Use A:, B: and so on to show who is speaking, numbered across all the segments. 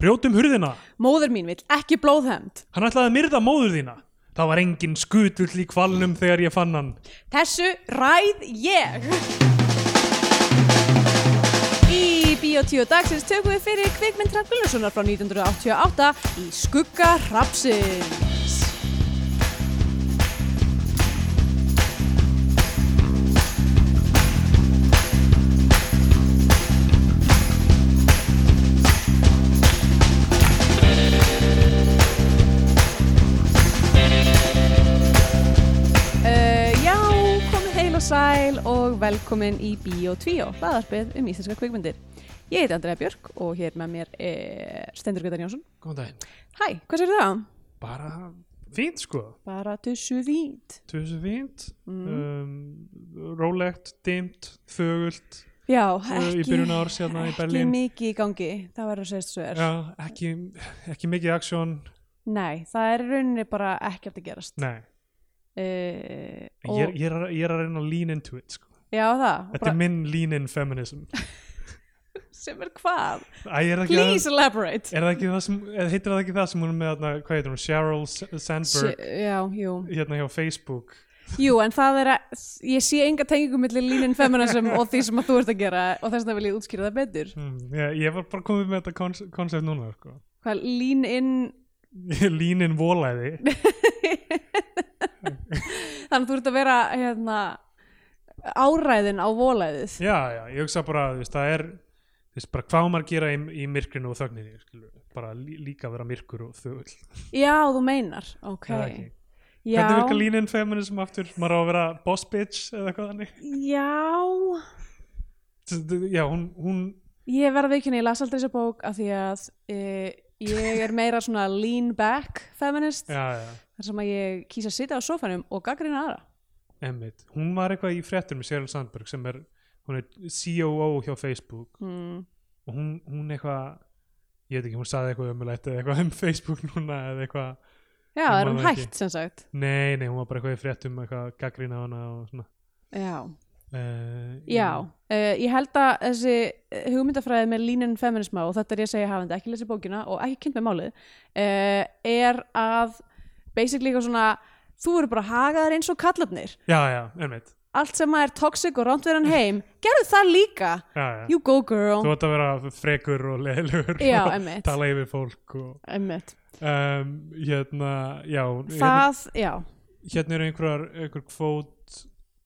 A: Brjótum hurðina,
B: Móður mín vill ekki blóðhemd.
A: hann ætlaði að myrða móður þína. Það var engin skutull í kvalnum þegar ég fann hann.
B: Þessu ræð ég! Í Bíotíu dagsins tökum við fyrir kvikmynd Hrafn Gunnarssonar frá 1988 í Skugga Hrafsins. Uh, já, komið heil og sæl og velkomin í Bíó 2, hlaðarpið um íslenska kvikmyndir. Ég heiti Andrea Björk og hér með mér er Stendur Gautar Jónsson.
A: Góðan daginn.
B: Hæ, hvað sér það?
A: Bara fínt sko.
B: Bara tussu vít.
A: Tusen fínt.
B: Mm.
A: Um, rólegt, dimt, þögult.
B: Já,
A: Ö,
B: ekki,
A: í byrjun árs hérna í
B: ekki
A: Berlín.
B: mikið í gangi, það verður að segja þessu er.
A: Já, ekki, ekki mikið aksjón.
B: Nei, það er í rauninni bara ekkert að gerast.
A: Nei,
B: Uh,
A: ég, er- ég, er, að- ég er að reyna að lean into it sko.
B: já, það,
A: Þetta
B: bara,
A: er minn lean in feminism.
B: sem er hvað?
A: Æ, er það ekki
B: Please elaborate.
A: Það, er það ekki það sem, eða heitir það ekki það sem hún er með, hérna, hvað heitir hún, Sheryl S- Sandberg,
B: S- Já, jú.
A: hérna hjá Facebook.
B: Jú, en það er að ég sé enga tengingu millir línin feminism og því sem að þú ert að gera og þess vegna vil ég útskýra það betur.
A: Hmm, ég, ég var bara komið með þetta kons- konsept núna, sko.
B: Hvað, lean in,
A: lean in volæði.
B: þannig að þú ert að vera hérna, áræðin á volæðið.
A: Já, já, ég hugsa bara, þú veist, það er, þú veist, bara hvað á maður að gera í, í myrkrinu og þögninni, skilur, bara lí, líka vera myrkur og þögul.
B: Já, þú meinar, ok.
A: Eða ekki?
B: Já,
A: Hvernig virka lean in feminism aftur? Maður á að vera boss bitch eða eitthvað þannig.
B: já,
A: Þú veist, Já, hún, hún,
B: ég verða veikinu, ég las aldrei þessa bók af því að e, ég er meira svona lean back feminist,
A: já, já.
B: þar sem að ég kýsa að sitja á sofanum og gaggrina aðra.
A: Emmitt, hún var eitthvað í fréttum með Sheryl Sandberg sem er, hún er COO hjá Facebook
B: Mm.
A: og hún, hún eitthvað ég veit ekki, hún saði eitthvað ömulegt eða eitthvað um Facebook núna eða eitthvað
B: Já,
A: Ég
B: er
A: man
B: hún
A: það ekki.
B: hægt sem sagt.
A: nei, nei, hún var bara eitthvað í fréttum eitthvað gaggrína hana og svona
B: Já.
A: uh,
B: Já, uh, ég held að þessi eh, hugmyndafræði með línin feminisma og þetta er ég að segja hafandi ekki lesið bókina og ekki kynnt með málið uh, er að basically eitthvað svona þú eru bara hagaðar eins og kallarnir
A: Já, já, emmitt
B: allt sem að er toxic og rámt verðan heim gerðu það líka,
A: já, já.
B: you go
A: þú
B: girl
A: átt að vera frekur og leðilegur
B: Já,
A: og
B: einmitt.
A: tala yfir fólk og
B: Einmitt.
A: um, hérna, já hérna,
B: það, já,
A: hérna eru einhverjar einhver kvót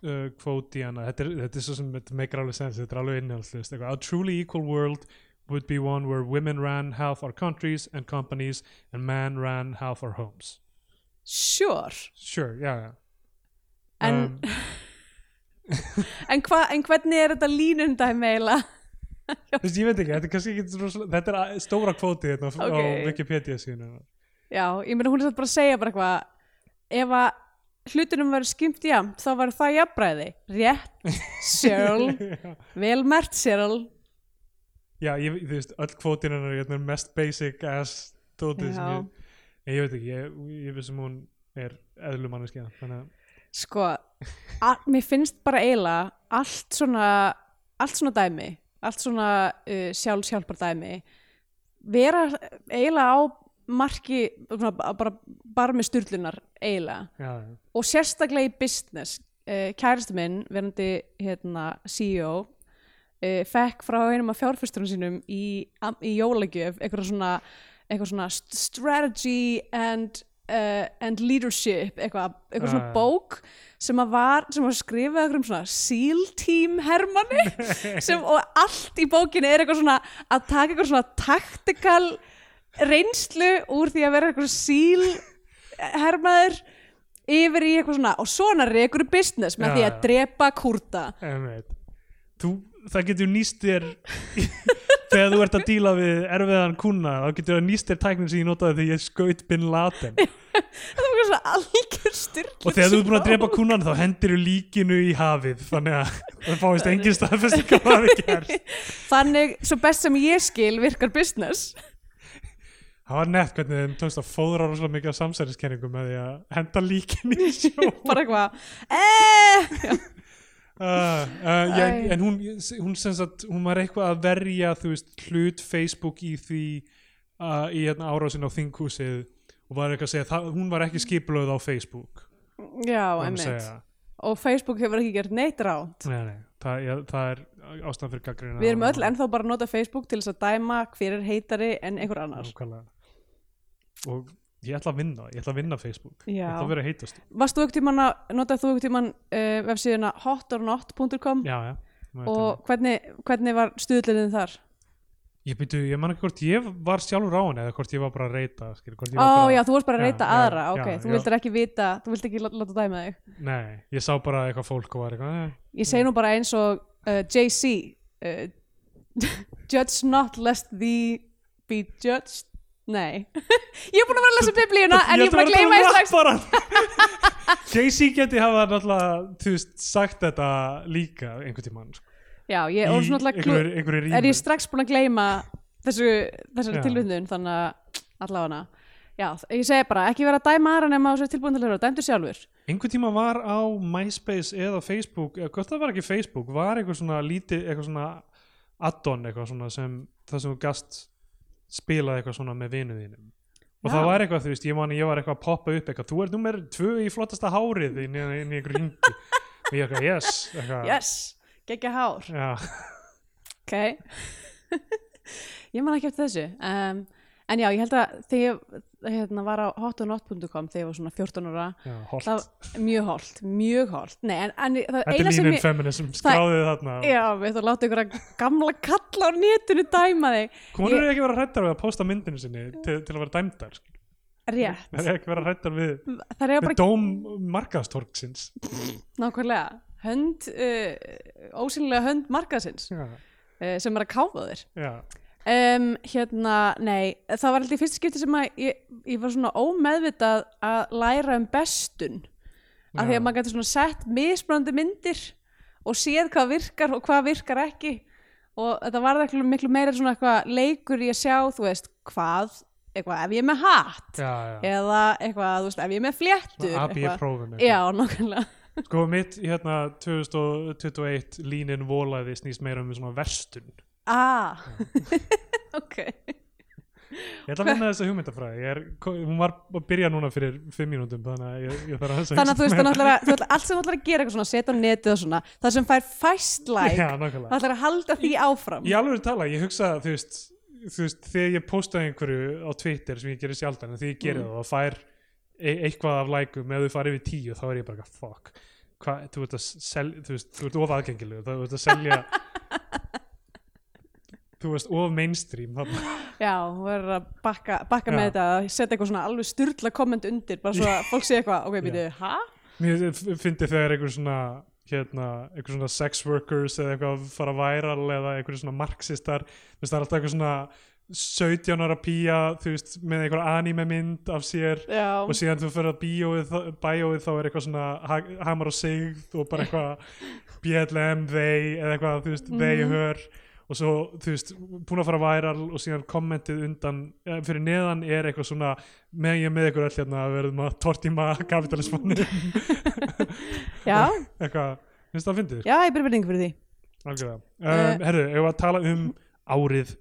A: uh, kvót í hana þetta er, þetta er svo sem þetta meikir alveg sens þetta er alveg innhaldslist a truly equal world would be one where women ran half our countries and companies and men ran half our homes
B: sure
A: sure, já, já
B: en,
A: Um,
B: en, hva, en hvernig er þetta línin dæmi eiginlega?
A: þú veist, ég veit ekki, þetta er kannski ekki rosalega- þetta er a- stóra kvóti hérna á- á
B: Ok.
A: Wikipedia síðan
B: Já, ég meina hún er satt bara að segja bara eitthvað ef að hlutunum verður skimt jafnt þá verður það jafnbræði rétt, Cheryl vel mert Cheryl
A: já, ég, þú veist, öll kvótin hennar hérna er mest basic ass dótið sem
B: Já.
A: ég, en ég veit ekki ég, ég vissum hún er eðlum manneskja þannig að
B: sko, að, mér finnst bara eiginlega allt svona allt svona dæmi, allt svona uh, sjálf sjálfbar dæmi vera eiginlega á marki svona, b- bara, bara með styrlunar eiginlega
A: já, já
B: og sérstaklega í business uh, kærasti minn, verandi hérna, CEO uh, fekk frá einum af fjárfyrstunum sínum í, am- í jólagjöf eitthvað svona, eitthvað svona st- strategy and, uh, and leadership eitthvað, eitthvað svona
A: Ah.
B: bók sem að var, sem var skrifað eitthvað um svona SEAL team hermanni sem, og allt í bókinni er eitthvað svona að taka eitthvað svona taktikal reynslu úr því að vera eitthvað síl hermaður yfir í eitthvað svona og svona rekur business með
A: Já,
B: því
A: já.
B: að drepa kurta
A: Einmitt. Þú, það getur nýst þér þegar þú ert að díla við erfiðan kuna, þá getur það nýst þér tæknin sem ég notaði þegar ég skaut bin latin
B: það var eitthvað svona algjör styrk
A: og þegar þú ert búin að drepa kunan þá hendir þú líkinu í hafið þannig að það fáist engin staðfesting að það hafi gerst
B: þannig svo best sem ég skil virkar business
A: Það var nett hvernig þeim tókst að fóðra rosalega mikið af samsæriskenningum með því að henda líkinu í sjó
B: bara eitthvað eh! Já.
A: uh, uh,
B: Æ.
A: ég, en hún, hún sem sagt hún var eitthvað að verja þú veist hlut Facebook í því uh, í hérna árásin á þinghúsið og var eitthvað að segja, það, hún var ekki skipulöð á Facebook
B: já,
A: var hún að
B: einmitt
A: segja.
B: og Facebook hefur ekki gert neitt ránt
A: Nei, nei, það, ég, það er ástæðan fyrir gaggrina
B: við erum öll ennþá bara að nota Facebook til þess að dæma hver er heitari en einhver annar
A: og ég ætla að vinna, ég ætla að vinna Facebook ég
B: Já.
A: ætla að vera heitast
B: varst þú ekkert tímann að nota þú ekkert tímann uh, vefsíðuna hotornot.com
A: já, já, Maður þetta-
B: og hvernig, hvernig var stuðlinni þar
A: ég byrju, ég man ekki hvort ég var sjálfur á henni eða hvort ég var bara að reyta skil, hvort ég var
B: Ó
A: bara-
B: já, þú varst bara að
A: Já,
B: reyta
A: já,
B: aðra,
A: já,
B: ok, þú
A: já.
B: vildir ekki vita, þú vildir ekki lá- láta dæma þig.
A: nei, ég sá bara eitthvað fólk og var eitthvað eh,
B: Ég segi nú bara eins og uh, JC, uh, judge not lest thee be judged, nei. ég er búin að vera að lesa biblíuna en ég er búin
A: um
B: að gleyma eins slags,
A: strax Casey geti hafa náttúrulega þú veist, sagt þetta líka einhvern tímann sko.
B: já, ég er svona alltaf,
A: einhverju,
B: glu-
A: einhverju
B: er
A: rími
B: ég strax búin að gleyma þessu, þessari
A: Já.
B: tilvindun, þannig að allavega Já, ég segi bara, ekki vera að dæma aðra nema þessu tilbúin til að hljóra, dæmdu sjálfur.
A: einhvern tíma var á MySpace eða Facebook, eða hvort það var ekki Facebook var eitthvað svona lítið, eitthvað svona add-on eitthvað svona sem það sem þú gast spilaði eitthvað svona með vinu þínum og
B: Já.
A: það var eitthvað, þú veist, ég man ég var eitthvað að poppa upp eitthvað, þú ert nummer tvö í flottasta hárið inn í, inn í einhverju ringi og ég eitthvað, yes, eitthvað
B: Yes, geggja hár.
A: Já,
B: ok ég man ekki eftir þessu um, en já, ég held að þegar ég hérna, var á hotonot.com þegar ég var svona 14 ára
A: já, holt
B: það var mjög holt, mjög holt nei, en, en það
A: Þetta er
B: eina sem
A: línin
B: ég
A: feminism, skráðið þarna
B: já, við ætlum að láta ykkur að gamla kalla á netinu dæma þig
A: Konur eru ekki að vera hrættar við að posta myndinu sinni til, til að vera dæmdar skilur.
B: rétt,
A: Þær eru ekki að vera hrættar við,
B: það er
A: við
B: bara
A: dóm markaðstorksins
B: nákvæmlega hönd, uh, ósynlega hönd markaðsins
A: Já,
B: uh, sem er að káfa þér
A: já
B: Um, hérna, nei, það var alltaf í fyrsta skipti sem að ég, ég var svona ómeðvitað að læra um bestun af því
A: Já.
B: að maður gæti svona sett mismunandi myndir og séð hvað virkar og hvað virkar ekki og þetta var ekki miklu meira svona eitthvað leikur í að sjá, þú veist, hvað eitthvað ef ég er með hatt
A: já, já.
B: eða eitthvað, þú veist, ef ég er með fléttur eitthvað.
A: AB-prófinu
B: Já, nákvæmlega
A: sko mitt hérna 2021 línin volaði snýst meira um svona verstun
B: Ah, ok
A: ég ætla að vinna þessa hugmyndafræði Ég er, hún var að byrja núna fyrir 5 mínútum þannig að ég, ég þarf að
B: þannig að þú veist, þannig að þú ætlar að- þú ætlar allt sem þú ætlar að gera eitthvað svona, setja á netið og svona, það sem fær fæst like,
A: já,
B: það
A: nákvæmlega
B: ætlar að halda því áfram.
A: ég alveg tala, ég hugsa þú veist, þú veist, þegar ég postaði einhverju á Twitter sem ég gerir sjaldan en þegar ég gerir það og fær e eitthvað af lækum ef þú farið yfir 10 þá er ég bara eitthvað, fuck Hva, þú ert að selja, þú veist, þú ert of aðgengileg þú ert að selja þú veist, of mainstream þarna
B: Já, þú verður að bakka, bakka með
A: Já.
B: þetta, að setja eitthvað svona alveg styrla komment undir, bara svo að fólk sé eitthvað, ok, býtu, hæ?
A: Mér f- fyndi þegar einhver svona hérna, einhver svona sex workers eða eitthvað fara væral eða einhver svona marxistar, þú veist það er alltaf einhver svona 17 ára pía þú veist, með einhver anime mynd af sér
B: Já,
A: og síðan þú fyrir að bíóið, þá- bæjóið þá er eitthvað svona ha hamar og sigð og bara eitthvað BLM, they eða eitthvað, þú veist,
B: Mhm.
A: they her og svo, þú veist, búin að fara væral og síðan kommentið undan eh, fyrir neðan er eitthvað svona með ég er með ykkur öll hérna að verðum að tortíma kapitalismanni
B: já,
A: eitthvað, finnst það að fyndið?
B: já, ég byrði verðingu fyrir því.
A: Algjörlega.
B: Eh,
A: Um, herru, ef að tala um árið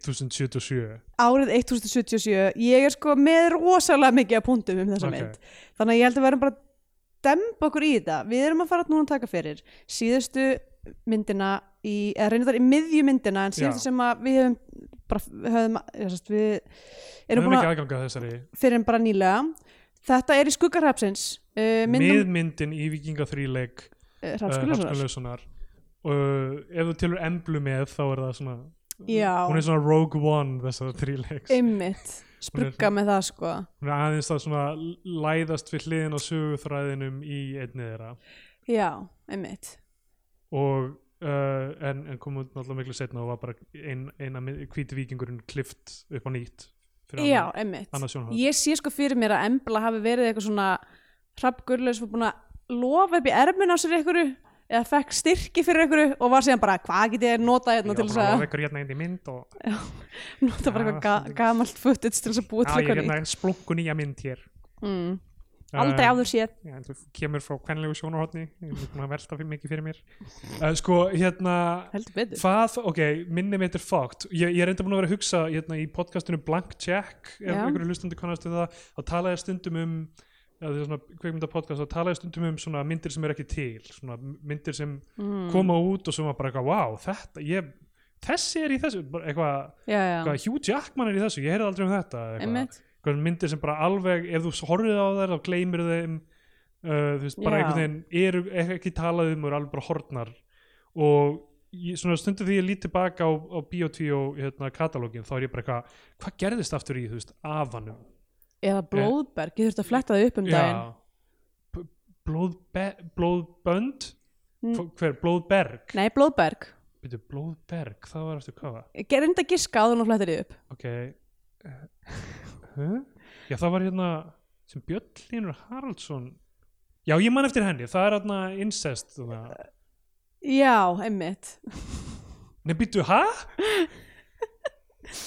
A: 1077
B: Árið 1077, ég er sko með rosalega mikið að punktum um þessa
A: Ok.
B: mynd. Þannig að ég held að við erum bara að dempa okkur í þetta. Við erum að fara núna að taka fyrir síðustu myndina í, eða reynir þar í miðju myndina en
A: Já.
B: síðustu sem að við höfum bara, höfum, ég sérst, við
A: erum
B: erum
A: við
B: búin
A: ekki
B: að,
A: aðgangað þessari
B: fyrir en bara nýlega. Þetta er í skuggarhapsins, uh, myndum
A: miðmyndin í Vikinga 3 leik
B: uh, Hrafskulesunar.
A: Hrafskunlausunar Eh, og ef þú tilur emblu með þá er það svona
B: Já.
A: hún er svona Rogue One þessara þríleiks
B: Ymmit, sprugga með það sko.
A: hún er aðeins að svona læðast við hliðin á söguþræðinum í einni þeirra
B: Já, ymmit.
A: og uh, en, en kom út náttúrulega miklu setna og var bara ein, eina hvíti vikingurinn klift upp á nýtt fyrir
B: Já,
A: annað-
B: ymmit.
A: annað sjónhóð
B: Ég sé sko fyrir mér að Embla hafi verið eitthvað svona hrappgurlaus og búin að lofa upp í ermin á sér einhverju eða fekk styrki fyrir einhverju og var síðan bara hvað get ég notað hérna til þess að
A: lofa ykkur hérna inn í mynd og
B: nota bara
A: Já,
B: eitthvað ga
A: stundum.
B: gamalt footage til þess að
A: Já,
B: búa til
A: ég
B: eitthvað nýtt
A: hérna splunku nýja mynd hér
B: mm. aldrei áður séð
A: Já, en þú kemur frá kvenlegu sjónarhóttni ég er búin að velta fyrir mikið fyrir mér uh, sko, hérna
B: heldur betur
A: hvað, ok, minni mitt er fucked ég, ég er enda búin að vera að hugsa hérna, í podcastinu Blank Check ef
B: Já.
A: einhverju hlustandi kannast við það þá talaði ég stundum um eða því svona kveikmyndapodcast þá talaði ég stundum um svona myndir sem er ekki til svona myndir sem
B: mm.
A: koma út og sem var bara eitthvað, wow, þetta ég, þessi er í þessu, bara eitthvað
B: já, já,
A: eitthvað, Hugh Jackman er í þessu, ég heyrði aldrei um þetta eða eitthvað
B: einmitt
A: eitthvað myndir sem bara alveg ef þú horfið á þær þá gleymir þeim uh, þú veist, bara
B: Já.
A: einhvern veginn eru er ekki talað um og eru alveg bara hortnar og ég, svona stundum því ég lít tilbaka á, á Biotví og hérna, katalógin þá er ég bara eitthvað, hvað gerðist aftur í þú veist, afanum
B: eða blóðberg, ég þurfti að fletta það upp um daginn
A: Já. B- Blóðbe blóðbönd
B: Mm.
A: mm. hver, blóðberg
B: nei, blóðberg,
A: Bíddu, blóðberg, það var eftir hvað
B: reynda að giska áður en þú flettir því upp
A: ok eh, huh? já það var hérna sem Björn Línur Haraldsson já ég man eftir henni, það er hérna incest þarna.
B: já, einmitt
A: nei býttu, ha?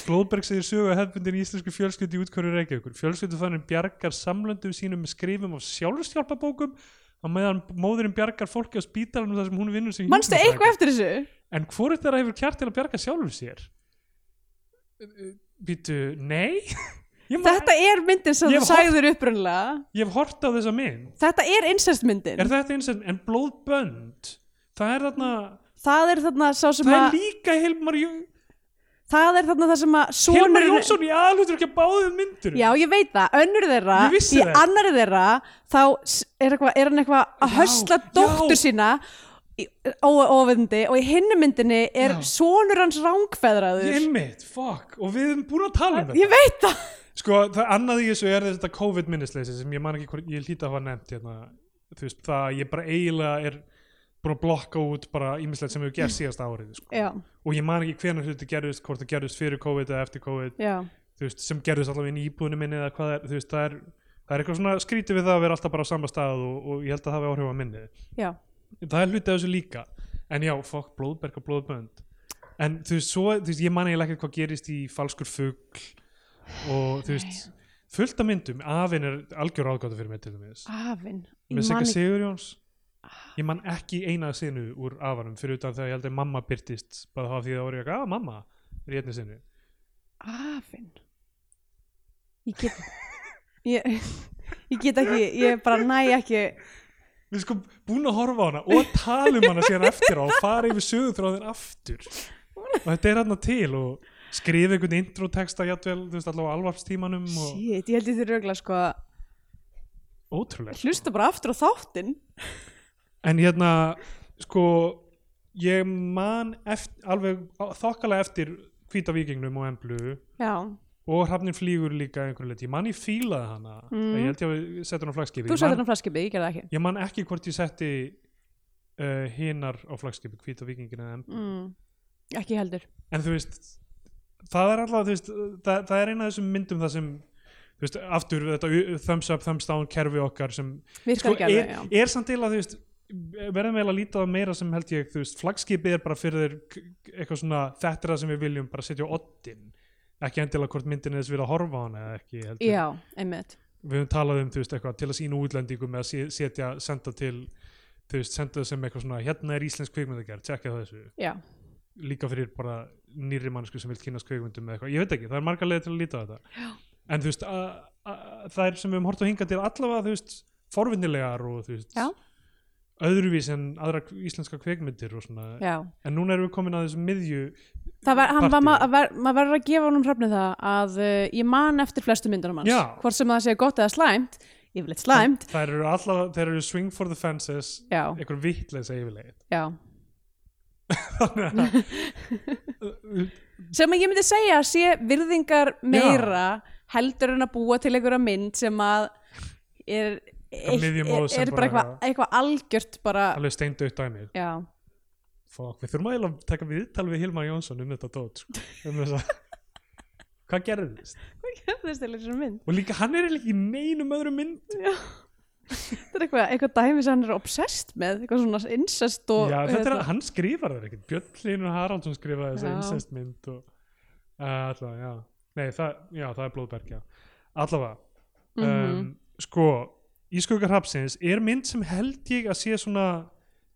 A: Glóðberg segir sögu að hefðbundin íslensku fjölskyldu í útkörðu Reykjavíkur fjölskyldu þannig bjargar samlöndum sínum með skrifum af sjálfstjálpabókum á meðan móðurinn bjargar fólki á spítalanum þar sem hún vinnur sem
B: mannstu
A: hjúkrunarfræðingur.
B: eitthvað eftir þessu?
A: En hvort þeirra hefur kjart til að bjarga sjálfum sér? Býtu, nei? Ég, man-
B: þetta er myndin sem
A: Ég
B: þú
A: hef horft-
B: sagður upprunlega
A: ég hef hort á þessa mynd.
B: þetta er incestmyndin
A: Er þetta eins en, en blóðbönd? Það er þarna,
B: það er þarna sá sem
A: það er
B: að
A: líka Hilmar, Jó,
B: það er þarna það sem að
A: Hilmar
B: sonurinn
A: Jónsson í aðlutur ekki að báðum myndur.
B: Já, ég veit það, önnur þeirra
A: Ég vissi
B: í
A: það.
B: annari þeirra þá s- er, eitthva, er hann eitthvað að
A: Já,
B: hösla
A: já.
B: dóttur sína óöfindi og í hinnu myndinni er
A: Já.
B: sonur hans rángfeðraður
A: Ég
B: ég,
A: mitt, fuck, og við erum búin að tala um þetta.
B: veit það
A: Sko, það annað í þessu er þetta COVID-minnisleysi sem ég man ekki hvort, ég hlýta að hafa nefnt hérna, þú veist, það að ég bara eiginlega er búin að blokka út bara ímislegt sem hefur gerst síðasta árið, sko.
B: Já,
A: og ég man ekki hvenar hluti gerðist hvort það gerðist fyrir COVID eða eftir COVID
B: já,
A: þú veist, sem gerðist allavega inn í íbúðinu minni eða hvað það er, þú veist, það er, það er eitthvað svona skrítið við það að vera alltaf bara á sama stað og, og ég held að það hafi áhrif á minni
B: já
A: það er hluti af þessu líka en já, fokk, blóðberg og blóðbönd en þú veist, svo, þú veist, ég man eiginlega ekki hvað gerist í falskur fugl og þú veist, fullt af myndum afinn er algjör áðgáttu fyrir mig til þess
B: Afinn Ah,
A: með Sigga Sigurjóns ég
B: Ég man ekki- Ah.
A: man ekki eina sinu úr afanum fyrir utan þegar ég held að mamma byrtist bara þá af því það voru ég að "Ah, mamma er í einni sinu
B: Afinn Ég get ég, ég get ekki, ég bara næ ekki
A: við sko búin að horfa á hana og tala um hana síðan eftir á og fara yfir sögutráðin aftur og þetta er hann til og skrifa einhvern introtexta jafnvel, þú veist, allavega á alvarpstímanum og
B: Shit, ég held ég þér röglega sko að
A: ótrúlega
B: hlusta bara aftur á þáttinn
A: en hérna, sko ég man eftir, alveg á- þokkalega eftir hvíta vikingnum og emblu
B: Já,
A: og hrafnin flýgur líka að einhverju liti, ég man ég fílaði hana
B: Mm.
A: ég held ég að setja hann á flagskipi
B: þú
A: Ég
B: settir
A: man-
B: hann flaskipið, ég gerði það ekki
A: ég man ekki hvort ég setti uh, hinar á flagskipi, hvíta vikingina en,
B: mm. Ekki heldur
A: en þú veist það er alltaf, þú veist, það, það er eina af þessum myndum það sem, þú veist, aftur þetta u- thumbs up, thumbs down kerfi okkar sem sko,
B: virkar ekki alveg,
A: er,
B: já
A: er samt eila, þú veist verðum eiginlega að líta á það meira sem held ég þú veist, flagskipið er bara fyrir þér k- eitthvað svona, þetta er það sem við viljum bara setja á oddin, ekki endilega hvort myndin er þess við að horfa á hana eða ekki heldur.
B: já, einmitt
A: við höfum talað um þú veist, eitthvað, til að sína útlendingum eða se- setja, senda til þú veist, senda það sem eitthvað svona hérna er íslensk kvikmyndagerð, tjekka það þessu
B: já,
A: líka fyrir bara nýri mannsku sem vil kynast kvikmyndum eða eitthvað, ég veit ekki, það er margar leið til að líta á þetta Já. en þú veist, a- a- þær sem við höfum hort á hingað til allavega þú veist, forvinnilegar og þú veist
B: Já.
A: öðruvís en aðra k- íslenska kvikmyndir og svona,
B: já.
A: en núna erum við komin að þessum miðju,
B: það var, hann var,
A: Partíið.
B: maður ver, maður verður að gefa honum hrefnu það að uh, ég man eftir flestu myndunum hans
A: Já.
B: hvort sem það sé gott eða slæmt yfirleitt slæmt,
A: þær eru allavega þær eru swing for the fences
B: já,
A: einhver vitleisa yfirleið
B: já
A: þannig að
B: sem að ég myndi segja að sé virðingar meira heldur en að búa til einhverja mynd sem að er,
A: Á miðjum
B: er,
A: móð sem
B: er
A: bara
B: bara eitthvað eitthva algjört bara,
A: alveg steindautt dæmi
B: já
A: Fokk, við þurfum eiginlega að taka viðtal við Hilmar Jónsson um þetta dót sko. um þessa- hvað gerðist
B: þetta er stilur sem mynd
A: og líka hann er eiginlega ekki í neinum öðrum mynd
B: þetta er eitthvað, eitthvað dæmi sem hann er obsessed með eitthvað svona incest og
A: já, þetta er,
B: hérna-
A: hann skrifar það ekkert Björn Hlynur Haraldsson skrifaði þessa
B: Já.
A: incest mynd og uh, allavega, já Nei, það, já, það er blóðberg, já allavega
B: Mhm.
A: um, sko, Ískugga hrapsins er mynd sem held ég að sé svona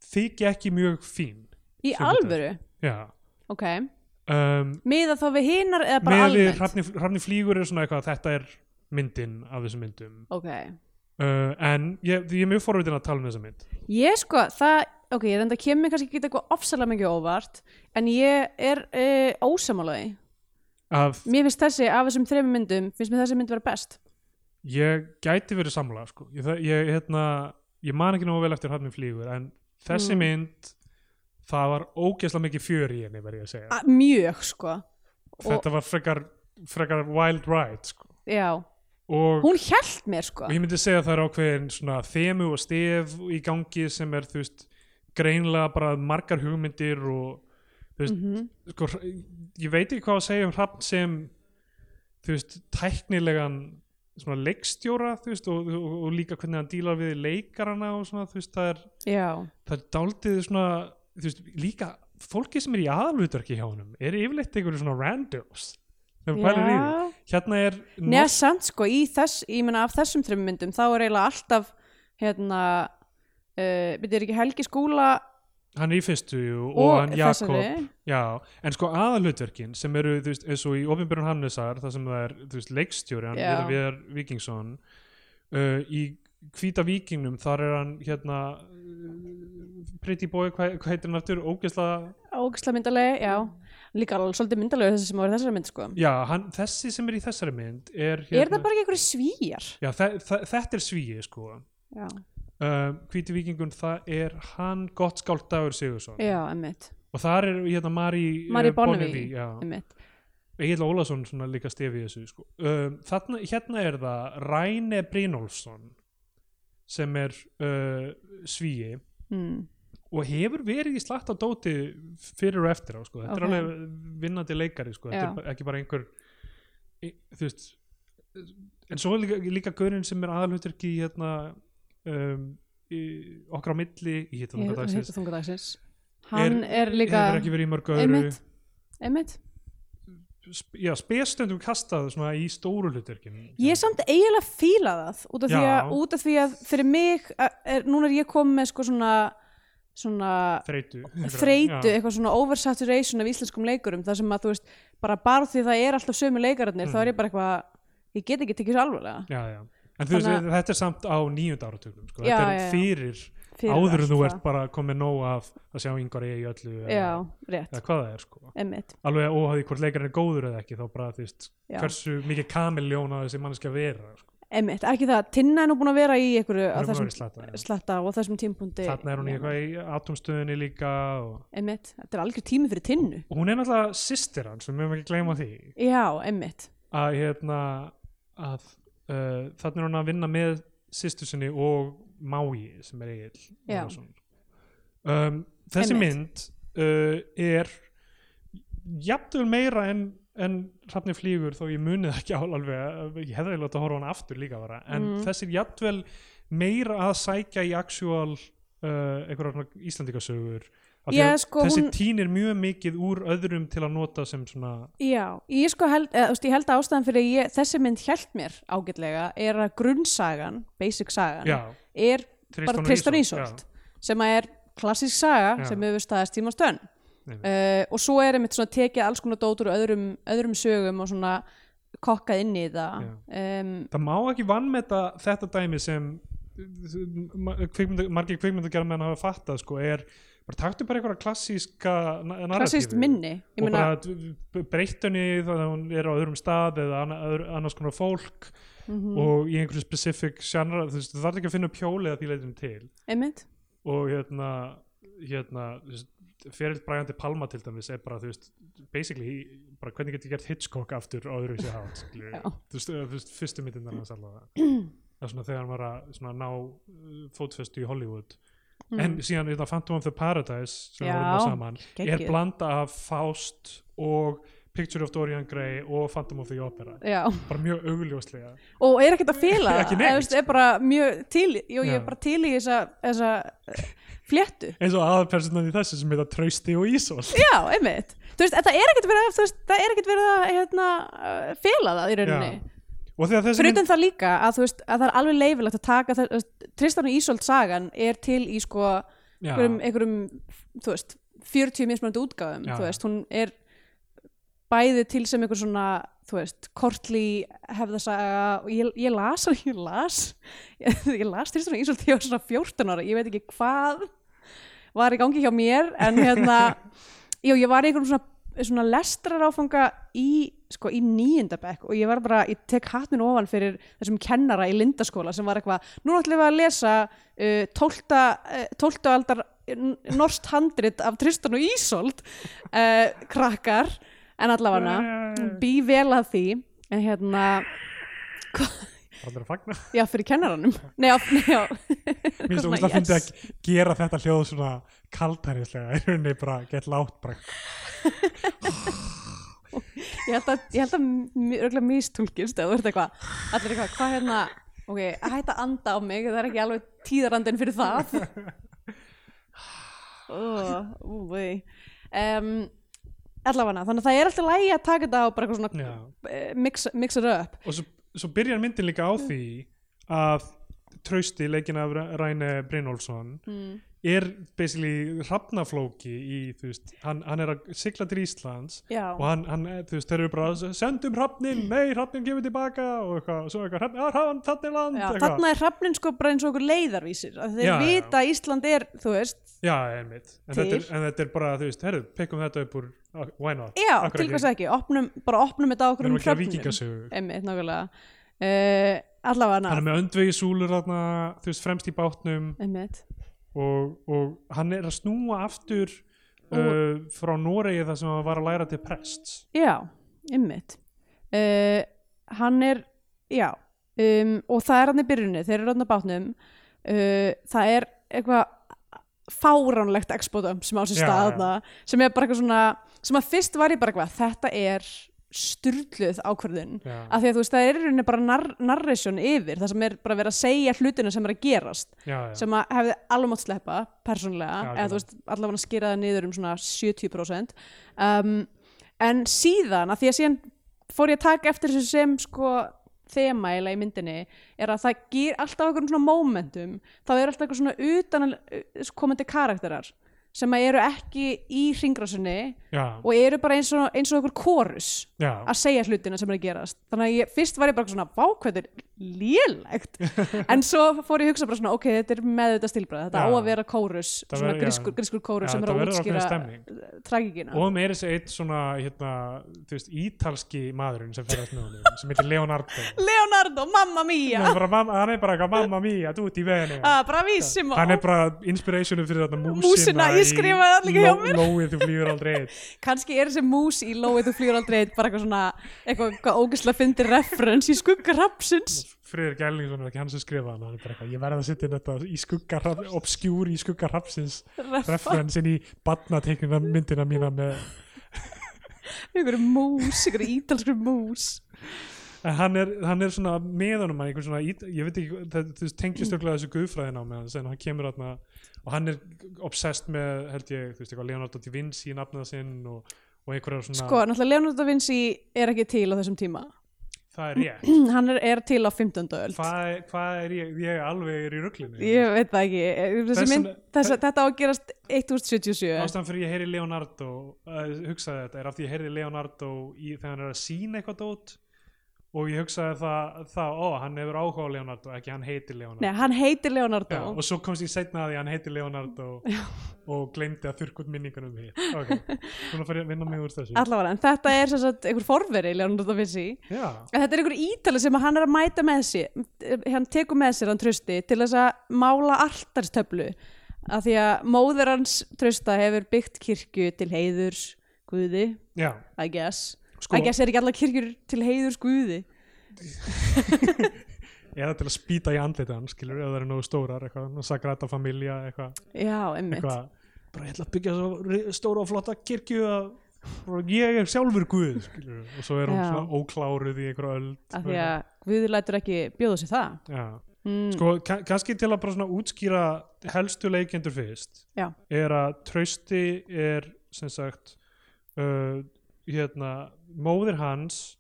A: þykja ekki mjög fín
B: Í
A: Sem
B: alvöru?
A: já
B: Ok.
A: um,
B: Miða þá við hinar eða bara
A: með við
B: almennt?
A: hrafni, hrafni flýgur er svona eitthvað þetta er myndin af þessum myndum
B: Ok.
A: uh, en ég, ég er mjög forvitin að tala um þessa mynd
B: Ég sko, það, ok, ég reynda að kemur kannski ekki eitthvað ofsalega mikið á óvart, en ég er uh, ósamálaði.
A: að
B: Mér finnst þessi, af þessum þrejum myndum, finnst mér þessi mynd vera best.
A: ég gæti verið samla sko. ég, það- ég, hérna, ég man ekki nógu vel eftir hrafni flýgur en þessi
B: Mm.
A: mynd það var ógeðslega mikið fjör í henni verið að segja
B: A, mjög, sko.
A: þetta var frekar, frekar wild ride sko.
B: Já.
A: og
B: Hún hjælt mér, sko.
A: og ég myndi segja að það er ákveðin svona þemu og stef í gangi sem er þú veist greinlega bara margar hugmyndir og þú veist
B: Mhm.
A: sko, hr- ég veit ekki hvað að segja um hrappn sem þú veist tæknilegan svona leikstjóra þú veist og, og, og líka hvernig hann dílar við leikarana og svona þú veist það er,
B: Já.
A: það er dálítið svona þú veist líka fólki sem er í aðalvutverki hjá honum er yfirleitt einhverju svona randos þegar maður pælir í því.
B: Já.
A: hérna er
B: Nei, samt sko, í þess, ég meina af þessum þreim myndum, þá er eiginlega alltaf, hérna, uh, byrðir ekki Helgi Skúla
A: hann er í fyrstu jú, og,
B: og,
A: hann Jakob
B: þessari.
A: Já, en sko aðalutverkin sem eru, þú veist, eins og í ofinbjörn Hannesar þar sem það er, þú veist, leikstjóri hann
B: Já.
A: er Viðar Víkingsson uh, í Hvíta Víkingnum þar er hann, hérna uh, Pretty Boy, hvað hva heitir hann aftur ógeðslega,
B: Ógislega myndalegi, já. Líka alveg svolítið myndalegi þessi sem var í þessari mynd, sko.
A: já, hann, þessi sem er í þessari mynd er hérna
B: Er það bara ekki einhverju svíjar?
A: Já, þe þe þetta er svíi, sko uh,
B: Já,
A: Hvíti Víkingun, það er hann gott skált Dagur Sigursson
B: já emmitt,
A: og þar er, hérna, Mari
B: Mary
A: eh,
B: Bonnevie.
A: já.
B: emmitt.
A: Egil Ólafsson svona líka stefi í þessu sko. um, þarna, hérna er það Ræne Brynolfsson sem er uh, svíi
B: Mm.
A: og hefur verið í slatt á dóti fyrir og eftir á sko. þetta
B: Ok.
A: er alveg vinnandi leikari sko. þetta
B: Já.
A: er bara- ekki bara einhver e, þú veist en svo er líka, líka gaurinn sem er aðalhutur ekki hérna um, í, okkar á milli í hittum
B: Ég
A: okkar dagsins
B: heita þunga dagsins. Hann er, líka,
A: hefur ekki verið í mörg öðru
B: emmitt, emmitt.
A: Sp- já, spesstundum kastað svona í stóru hluturkin
B: Ég samt eiginlega fíla það út af, því
A: Já.
B: að, út af því að fyrir mig, að- er, núna er ég komið með sko svona, svona
A: þreytu
B: þreytu, eitthvað svona oversaturation af íslenskum leikurum, þar sem að þú veist, bara bara því það er alltaf sömu leikararnir, þá
A: Mm.
B: er ég bara eitthvað, ég get ekki tekið svo alvarlega.
A: já, já. en þú veist,
B: Þannig
A: þetta er samt á nýjönda áratugum sko.
B: Já,
A: þetta er
B: já, já.
A: fyrir,
B: Fyrir
A: áður
B: allt
A: en þú
B: það.
A: ert bara komið nóg af að sjá yngar í öllu
B: Já,
A: eða,
B: rétt,
A: eða hvað það er sko.
B: emmitt,
A: alveg óháði hvort leikarinn er góður eða ekki þá bara þú veist,
B: Já.
A: hversu mikið kamiljón að þessi mannskja vera sko.
B: emmitt, ekki það, Tinna er nú búin að vera í einhverju á
A: Hún er búin að
B: þessum
A: vera í slatta, já.
B: slatta og á þessum tímpundi.
A: þarna er hún í eitthvað í atomstöðinni líka og,
B: Emmitt, þetta er algjör tími fyrir Tinnu.
A: og hún er náttúrulega systir hans, við mögum ekki gleyma því
B: Já, emmitt,
A: að hérna að uh, þarna er hún að vinna með sýstu sinni og Mái sem er Egil
B: Já.
A: Ólafsson. um, þessi mynd uh, er jafnvel meira en, en hrafni flýgur þó ég munið ekki á alveg að- ég hefði látt að horfa á hana aftur líka bara en
B: Mm.
A: þessi er jafnvel meira að sækja í actual uh, einhverjar íslandikasögur Af því
B: Já,
A: að
B: sko,
A: þessi
B: hún-
A: tínir mjög mikið úr öðrum til að nota sem svona
B: já, ég sko held, eða, þú veist, ég held að ástæðan fyrir að ég, þessi mynd hjælt mér ágætlega er að grunnsagan, basic sagan,
A: já,
B: er bara Tristan
A: já.
B: Ísolt sem að er klassísk saga
A: Já.
B: sem hefur staðast tíma stönn
A: Einmitt.
B: uh, og svo er einmitt svona tekið alls konar dótur og öðrum, öðrum sögum og svona kokkað inn í það um,
A: það má ekki vannmeta þetta dæmi sem ma- kvikmynda, margir kvikmyndagjara menn hafa fattað sko, er bara taktu bara einhverja klassíska na-
B: klassískt
A: narratífu.
B: minni ég
A: og
B: meina,
A: bara d- b- breyttu henni þannig að hún er á öðrum stað eða anna- öðru- annars konar fólk
B: Mm. mhm,
A: og í einhverju specific genre þú veist, þú þarf ekki að finna pjóli að því leitum til
B: einmitt
A: og hérna, hérna ferild bræðandi Palma til dæmis er bara, þú veist, basically bara hvernig getur gert Hitchcock aftur á öðru sér hát, skilur við.
B: Já.
A: þú veist, eða, þú veist, fyrstu myndin þarna allavega það er svona þegar hann var að svona, ná uh, fótfestu í Hollywood en síðan þetta Phantom of the Paradise sem
B: Mm. Já,
A: við vorum á saman,
B: geggjuð.
A: er blanda af Faust og Picture of Dorian Gray og Phantom of the Opera
B: já.
A: bara mjög augljóslega
B: og er ekkert að fela
A: Ekki
B: það
A: neitt.
B: eða, þú veist, er bara mjög til jú, ég
A: Já.
B: er bara til í þessa, þessa eh, fléttu
A: eins og aðalpersonan í þessu sem heita Trausti og Ísól
B: já, einmitt þú veist, uh, það er ekkert verið að, þú veist, það er ekkert verið að hérna, eh, fela það í rauninni
A: Já. og þegar þessi
B: Fyrir utan það líka að þú veist að það er alveg leifilegt að taka það, þú veist, Tristan og Ísolt sagan er til í sko
A: Já.
B: einhverjum, einhverjum þú veist, 40 mismunandi útgáfum
A: Já.
B: þú veist, hún er bæði til sem einhver svona þú veist, kortli hefðasaga og ég, ég las og ég las ég las Tristan og Ísolt þegar ég var svona 14 ára, ég veit ekki hvað var í gangi hjá mér en hérna, jú, ég var í einhverjum svona svona lestraráfanga í sko í nýjunda bekk og ég var bara ég tek hattinu ofan fyrir þessum kennara í lindaskóla sem var eitthvað, nú ætlum við að lesa uh, 12. Uh, 12. aldar norst handrit af Tristan og Ísold uh, krakkar en
A: Já, já,
B: allavega
A: já.
B: bý vel að því en hérna
A: allir að fagna
B: já fyrir kennaranum nei, já, nei, já.
A: Mér finnst
B: Eitthvað
A: ógeðslega
B: svona,
A: fyndið að gera þetta hljóð svona kaltærislega, í rauninni bara gett látt bara.
B: ég held að, ég held að mj- örugglega mistúlkist eða þú ert eitthvað allir eitthvað, hvað hérna ok, að hætta að anda á mig, það er ekki alveg tíðarandin fyrir það oh, um, allavega þannig að það er alltaf lægi að taka þetta og bara eitthvað svona
A: Já.
B: eh, mix, mix it up
A: Og svo, svo byrjar myndin líka á því að trausti leikin af Ra- Ræne Brynolfsson er basically hrafnaflóki í, þú veist, hann, hann er að sigla til Íslands
B: Já.
A: og hann, hann, þú veist, þeir eru bara að sendum hrafnin, nei, hrafnin gefur tilbaka og eitthvað, svo eitthvað, ah, hrafnin, já, hrafnin, þannig land,
B: Já,
A: eitthvað.
B: þarna er hrafnin sko bara eins og okkur leiðarvísir að þeir
A: Já, já.
B: vita að Ísland er, þú veist
A: Já, einmitt. En þetta, er,
B: Til.
A: en þetta er bara, þú veist, herru, pekkum þetta upp úr, ah, why not?
B: já,
A: Af hverju
B: til
A: ekki?
B: hvers ekki, opnum, bara opnum þetta á
A: Við
B: okkur
A: erum
B: um
A: ekki að
B: hrafnum
A: vikingasögu.
B: einmitt, nákvæmlega uh, allavega
A: hann er með öndvegisúlur þarna, þú veist, fremst í bátnum
B: einmitt
A: og, og hann er að snúa aftur uh, frá Noregi þar sem hann var að læra til prest
B: Já, ymmit uh, Hann er, já um, og það er hann í byrjunni, þeir eru hann á bátnum uh, það er eitthvað fáránlegt expodum sem á
A: Já,
B: sér
A: já.
B: stað þarna sem er bara eitthvað svona, sem að fyrst var ég bara eitthvað þetta er sturluð ákvörðun
A: Já.
B: af því að þú veist, það er í rauninni bara nar narration yfir, það sem er bara verið að segja hlutina sem er að gerast
A: já, já.
B: sem að hefði alveg mátt sleppa persónlega,
A: Já,
B: eða
A: algjörlega.
B: þú veist allavega skýra það niður um svona 70% um, en síðan að því að síðan fór ég að taka eftir þessu sem sko þema eiginlega í myndinni er að það gýr alltaf einhverjum svona momentum þá er alltaf eitthvað svona utan eh, komandi karakterar sem að eru ekki í hringrasunni
A: já,
B: og eru bara eins og, eins og einhver kórus
A: já,
B: að segja hlutina sem er að gerast þannig að ég, fyrst var ég bara svona vákvæður lélegt en svo fór ég að hugsa bara svona ok, þetta er með þetta stilbræð þetta
A: Já.
B: á að vera kórus,
A: Það
B: svona
A: verður- já.
B: grískur, grískur kórus
A: Já,
B: sem er
A: þetta
B: að
A: verður
B: útskýra
A: ákveðin
B: tragikina
A: og með þessi eitt svona hérna, þú veist, ítalski maðurinn sem ferðast með honum, sem heitir Leonardo
B: Leonardo, mamma mia
A: hann er bara, mamma- hann er bara eitthvað, mamma mía, þú ert í veginu
B: ah, bravissimo,
A: hann er bara inspirationu fyrir þarna músina,
B: Músina, ég skrifaði það líka hjá
A: Ló-
B: mér.
A: Lóið, þú flýur aldrei einn
B: kannski er þessi mús í lóið þú flýr aldrei einn, bara eitthvað svona eitthvað, eitthvað ógæslega fyndi reference í skugga rapsins
A: Friður Gællingsson er ekki hann sem skrifaði hann hann er bara eitthvað, ég verði að setja inn þetta í skugga obskjúr í skugga hrafsins referensin í batnateiknina myndina mína með,
B: einhverju mús, einhverju ítalskur mús
A: en hann er, hann er svona með honum að einhver svona, ít- ég veit ekki það, þú veist, tengjast örugglega þessu guðfræðin á með hans en hann kemur þarna og hann er obsessed með, held ég, þú veist eitthvað Leonardo da Vinci í nafnað sinn og, og einhverjar svona,
B: sko, náttúrulega Leonardo da Vinci er ekki til á þessum tíma
A: það er ég
B: hann er, er til á 15. öld
A: hvað hvað er ég, ég alveg er í ruglinu
B: ég veit það ekki Eh, þessi
A: Þess-
B: mynd, þess, þetta á að gerast 1077
A: Ástæðan fyrir ég heyri Leonardo uh, hugsaði þetta er af því ég heyri Leonardo í, þegar hann er að sína eitthvað dót og ég hugsaði það, það ó, hann hefur áhuga á Leonardo, ekki hann heitir Leonardo
B: Nei, hann heitir Leonardo
A: Já, og svo komst ég setna að því að hann heitir Leonardo Já. og gleymdi að þurrkut minningunum því ok, svona fyrir að vinna mig úr þessu
B: allavega, en þetta er sem sagt einhver forveri Leonardo da Vinci
A: Já,
B: En þetta er einhver ítali sem að hann er að mæta með sér, eh, hann tekur með sér hann trösti til þess að mála altarstöflu af því að móður hans trösta hefur byggt kirkju til heiðurs guði,
A: já,
B: I guess
A: Sko-
B: I guess er ekki allar kirkjur til heiðurs guði
A: eða til að spýta í andlita hann skilur, eða það eru nógu stórar eitthvað, sagrata familja eitthvað,
B: Já, einmitt
A: eitthvað bara ég ætla að byggja svo ri- stóra og flotta kirkju að og ég er sjálfur guð skilur. og svo er hún
B: Já.
A: svona ókláruð í einhverja öld sko,
B: af því að Guði lætur ekki bjóða sér það Mm,
A: Já. sko, ka- kannski til að bara svona útskýra helstu leikendur fyrst
B: Já,
A: er að trausti er sem sagt uh, hérna, móðir hans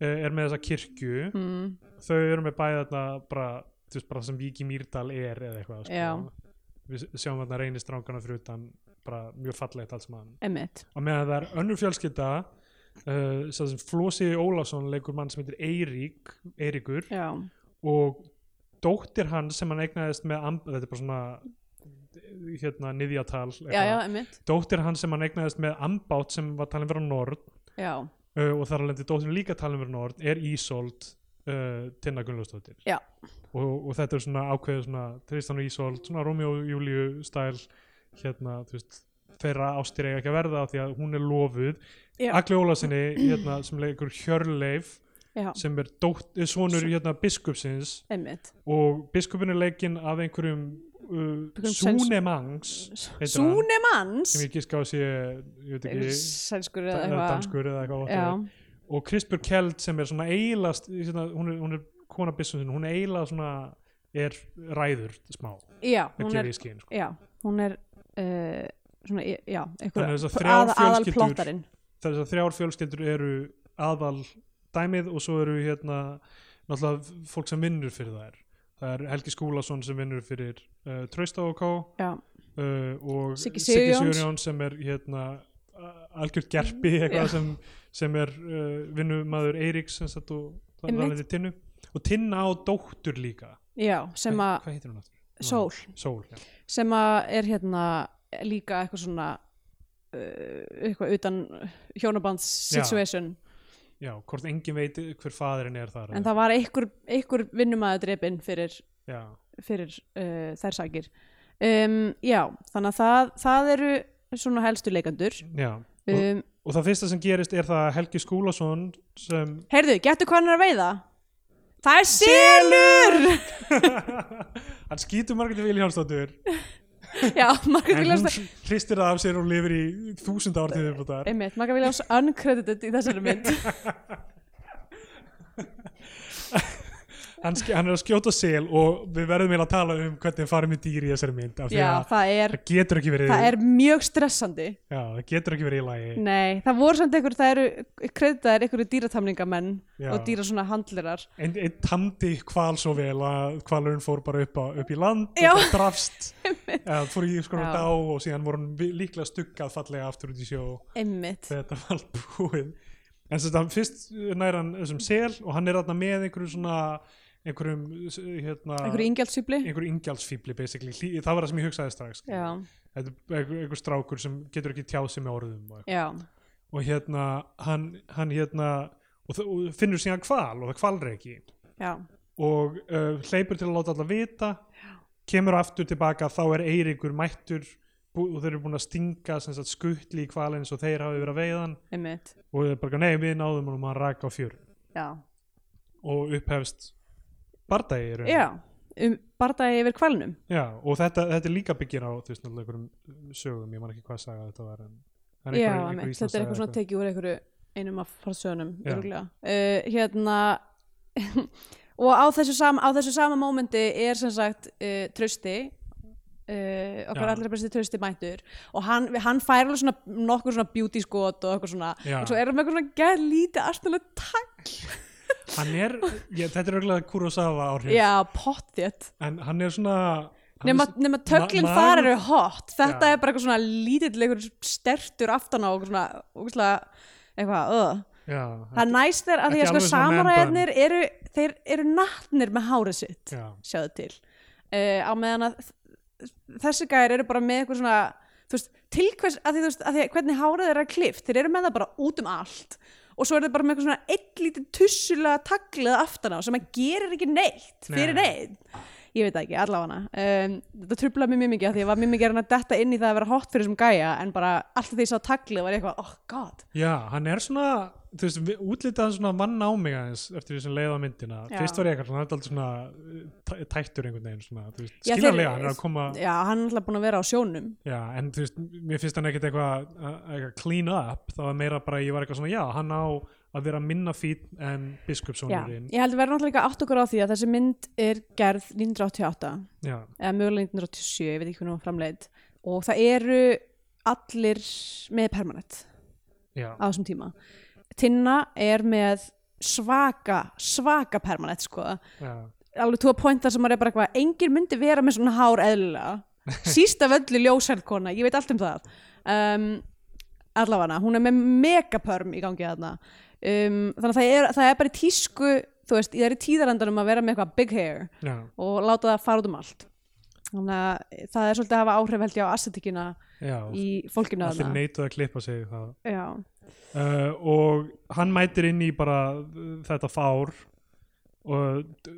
A: eh, er með þessa kirkju
B: mm.
A: þau eru með bæði þarna bara, þú veist, bara sem Viki Mýrdal er eða eitthvað sko.
B: Já.
A: við s- sjáum þarna reynir strángana fyrir utan bara mjög fallegt allt sem hann
B: Emmett
A: og meðan það er önnur fjölskylda uh, sem sem Flósi Ólafsson leikur mann sem heitir Eirík Eiríkur
B: Já,
A: og dóttir hans sem hann eignaðist með amb, þetta er bara svona hérna niðjatal
B: já, já, Emmett
A: dóttir hans sem hann eignaðist með ambátt sem var talin vera norn
B: Já,
A: uh, og þar alveg dóttir líka talin vera norn er Ísold uh, Tinna Gunnlaustóttir
B: Já.
A: og, og þetta er svona ákveðið svona Tristan og Ísold, svona Romeo og Júliu stæl hérna, þú veist þeirra ástir eiga ekki að verða af því að hún er lofuð
B: Já.
A: Agli Ólasinni hérna, sem leikur Hjörleif
B: já,
A: sem er dótt, sonur hérna, biskupsins
B: Emmett
A: og biskupin er leikinn af einhverjum uh,
B: Einhverjum sæns-
A: Súnemangs heitir hann,
B: Súnemanns
A: sem ég gíska á sé ég veit ekki,
B: Sænskur
A: da-
B: eða
A: eða
B: eitthvað
A: danskur eða eitthvað
B: Já,
A: whatever. og Krispur Kjeld sem er svona eilast svona, hún, er, hún er kona biskupsins hún er eila svona er ræður smá
B: já,
A: að
B: hún
A: gefa
B: er
A: í skinn sko.
B: Já, hún er uh, svona, í- já,
A: Þannig
B: eitthvað
A: þessar þrjár fjölskyldur-
B: plottarinn
A: þess að þrjár fjölskyldur eru aðal dæmið og svo eru hérna náttúrulega fólk sem vinnur fyrir þær það er Helgi Skúlason sem vinnur fyrir uh, Trausta og K
B: Já,
A: uh, og
B: Siggi
A: Siggi
B: Sigurjóns. Mm.
A: Sigurjón sem er hérna a- algjört gerpi eitthvað
B: Já.
A: sem, sem er uh, vinnumadur Eiríks sem sagt og það
B: Einmitt.
A: er þetta tinnu og tinna á dóttur líka
B: já, sem
A: Hvað-
B: að
A: hvað heitir hún aftur?
B: Sól,
A: Sól, já.
B: sem að er hérna líka eitthvað svona uh, eitthvað utan hjónabands
A: Já.
B: situation
A: já, hvort engin veit hver faðurinn er þar
B: en
A: eða-
B: það var einhver, einhver vinnumæður drepin fyrir,
A: já,
B: fyrir uh, þær sakir um, já, þannig að það, það eru svona helstu leikandur
A: já. Og,
B: um,
A: og það fyrsta sem gerist er það að Helgi Skúlason sem
B: heyrðu, getur hvað hann er að veiða? það er selur!
A: hann skýtur Margreti Viljánsdóttur
B: já, Margrét
A: en hún
B: Viljáns
A: hristir það af sér og lifir í þúsund ár til þau þar
B: einmitt, Margrét Viljáns uncredited í þessari mynd
A: hann, sk- hann er að skjóta sel og við verðum eiginlega að tala um hvernig hann farið með dýr í þessari mynd af því
B: já,
A: að það,
B: það er,
A: getur ekki verið
B: það er mjög stressandi
A: já, það getur ekki verið í lagi
B: Nei, það voru samt einhver, það eru kreditaðir einhverju dýratamningamenn
A: Já.
B: og dýra svona handlirar.
A: einn ein tamdi hval svo vel að hvalurinn fór bara upp, á, upp í land og
B: Já.
A: það drafst ja, fór í skona
B: Já.
A: dá og síðan voru hann vi- líklega stuggað fallega aftur út í sjó
B: Einmitt.
A: þegar þetta var allt búið en þess að hann fyrst nær hann þessum sel og hann er þarna með einhverjum svona einhverjum s- hérna,
B: Einhverju ingjaldsýbli.
A: einhverju ingjaldsfíbli basically, Hlý- það var það sem ég hugsaði strax
B: Já,
A: þetta er einhver, einhver strákur sem getur ekki tjáð sig með orðum og,
B: já,
A: og hérna hann, hann hérna og, þ- og finnur síðan hval og það hvalri ekki
B: já,
A: og uh, hleypur til að láta alla vita kemur aftur tilbaka þá er Eiríkur mættur bú- og þeir eru búin að stinga sem sagt, skuttli í hvalinn svo þeir hafi verið að veiðan
B: einmitt.
A: og þeir bara nei við náðum honum að raka á fjör
B: Já,
A: og upphefst bardagi í rauninni.
B: já, um, barðaði yfir kvalnum.
A: Já, og þetta, þetta er líka byggir á þú veist náttúrulega einhverjum sögum ég man ekki hvað saga þetta var en það er
B: Já,
A: einhver- einhver
B: einmitt. Þetta
A: Íslandssaga
B: er eitthvað svona tekið úr einhverju einum af farsöðunum,
A: Já.
B: örgulega. Uh, hérna, og á þessu, sama, á þessu sama mómenti er sem sagt uh, trösti, uh, okkar
A: Já.
B: allra besti trösti mættur og hann, hann fær alveg svona nokkur svona beauty skot og eitthvað svona
A: Já.
B: og svo er hann með eitthvað svona gæð lítið astanlega tagl
A: hann er, ég, þetta er auðvitað Kurosawa áhrif
B: Já, pottið
A: en hann er svona hann
B: Nefna,
A: er,
B: nefna töglinn
A: Ma-
B: þar
A: magur-
B: eru hot Þetta
A: Já.
B: er bara eitthvað svona lítilleikur stertur aftan á og svona, og svona eitthvað, öð
A: já,
B: Það er næst er að því
A: Ekki
B: að sko
A: alveg svona man
B: samaræðarnir eru, þeir eru nattnir með hárið sitt,
A: já,
B: sjáðu til. Uh, á meðan að þ- þessi gæðir eru bara með eitthvað svona, þú veist, til hvers, að því þú veist, að því að hvernig hárið þeirra er klift, þeir eru með það bara út um allt og svo eru þeir bara með eitthvað svona eitt lítið tussulega taglið aftan á sem að gerir ekki neitt fyrir
A: Nei.
B: neitt. Ég veit það ekki, allavega Um, þetta trublaði mér mjög mikið að því ég var mjög mikið að reyna að detta inn í það að vera hot fyrir þessum gæja en bara alltaf því ég sá taglið var ég eitthvað, oh god,
A: já, hann er svona þú veist, við- útlitið hann svona vann á mig aðeins eftir því sem leiða myndina
B: Já.
A: fyrst var ég eitthvað, hann er alltaf svona uh, tæ- tættur einhvern veginn svona, þú veist,
B: Já, þeir-
A: skiljanlega, hann er að koma
B: já, hann er alltaf búin að vera á sjónum.
A: Já, en þú veist, mér finnst hann ekkert eitthvað að- eitthvað clean up, þá var meira bara ég var eitthvað svona, já, hann á að vera minna fít en
B: Já,
A: biskupssonurinn
B: ég held að vera náttúrulega líka átt okkur á því að þessi mynd er gerð 1988
A: Já,
B: eða mögulega 1987, ég veit ekki hvernig hún var framleitt og það eru allir með permanent
A: já,
B: á þessum tíma Tinna er með svaka, svaka permanent sko
A: já,
B: alveg tóa pointar sem maður er bara eitthvað engin myndi vera með svona hár eðlilega sísta völlu ljósælkona, ég veit allt um það um, allavega hún er með megapörm í gangi þarna um, þannig að það er, það er bara í tísku þú veist, það er í tíðarandanum að vera með eitthvað big hair
A: já,
B: og láta það fara út um allt þannig að það er svolítið að hafa áhrif held ég á assetikina
A: já.
B: í fólkinu
A: allir
B: þarna
A: neituð að klippa sig það.
B: Já,
A: Uh, og hann mætir inn í bara uh, þetta fár og d-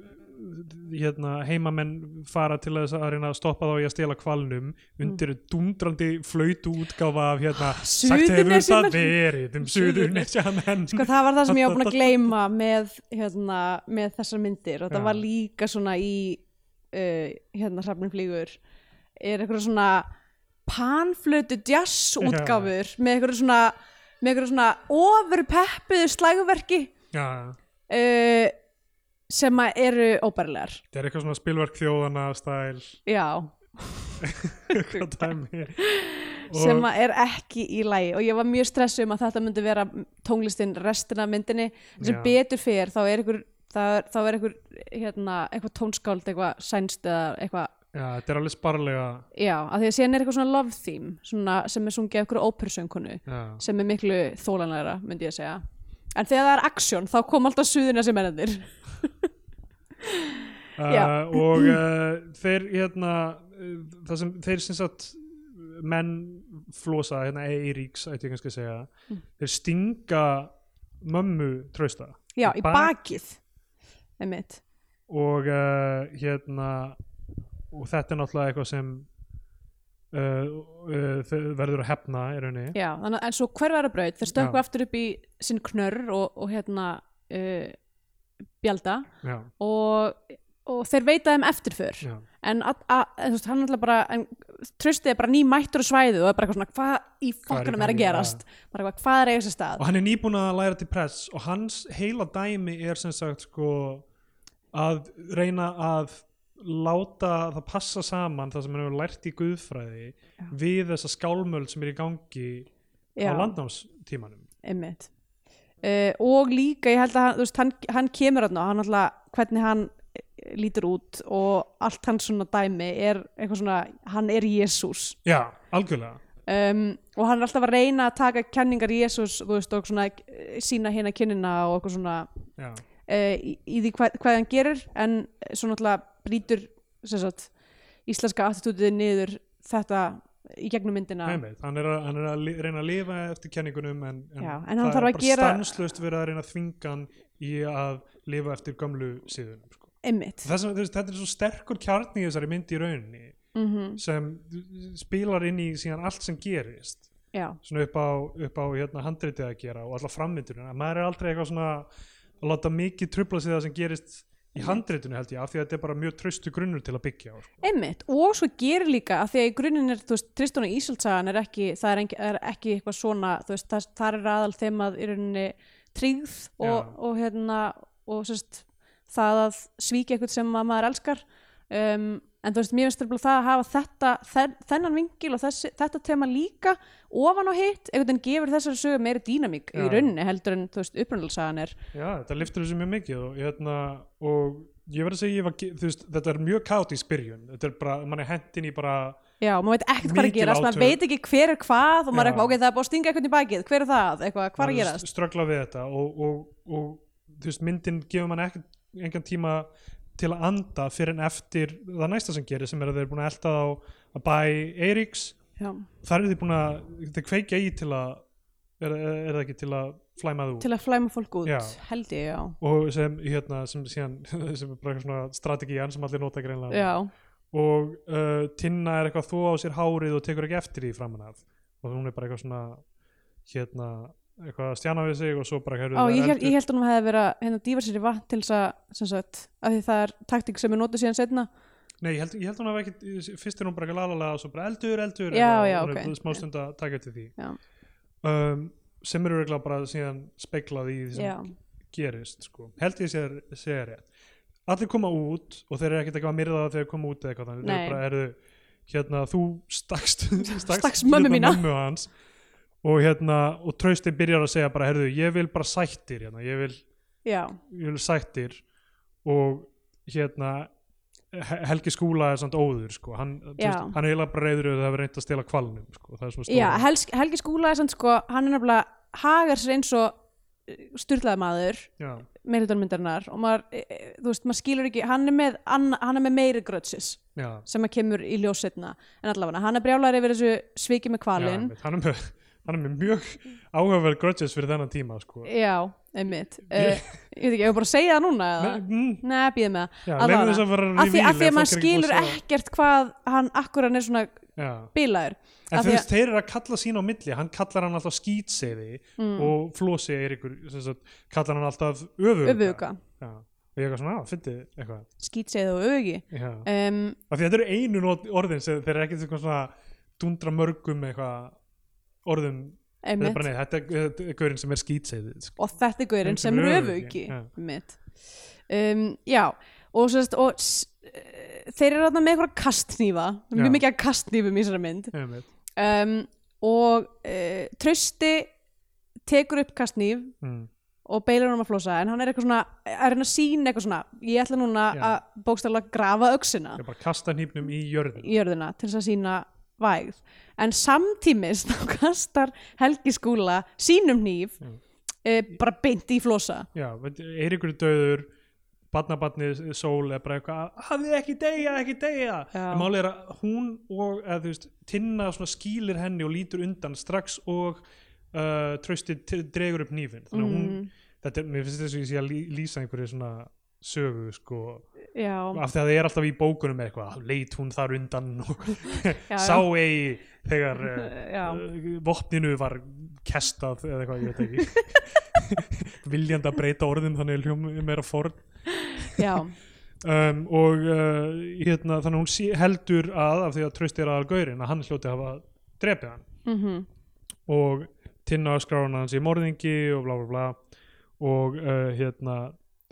A: d- hérna, heimamenn fara til þess að reyna að stoppa þá í að stela kvalnum undir
B: Mm.
A: dundrandi flöytu útgáfa af hérna, sagt hefur það
B: Suðurnesjamenn.
A: verið um suðurnesjamenn
B: sko það var það sem ég var búin að gleyma með, hérna, með þessar myndir og það
A: Já.
B: var líka svona í uh, hérna hrafnum flýgur er eitthvað svona panflötu jazz útgáfur með eitthvað svona með eitthvað svona ofurpeppuðu slagverki
A: já,
B: uh, sem að eru óbærilegar
A: það er eitthvað svona spilverk þjóðana stæl
B: já,
A: eitthvað dæmi
B: sem að er ekki í lagi og ég var mjög stressuð um að þetta myndi vera tónlistin restina af myndinni en sem
A: Já.
B: betur fer þá er ykkur þá er, þá er ykkur hérna, eitthvað tónskáld eitthvað sænst eða eitthvað
A: já, þetta er alveg sparlega
B: já, af því að síðan er eitthvað svona love theme svona, sem er sungið af ykkur ópersöngkonu
A: já,
B: sem er miklu þólanlegra myndi ég að segja en þegar það er aksjón þá kom alltaf suðuna sem ennir Já.
A: uh, og uh, þeir hérna uh, það sem þeir sem sagt menn flosa hérna Eiríks ætti ég kannski að segja þeir stinga mömmu trausta
B: já,
A: Í
B: í
A: bak-
B: bakið einmitt
A: og uh, hérna og þetta er náttúrulega eitthvað sem uh, uh, þau verður að hefna í rauninni
B: Já, þannig að en svo hverfara braut, þeir stökkva
A: Já.
B: aftur upp í sinn knörr og, og hérna uh, bjalda
A: já,
B: og, og þeir veita þeim eftirför
A: já,
B: en að, að, þú veist, hann alltaf bara en, tröstið er bara nýmættur á svæðu og er bara eitthvað svona, hvað í
A: í
B: fokkanum er að
A: gangi,
B: gerast bara eitthvað, hvað er að eiga sér stað
A: og hann er nýbúin að læra til press og hans heila dæmi er sem sagt sko að reyna að láta það passa saman það sem hann hefur lært í guðfræði við þessa skálmöld sem er í gangi
B: Já,
A: á landnámstímanum
B: einmitt uh, og líka, ég held að hann, þú veist, hann, hann kemur hann og hann alltaf, hvernig hann eh, lítur út og allt hans svona dæmi er eitthvað svona hann er Jésús
A: já, algjörlega
B: um, og hann er alltaf að reyna að taka kenningar Jésús þú veist, og svona eh, sína hérna kynina og eitthvað svona
A: já,
B: uh, í, í því hvað, hvað hann gerir en svo náttúrulega brýtur sem sagt, íslenska attitútið niður þetta í gegnum myndina
A: einmitt, hann er að, hann er að li, reyna að lifa eftir kenningunum en, en,
B: Já, en hann
A: það
B: þarf
A: er
B: að
A: bara
B: gera-
A: stanslust verið að reyna að þvinga hann í að lifa eftir gömlu síðunum sko.
B: einmitt
A: Þess, þess, þetta er svo sterkur kjarni í þessari myndi í rauninni
B: mm
A: sem spilar inn í síðan allt sem gerist
B: já,
A: svona upp á, upp á hérna, handritið að gera og alla frammyndunum að maður er aldrei eitthvað svona að láta mikið trubla sig það sem gerist í handritinu held ég af því að þetta er bara mjög traustu grunnur til að byggja á sko.
B: einmitt og svo gerir líka að því að í grunninn er, þú veist, Tristán og Ísaldsagan er ekki, það er, engi, er ekki eitthvað svona, þú veist, það, það er aðal þeim að í rauninni tryggð og,
A: Já.
B: og hérna og sérst, það að svíkja eitthvað sem að maður elskar um, en þú veist, mér finnst þetta það að hafa þetta þen, þennan vingil og þessi, þetta tema líka ofan á hitt, einhvern veginn gefur þessari sögu meiri dýnamík
A: Já.
B: í rauninni heldur en, þú veist, upprunalsagan er
A: já, þetta liftur þessu mjög mikið og, hérna, og ég verð að segja ég var, ge- þú veist, þetta er mjög kátis byrjun þetta er bara, mann er hendin í bara
B: Já, maður veit ekkert hvað er að
A: Mikil
B: gerast, maður
A: átök.
B: veit ekki hver er hvað og maður er
A: Já.
B: eitthvað, ok, það er búið að stinga eitthvað í bakið, hver er það, eitthvað, hvað er að gerast?
A: ströggla við þetta og, og, og þú veist, myndin gefur mann ekkert engan tíma til að anda fyrir en eftir það næsta sem gerir sem er að þeir eru búin að elta á að bæ Eiríks
B: Já,
A: þar eru þeir búin að þeir kveikja í til að er, er, er það ekki til að flæma þú
B: til að flæma fólk út,
A: Já.
B: held ég, já.
A: og sem hérna sem síðan sem er bara eitthvað svona strategían sem allir nota greinlega
B: Já,
A: og uh, Tinna er eitthvað þó á sér hárið og tekur ekki eftir því framan af og hún er bara eitthvað svona hérna eitthvað að stjana við sig og svo bara
B: á, ég, held, ég held að hún hefði verið að hérna dýfa sér í vatn til þess að, sem sagt, að því það er taktík sem er notið síðan setna.
A: Nei, ég held, ég held hún hafa ekki, fyrst er hún bara ekki lalalega og svo bara eldur, eldur
B: Já,
A: eitthvað,
B: já,
A: hún er
B: ok.
A: búin smá stund að taka eftir því
B: Já.
A: um, sem eru eiginlega bara síðan speglað í því sem
B: Já,
A: gerist sko. held ég sér, sér rétt allir koma út og þeir eru ekkert eitthvað að myrða það þegar þeir koma út eða eitthvað þannig þeir
B: Nei.
A: eru bara eru hérna þú stakst
B: Stakkst mömmu mína.
A: mömmu hans og hérna og trausti byrjar að segja bara herðu ég vil bara sættir hérna ég vil
B: já,
A: ég vil sættir og hérna He- Helgi Skúla er samt óður sko. hann, þú
B: Já.
A: veist, hann er eiginlega bara reyður yfir því að það verið reynd að stela kvalnum sko. það er svona
B: já
A: stóra-
B: Helgi, Helgi Skúla er sann sko, hann er nefnilega hagar sér eins og styrlaði maður
A: Já.
B: meiritunmyndarinnar og maður, e, e, þú veist, maður skilur ekki hann er með, anna, hann er með meiri grötsis
A: Já.
B: sem að kemur í ljósetna en allavega, hann er brjálæri yfir þessu sviki með
A: Já,
B: kvalinn
A: einmitt. hann er með hann er með mjög áhugaverð grudges fyrir þennan tíma sko.
B: Já, einmitt uh, Ég veit ekki, ég var bara að segja það núna eða?
A: mm,
B: Nei, býðið með það
A: já,
B: Allavega.
A: leiðum þess að vera
B: Af því,
A: reveal
B: af
A: ef
B: því að
A: fólk er ekki
B: maður
A: búið að
B: skilur
A: sjá það.
B: ekkert hvað hann akkur hann er svona
A: Já.
B: bilaður
A: en
B: af
A: þú
B: því
A: veist, þeir eru að kalla sín á milli hann kallar hann alltaf skýtseiði
B: Mm. Hmm,
A: og Flósi er ykkur sagt, kallar hann alltaf öfuga,
B: öfuga
A: Já. og ég er eitthvað svona, á, fyndi eitthvað
B: Skýtsegð og öfugi
A: Já.
B: um,
A: af því þetta eru einu not- orðin sem þeir eru ekkert eitthvað svona dundra mörgum eitthvað orðum þetta er
B: Einmitt
A: bara nei, þetta er, þetta er gaurinn sem er skýtseiði sko.
B: Og þetta er gaurinn sem er öfugi
A: Já.
B: Einmitt um, Já, og, sérst, og s- eh, þeir eru þarna með eitthvað kastnýfa
A: Já.
B: Mjög mikið að kastnýfum í þessari mynd
A: Einmitt.
B: um, Og uh, trösti tekur upp kastnýf
A: mm.
B: og beilar hann um að flósa en hann er eitthvað svona, er hann að sína eitthvað svona ég ætla núna
A: Já.
B: að bókstæðlega grafa öxina
A: ég bara kasta hnípnum í jörðin
B: í jörðina til þess að sína vægð en samtímis þá kastar Helgi Skúla sínum hníf
A: Já.
B: e, bara beint í flósa
A: Já, veit- Eiríkur er döður barnabarnið sól er bara eitthvað hafið þið ekki deyja, ekki deyja
B: Já.
A: en málið er að hún og eða, þú veist, tinna svona skýlir henni og lítur undan strax og uh, trösti dregur upp nýfin þannig að hún,
B: Mm.
A: þetta er, mér finnst þess að ég sé að lí- lýsa einhverju svona sögu sko,
B: já,
A: af því að það er alltaf í bókunum með eitthvað, leit hún þar undan og
B: já,
A: sá eigi þegar uh,
B: já,
A: uh, vopninu var kestað eða eitthvað, ég veit ekki viljandi að breyta orðum þannig að hljóma meira forn
B: já,
A: um, og uh, hérna, þannig að hún sé- heldur að af því að trösti er aðal gaurinn að hann hljóti að hafa drepið hann
B: mm
A: og tinna skrána hans í morðingi og bla bla bla og uh, hérna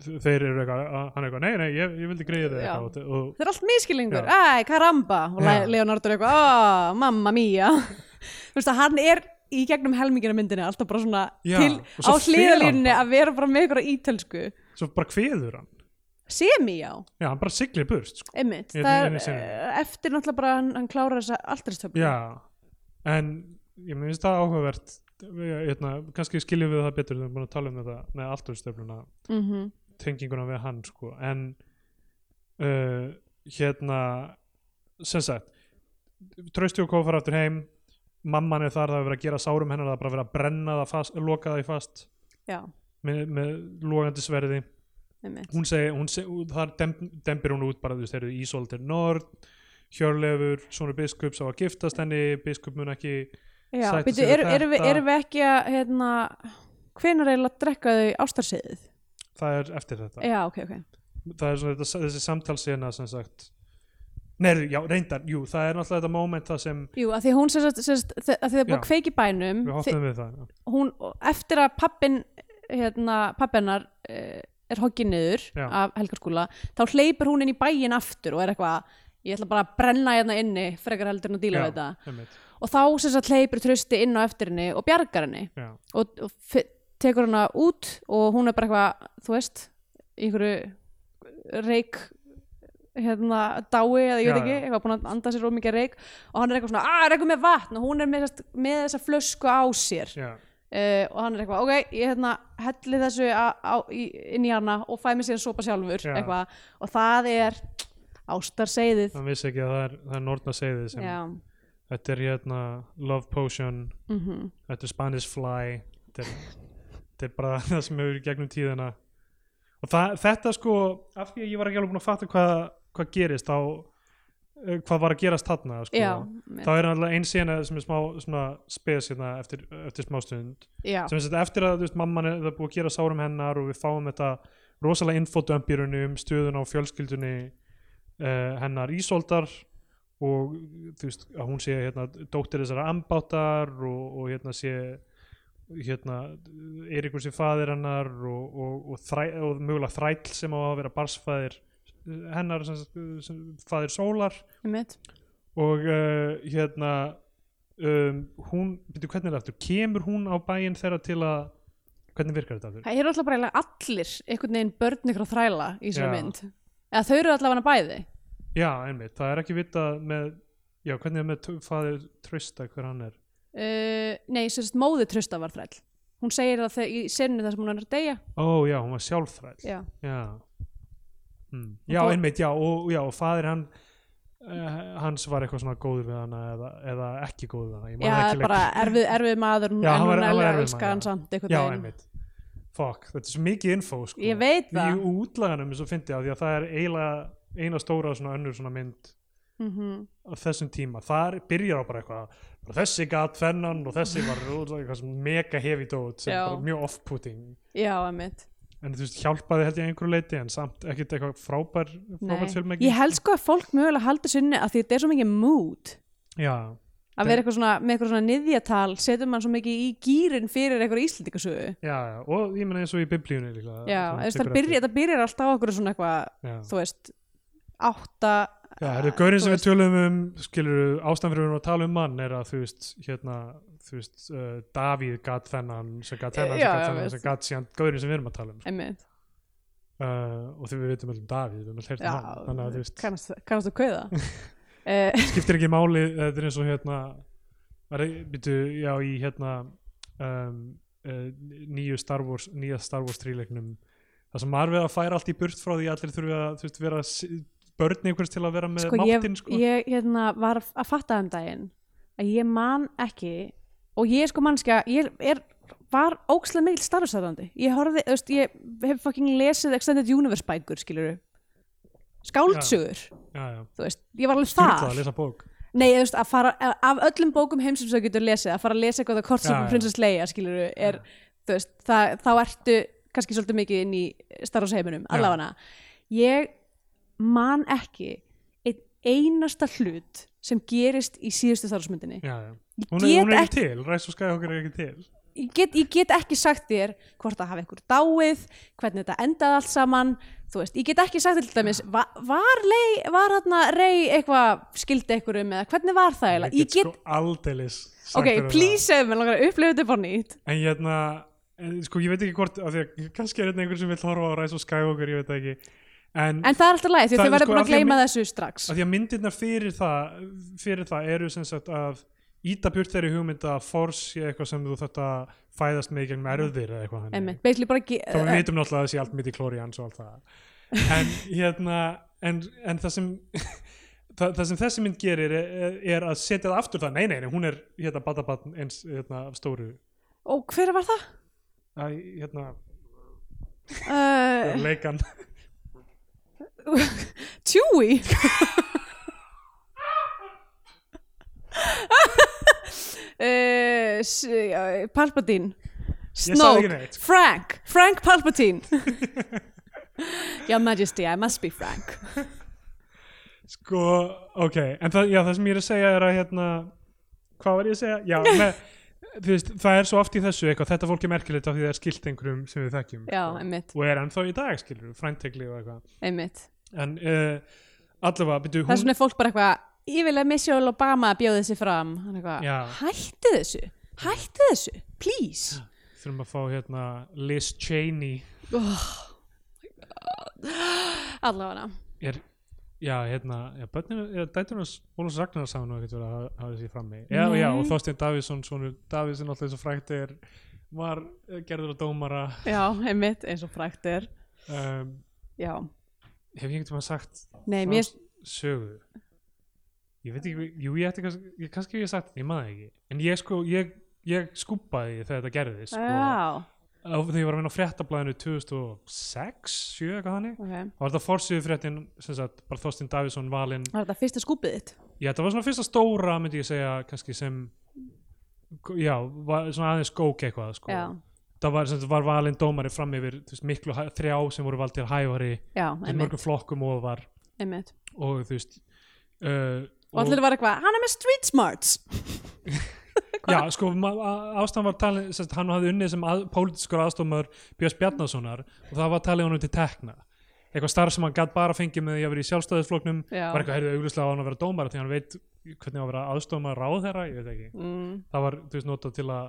A: þ- þeir eru eitthvað, að- hann er eitthvað, nei, nei, ég, ég vildi greiða þig
B: Já.
A: eitthvað og, og
B: það er allt miskilingur,
A: Já.
B: æ, karamba og
A: Já.
B: Le- Leonardo er eitthvað, ó, mamma mía þú veist að hann er í gegnum helmingina myndinni alltaf bara svona
A: Já,
B: til,
A: og
B: á
A: svo fer hann
B: hliðalínunni
A: bara.
B: að vera bara með ykkur ítölsku
A: svo bara kveður hann
B: semi já,
A: já, hann bara siglir burt, sko
B: einmitt
A: Ég-
B: það
A: ég-
B: er
A: ég- semi.
B: eh, eftir náttúrulega bara hann, hann klárar þessa aldristöflu
A: Já, en ég mér finnst það áhugavert Ég- hérna, kannski skiljum við það betur þegar við erum búin að tala um þetta með aldurstöfluna
B: mm -hmm.
A: tenginguna við hann sko. en uh, hérna sem sagt trösti og kofa fara aftur heim mamman er þar, það er verið að gera sárum hennar það er bara verið að brenna það fast, loka það í fast
B: já,
A: með, með logandi sverði
B: einmitt
A: hún segi, hún segi þar demp, dempir hún út bara þú veist, þeir eru Ísolt er nord Hjörlefur, sonur biskups á að giftast henni, biskup mun ekki
B: já,
A: Sætta
B: byrju,
A: sig við
B: eru er, við,
A: þetta.
B: er við ekki að hérna, hvenær eiginlega drekka þau ástarsiðið
A: það er eftir þetta
B: já, ok, ok
A: það er svona þetta, þessi samtalsina sem sagt Nei, já, reyndar, jú, það er náttúrulega þetta moment það sem
B: Jú, að því hún sem sagt, sem sagt þe- að því það er búið
A: Já.
B: að kveiki bænum
A: við
B: þi-
A: hoppum við það já.
B: hún, eftir að pappin hérna, pappinar uh, er hoggið niður
A: Já.
B: af helgarskúla þá hleypur hún inn í bæin aftur og er eitthvað, ég ætla bara að brenna hérna inni frekar heldur en að díla
A: Já,
B: við þetta
A: einmitt,
B: og þá sem sagt hleypur trösti inn á eftir henni og bjargar henni
A: já,
B: og, og fe- tekur hana út og hún er bara eitthvað, þú veist í einhverju reik hérna dái eða ég
A: Já,
B: veit ekki,
A: já.
B: eitthvað búin að anda sér of mikið reik og hann er eitthvað svona, að reikum með vatn og hún er með, þess- með þessa flösku á sér
A: já,
B: uh, og hann er eitthvað, ok, ég hérna helli þessu á, á, í, inn í hana og fæ mér síðan sopa sjálfur
A: Já.
B: eitthvað, og það er ástarseiðið
A: hann vissi ekki að það er, það er Norna segði sem,
B: já,
A: þetta er hérna Love Potion,
B: mhm
A: þetta er Spanish Fly þetta er, þetta er bara það sem hefur í gegnum tíðina og það, þetta sko, af því að ég var ekki alveg búin að fatta hvað, hvað gerist þá, eh, hvað var að gerast þarna sko,
B: já,
A: þá er náttúrulega ein sena sem er smá, smá spes hérna eftir, eftir smá stund
B: já,
A: sem þess að eftir að þú veist, mamman er það er búið að gera sárum hennar og við fáum þetta rosalega infodömbirunni um stöðun á fjölskyldunni uh, hennar Ísoldar og þú veist að hún sé hérna dóttir þessara ambáttar og, og hérna sé hérna Eiríkur sé faðir hennar og, og, og, þræ, og mögulega þræll sem á að vera barsfæðir hennar sem, sagt, sem faðir sólar
B: einmitt
A: og uh, hérna um, hún, veitu hvernig er það aftur kemur hún á bæinn þeirra til að hvernig virkar þetta aftur?
B: Það eru alltaf bara eiginlega allir einhvern veginn börn ykkur að þræla í þessari
A: Já.
B: mynd. Eða þau eru allavega bæði.
A: Já, einmitt, það er ekki vita með já, hvernig er með t- faðir trösta hver hann er
B: Uh, nei, sérst móði trösta var þræll. Hún segir það þegar, í sennu þar sem hún er að deyja.
A: Ó, já, hún var sjálfþræll
B: Já.
A: Já, mm. já
B: Og-
A: einmitt, já og, já, og faðir hann uh, hans var eitthvað svona góður við hana eða, eða ekki góður við hana, ég
B: Já,
A: man ekki lengur.
B: bara erfið, erfið maður, hún-
A: Já,
B: en
A: hann var-
B: hún
A: hann var
B: elga
A: erfiður maður,
B: elska hann
A: já.
B: samt einhvern
A: Já,
B: veginn.
A: einmitt Fuck, þetta er svo mikið info sko.
B: Ég veit
A: Í
B: það.
A: útlaganum eins og fyndi af því að það er eiginlega eina stóra svona önnur svona mynd
B: Mm
A: á þessum tíma, þar byrjar á bara eitthvað bara þessi gat þennan og þessi var eitthvað sem mega heavy dót sem
B: Já.
A: bara mjög off-putting
B: Já, emitt.
A: en þú veist, hjálpaði held ég að einhverju leiti en samt ekkert eitthvað frábær frábær filmegi
B: Ég held sko að fólk mögulega haldi sinni að því þetta er svo mikið mood.
A: Já,
B: Að vera eitthvað svona, með eitthvað svona niðjatal setur mann svo mikið í gýrin fyrir eitthvað íslendingasögu.
A: já, já, og ég meina eins og í biblíunni líka
B: Já, þú veist, það byrja, þetta byrjar alltaf á okkur svona eitthvað,
A: Já,
B: þú veist, átta...
A: já þetta er gaurinn
B: þú
A: sem við
B: veist-
A: tölum um skilur, ástæðan fyrir við erum að tala um mann er að þú veist, hérna þú veist, uh, Davíð gat þennan sem gat þennan, sem
B: Já,
A: gat
B: já,
A: þennan,
B: veist.
A: sem gat síðan gaurinn sem við erum að tala um
B: Einmitt.
A: uh, og því við veitum öll um Davíð, við erum alltaf hérna hann þannig að þú veist,
B: kannast, kannast þú kauða uh,
A: skiptir ekki máli þetta er eins og hérna var, byrju, já, í hérna um, uh, nýju Star Wars nýja Star Wars tríleiknum það sem maður verið að færa allt í burt frá því að allir þurfi að þú veist, vera s- börn einhvers til að vera með
B: sko, ég,
A: máttinn sko.
B: ég hérna, var að fatta um daginn að ég man ekki og ég er sko mannskja ég er, var ókslega mikil starfstæðandi ég horfði, þú veist, ég hef fucking lesið Extended Universe bækur, skilur skáldsögur,
A: já, já.
B: þú veist ég var alveg
A: Sturla að
B: þar,
A: lesa bók
B: nei, þú veist, að fara af öllum bókum heim sem þú getur lesið, að fara að lesa eitthvað að kort
A: Já,
B: sem
A: já.
B: prinsess Leia, skilur er, þú veist, það, þá ertu kannski svolítið mikið inn í Star Wars heiminum
A: Já.
B: allavega ég man ekki einn einasta hlut sem gerist í síðustu Star Wars myndinni
A: já, já.
B: ég
A: Hún, er,
B: get,
A: hún er ekki
B: ekki,
A: til, Ræs og Skæhókar er ekki til
B: ég, get, ég get ekki sagt þér hvort það hafi einhver dáið hvernig þetta endaði allt saman þú veist, ég get ekki sagt þér til dæmis va, var, lei, var hérna rey eitthvað skildi eitthvað um eða hvernig var það eiginlega? ég get,
A: sko aldeilis sagt
B: ok,
A: þér um
B: please segðu mér langar að upplifa þetta bara nýtt
A: það. en hérna, en, sko ég veit ekki hvort af því að kannski er hérna einhver sem vil horfa á Ræs og Skæhókar ég veit það ekki en,
B: en það er alltaf læg því
A: Það er
B: að þau verður
A: sko
B: búin
A: af
B: að
A: því að
B: gleyma
A: mynd-
B: þessu strax
A: að því að myndirnar fyrir það fyrir það eru sem sagt að íta burt þeirri hugmynd að force sé eitthvað sem þú þarft að fæðast með í gegnum erðir eða eitthvað þannig
B: Einmitt, basically bara ge-
A: þá við
B: eh,
A: vitum náttúrulega að það sé allt mitt í klórians og allt það en hérna en, en það sem það, það sem þessi mynd gerir er, er að setja það aftur það, nei nei, nei hún er hérna batabatn eins hérna af stóru
B: og hver var það?
A: Æ, hérna,
B: Uh,
A: leikan
B: Chewie uh, s- uh, Palpatine
A: Ég sagði ekki
B: Snoke
A: neitt.
B: Frank, Frank Palpatine Your Majesty, I must be Frank
A: Sko, ok, en það, já, það sem ég er að segja er að hérna, hvað var ég að segja? Já, með, þú veist, það er svo oft í þessu eitthvað, þetta fólk er merkilegt af því það er skilt einhverjum sem við þekkjum.
B: Já,
A: sko.
B: einmitt,
A: Og er ennþá í dag, skilur, fræntegli og eitthvað.
B: einmitt
A: En uh, allavega, byrju,
B: Það er
A: hún,
B: svona fólk bara eitthvað Ég vil að Michelle Obama bjóði þessi fram Hann eitthvað,
A: Já.
B: Hættu þessu, hættu þessu, please
A: þurfum að fá hérna Liz Cheney,
B: Allavega
A: er, já, hérna, já, bönnir, já, dættur hans, Ólafs Ragnar sá nú ekkert verið að hafa- hafa þessi frammi. Já,
B: Nei.
A: já, og Þorstein Davíðsson, svonur Davíðsson alltaf eins og frækt er, var eh, gerður að dómara,
B: Já, einmitt, eins og frækt er
A: um,
B: Já,
A: hef ég einhvern veginn sagt
B: nei,
A: frá
B: mér
A: sögu ég veit ekki, jú ég ætti kannski ég, kannski hef ég sagt, ég maður ekki en ég sko, ég, ég skúpaði þegar þetta gerðist sko, á-
B: Já,
A: þegar ég var að vinna á fréttablaðinu 2006, 7 eitthvað þannig
B: ok
A: þá var þetta forsýðu fréttin, sem sagt, bara Þorstein Davíðsson valinn,
B: Var þetta fyrsta skúpið þitt?
A: já þetta var svona fyrsta stóra myndi ég segja, kannski sem já, var, svona aðeins gók eitthvað sko,
B: Já,
A: það var, sem sagt, var valinn dómari fram yfir, þú veist, miklu hæ- þrjá sem voru valdið hæfari,
B: já,
A: í
B: einmitt,
A: mörgum flokkum og var
B: einmitt.
A: og þú veist uh,
B: Og allir var eitthvað, hann er með street smarts
A: já, sko, ma- a- ástæðan var talin sérst, hann hafði unnið sem að, pólitískur aðstofmaður Björns Bjarnasonar og það var talið honum til tekna eitthvað starf sem hann gætt bara fengið með því að vera í sjálfstæðisfloknum
B: Já.
A: var eitthvað heyrðu auglustlega á hann að vera dómara því hann veit hvernig á að vera aðstofmaður ráðherra, ég veit ekki
B: mm.
A: það var, þú veist, notað til að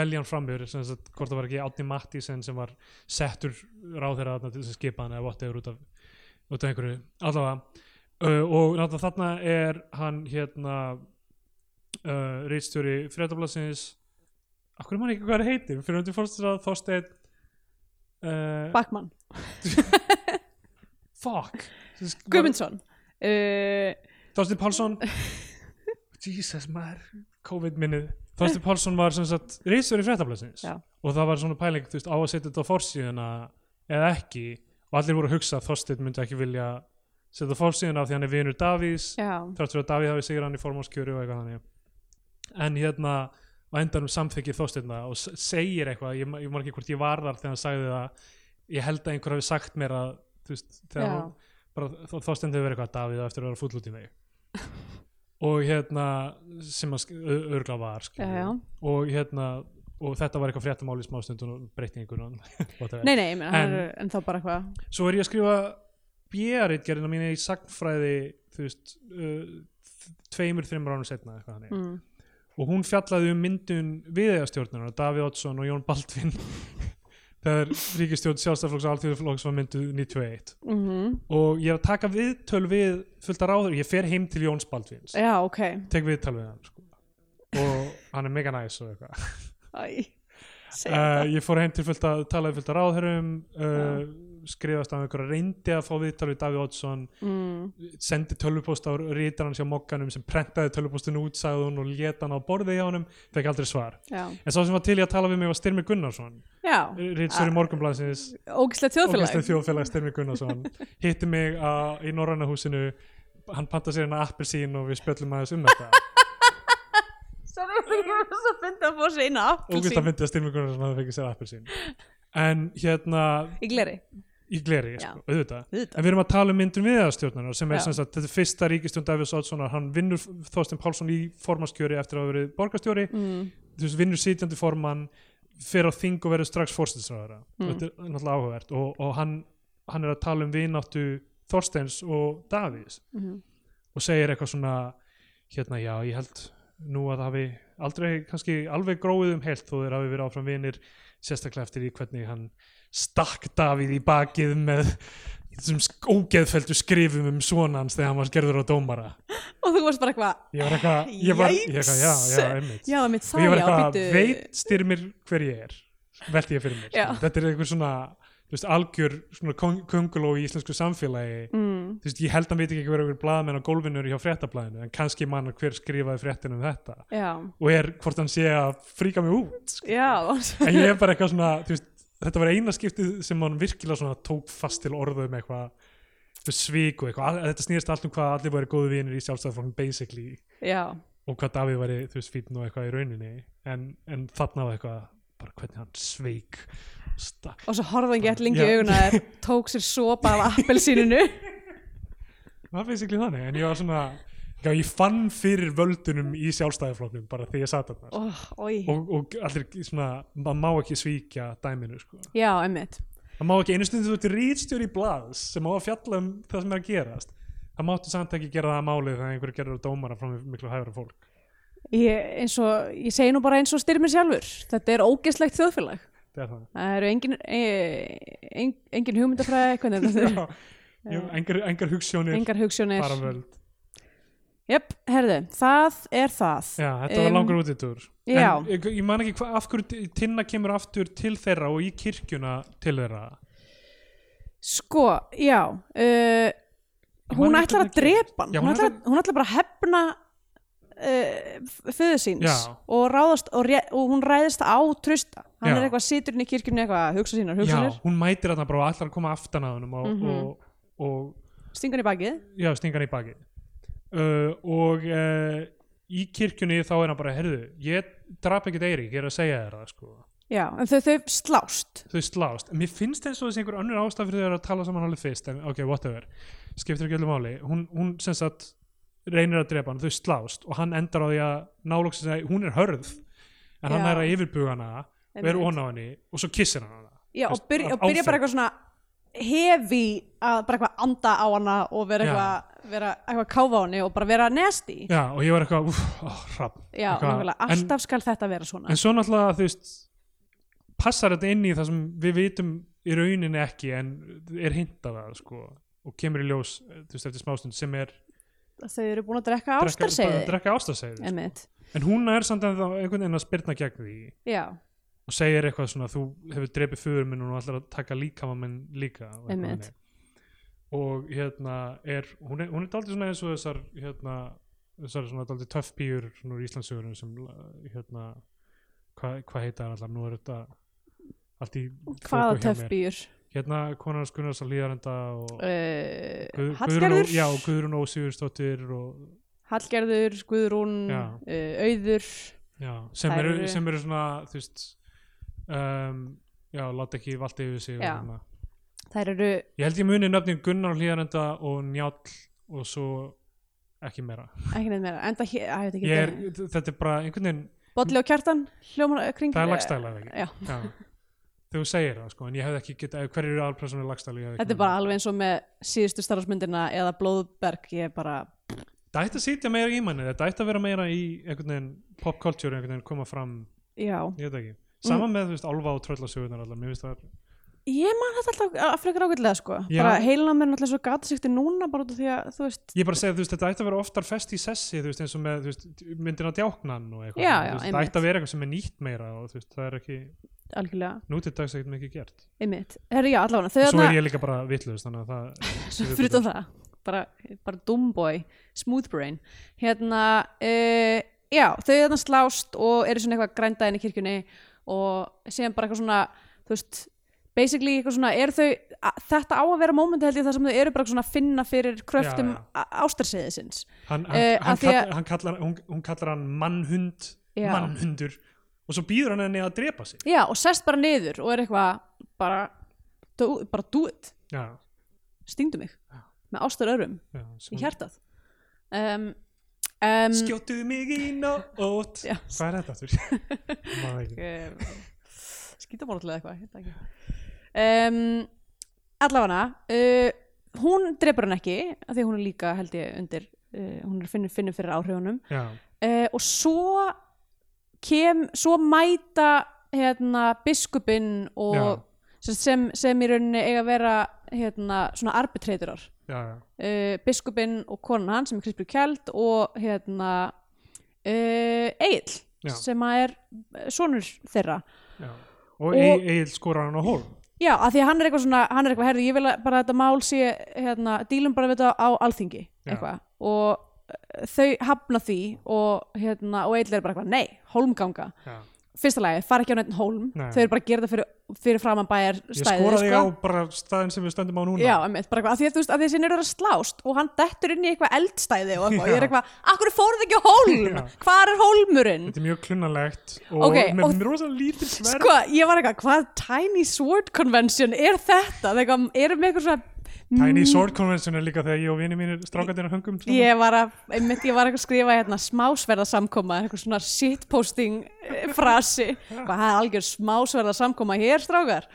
A: velja hann framhjör sem sagt, hvort það var ekki Átni Mattísen sem var settur ráðherra þarna til þess að skipa hann eða whatever út af, út af einhverju allavega uh, og náttúrulega þarna er hann hérna uh, reitstjóri fréttablasins af hverju mann ekki hvað hann heitir fyrir hundi fórstæðað Þorstein uh,
B: Bakmann,
A: fuck Þessi sk-
B: Guðmundsson uh,
A: Þorstein Pálsson Jesus maður COVID minnið Þorstein Pálsson var sem sagt reisur í fréttablasins
B: Já.
A: og það var svona pæling þú veist, á að setja þetta á forsíðuna eða ekki og allir voru að hugsa að Þorstein myndi ekki vilja setja þetta á forsíðuna af því hann er vinur Davís
B: Já,
A: þrátt fyrir að Davíð hafi sigur hann í formálskjöru og eitthvað þannig en hérna á endanum samþykir þóstirna og s- segir eitthvað, ég, ma- ég man ekki hvort ég var þar þegar hann sagði það, ég held að einhver hafi sagt mér að, þú veist,
B: Já.
A: þegar hann bara þóstirna hefur verið eitthvað Davíð á eftir að vera fúll út í mig og hérna, sem að örgla var,
B: já,
A: skilur
B: já
A: og hérna, og þetta var eitthvað fréttamál í smástundun og breytingun og
B: Nei, nei, ég meina,
A: En-
B: en, er, en þá bara eitthvað
A: svo er ég að skrifa bjæritgerðina mína í sagnfræði þú veist uh, tveimur, þreimur ánum setna eitthvað þannig
B: mm.
A: og hún fjallaði um myndun viðeigastjórnarnar, Davíð Oddsson og Jón Baldvin þegar ríkistjórn sjálfstæðflokks og alþjóðflokks var mynduð 91
B: Mm
A: og ég er að taka viðtöl við fullt að ráður, ég fer heim til Jóns Baldvins
B: Já, ok
A: tek viðtal við hann sko. og hann er mega næs og eitthvað
B: Æ, segja
A: uh,
B: þetta
A: ég fór heim til fullt að tala við fullt að ráðherrum uh, skrifast af einhverja reyndi að fá viðtal við Davíð Oddsson
B: mm.
A: sendi tölvupost á rítar hans hjá mokkanum sem prentaði tölvupostinu út, sagði hún og leta hann á borðið hjá honum, fekk aldrei svar
B: Já,
A: en sá sem var til í að tala við mig var Styrmi Gunnarsson
B: já
A: rítsverið
B: Ah.
A: morgunblansins
B: ógislega þjóðfélag
A: ógæslega þjóðfélag Styrmi Gunnarsson hitti mig á, í Norræna húsinu hann panta sér hérna appelsín og við spjöllum aðeins um þetta
B: Sorry, ég var svo fyndið að fá sér eina
A: ógæslega
B: appelsín
A: myndi að Styrmi Gunnarsson hafi fengið sér appelsín en hérna
B: Í gleri
A: í gleri,
B: Já.
A: sko, auðvitað
B: Auðvitað.
A: en við erum að tala um myndun viðastjórnar sem er
B: Já.
A: sem sagt, þetta er fyrsta ríkistjón Davíðs Oddssonar, hann vinnur Þorstein Pálsson í formanskjöri eftir að hafa verið borgarstjóri
B: mm.
A: þú veist, vinnur sitjandi formann fer á þing og verður strax fórstinsræðara
B: Mm.
A: þetta er náttúrulega áhugavert og, og hann, hann er að tala um vináttu Þorsteins og Davíðs
B: Mhm.
A: og segir eitthvað svona hérna já, ég held nú að það hafi aldrei kannski alveg gróið um heilt þó þeir hafi verið áfram vinir sérstaklega eftir í hvernig hann stakk Davíð í bakið með þessum sk- ógeðfelldu skrifum um svonans þegar hann var gerður á dómara
B: Og þú varst bara eitthvað
A: ég var eitthvað, ég var, ég
B: Yikes.
A: eitthvað já, já, einmitt
B: Já,
A: og
B: mitt
A: ég
B: sagði
A: var
B: á
A: eitthvað,
B: býtu
A: veit styrmir hver ég er velti ég fyrir mér,
B: Já.
A: sko. þetta er einhver svona þú veist, algjör svona kong- könguló í íslensku samfélagi
B: mm.
A: þú veist, ég held að hann veit ekki hver einhver blaðamenn á gólfinur hjá fréttablaðinu, en kannski mann hver skrifaði fréttin um þetta
B: Já,
A: og er hvort hann sé að fríka mig út sko.
B: já
A: en ég er bara eitthvað svona þú veist, þetta var eina skiptið sem hann virkilega svona tók fast til orðu um eitthvað þú veist, svik og eitthvað, Al- þetta snýðist allt um hvað allir væri góðu vinir í sjálfstæðarflokknum basically
B: Já,
A: og hvað Davíð væri þú veist fítn og eitthvað í rauninni en, en þarna var eitthvað bara hvernig hann sveik sta-
B: og svo horfði hann gett lengi
A: Já.
B: í auguna þér Tók sér sopa af appelsíninu
A: það var basically þannig en ég var svona já, ég fann fyrir völdunum í sjálfstæðifloknum bara þegar ég sat þarna sko.
B: Ó, Ói
A: og, og allir svona maður má ekki svíkja dæminu sko.
B: Já, emmitt
A: það má ekki einu stundu þú ert rítstjóri í blaðs sem á að fjalla um það sem er að gerast það máttu samt ekki gera það að málið þegar einhverju gerur dómara frá miklu hæfra fólk
B: Ég, eins og, ég segi nú bara eins og styrmir sjálfur Þetta er ógeslegt þjóðfélag
A: það er það
B: Það eru engin, e, en, engin hugmyndafræði hvernig þetta er.
A: Jú, engar, engar hugssjónir,
B: Engar hugsjónir
A: bara völd
B: Jöp, herðu, það er það
A: Já, þetta var
B: Um,
A: langur út í túr
B: já.
A: En ég, ég man ekki hva, af hverju ti- Tinna kemur aftur til þeirra og í kirkjuna til þeirra
B: Sko, já uh, Hún
A: man ekki
B: ætlar
A: hvernig það
B: að
A: gerist.
B: drepa hann
A: Já, hún
B: hún, ætlar, hún ætlar bara að hefna uh, föðu síns
A: Já.
B: og, ráðast, og, ré, og hún ræðist á trösta Hann
A: Já.
B: er eitthvað situr inn í kirkjunni eitthvað að hugsa sínar, hugsa
A: Já,
B: sínar
A: hún mætir þarna bara og ætlar að koma aftan að honum og,
B: Mhm.
A: og, og
B: Stingan í bakið
A: já, stinga hann í bakið uh, og uh, í kirkjunni þá er hann bara, herðu ég drap ekkert Eirík, ég er að segja þér það sko.
B: Já, en þau, þau slást
A: þau slást, mér finnst eins og þessi einhver önnur ástaf fyrir þau að tala saman alveg fyrst en ok, whatever, skiptir ekki öllu máli hún, hún sem sagt reynir að drepa hann, þau slást og hann endar á því að nálóksins að hún er hörð en hann
B: Já.
A: er að yfirbuga hana og er ón á henni og svo kissir hann hana
B: Já, og
A: Veist,
B: byrja,
A: af
B: og byrja bara
A: áferð.
B: eitthvað svona hefi að bara eitthvað anda á hana og vera
A: Já.
B: eitthvað vera eitthvað að káfa á henni og bara vera nasty
A: já, og ég var eitthvað, úf, ó, hrapp
B: Já, nákvæmlega,
A: en,
B: alltaf skal þetta vera svona
A: en svo náttúrulega, þú veist passar þetta inn í það sem við vitum í rauninni ekki, en er hintað að, sko, og kemur í ljós eh, þú veist, eftir smástund sem er
B: Þau eru búin að drekka
A: drekka- bara
B: ástarseiði
A: drekka ástarsæði,
B: Einmitt,
A: en hún er samt ennþá einhvern veginn að spyrna gegn því
B: já,
A: og segir eitthvað svona þú hefur drepið föður minn og nú ætlar að taka líkama minn líka og eitthvað
B: Einmitt.
A: þannig. og hérna er hún er, hún er daldið svona eins og þessar hérna, þessar svona daldið töff pýur svona úr Íslandsögurum sem hérna hvað hva heita það allar, nú er þetta allt í
B: hvaða
A: fóku hjá mér.
B: töffbýr
A: hérna konar skunnars að líðarenda og
B: uh,
A: Guð- Guðrún Ó-
B: Hallgerður
A: já, og Guðrún Ósigursdóttir og,
B: Hallgerður, Guðrún,
A: Já.
B: uh, Auður
A: já, sem,
B: Þær
A: eru,
B: eru-
A: sem eru svona þú veist um, já, láta ekki valdi yfir sig og
B: Já.
A: hérna.
B: Þær eru,
A: Ég held ég muni nöfnin Gunnar Hlíðarenda og Njáll og svo ekki meira.
B: ekki neitt meira enda hér, að ég veit
A: Ég
B: ekki
A: er,
B: hvernig.
A: þetta er bara einhvern veginn,
B: Bolli og Kjartan, hljómar eh, kring
A: það er
B: eh,
A: lagstæla eða ekki.
B: Já,
A: Já. Þú segir það sko, en ég hefði ekki getað, hverju eru aðalpersonu lagstæla? ég hefði ekki
B: þetta er
A: munað.
B: bara alveg eins og með síðustu starfsmyndina eða Blóðberg, ég er bara
A: Þetta ætti að sitja meira í manni, þetta ætti að vera meira í einhvern veginn pop culture, einhvern veginn koma fram,
B: Já,
A: ég veit ekki.
B: Mm.
A: Sama með, þú veist, Álfa og Tröllasögunar allar, mér finnst það,
B: ég man þetta alltaf að frekar ágætlega sko
A: Já.
B: bara heilin á mér er náttúrulega svo gatasikti núna bara út af því að þú veist
A: ég er bara að segja, þú veist, þetta ætti að vera oftar fest í sessi, þú veist, eins og með, þú veist, myndina djáknan og eitthvað. Þú
B: Já, já,
A: veist, Þetta
B: einmitt.
A: ætti að vera eitthvað sem er nýtt meira og, þú veist, það er ekki,
B: algjörlega,
A: nú til dags ekkert mikið gert.
B: einmitt, herri já allavega þau
A: Og svo
B: þarna-
A: er ég líka bara vitlaus þannig að það
B: Svo fyrir utan það bara, bara Doomboy, Smooth Brain hérna uh, já, þau þarna slást og eru svona eitthvað grændaðin í kirkjunni og síðan bara eitthvað svona þú veist, basically eitthvað svona er þau, a- þetta á að vera mómenti held ég þar sem þau eru bara svona að finna fyrir kröftum
A: Já,
B: ástarsæðisins
A: hann, hann,
B: Eh,
A: hann,
B: af því að-
A: kall, hann kallar, hún, hún kallar hann mannhund
B: Já.
A: mannhundur og svo býður hann henni að drepa sig
B: já, og sest bara niður og er eitthvað bara, do, bara do it
A: já,
B: stingdu mig, með ástar örum
A: já,
B: í
A: sem,
B: hjartað um, um,
A: skjóttu mig í nótt
B: Já.
A: hvað er þetta aftur? Ég man það ekki.
B: skítamorðlega eitthvað hérna ekki um, allafana uh, hún drefur hann ekki af því að hún er líka held ég undir uh, hún er finnur, finnur fyrir áhrifunum
A: já,
B: uh, og svo kem, svo mæta hérna biskupinn og sem, sem, sem í rauninni eiga að vera hérna svona arbitratorar
A: já, já,
B: uh, biskupinn og konan hans sem er Krispjör Kjeld og hérna uh, Egil
A: Já.
B: sem að er eh, sonur þeirra
A: já. og, og Egil skorar hann á hól
B: Já, af því að hann er eitthvað svona, hann er eitthvað, herði, ég vil að bara þetta mál sé, hérna, dílum bara við þetta á alþingi,
A: Já.
B: eitthvað, og eh, þau hafna því og hérna, og eitthvað er bara eitthvað, nei, hólmganga.
A: já.
B: Fyrsta lagi, fara ekki á neitt hólm,
A: Nei.
B: þau eru bara að gera þetta fyrir, fyrir framan bæjar
A: ég
B: stæðið, sko.
A: skora þig á bara staðin sem við stöndum á núna
B: Já, emmitt, bara eitthvað, af því að þú veist, af því að sinni eru að slást og hann dettur inn í eitthvað eldstæði og eitthvað, og ég er
A: Já.
B: eitthvað, akkur fóruð ekki á hólm,
A: Já.
B: hvar er hólmurinn?
A: þetta er mjög klunnalegt og
B: Ok,
A: með
B: og-
A: og... rosalega lítið sverð
B: Sko, ég var eitthvað, hvað Tiny Sword Convention er þetta? Það er eitthvað, erum við eitthvað svona
A: Tiny Sword Convention er líka þegar ég og vini mínir strákandir hungum saman.
B: Ég var að, einmitt, ég var að skrifa hérna smásverðarsamkoma, eitthvað svona shitposting eh, frasi hvað það er algjör smásverðarsamkoma hér, strákar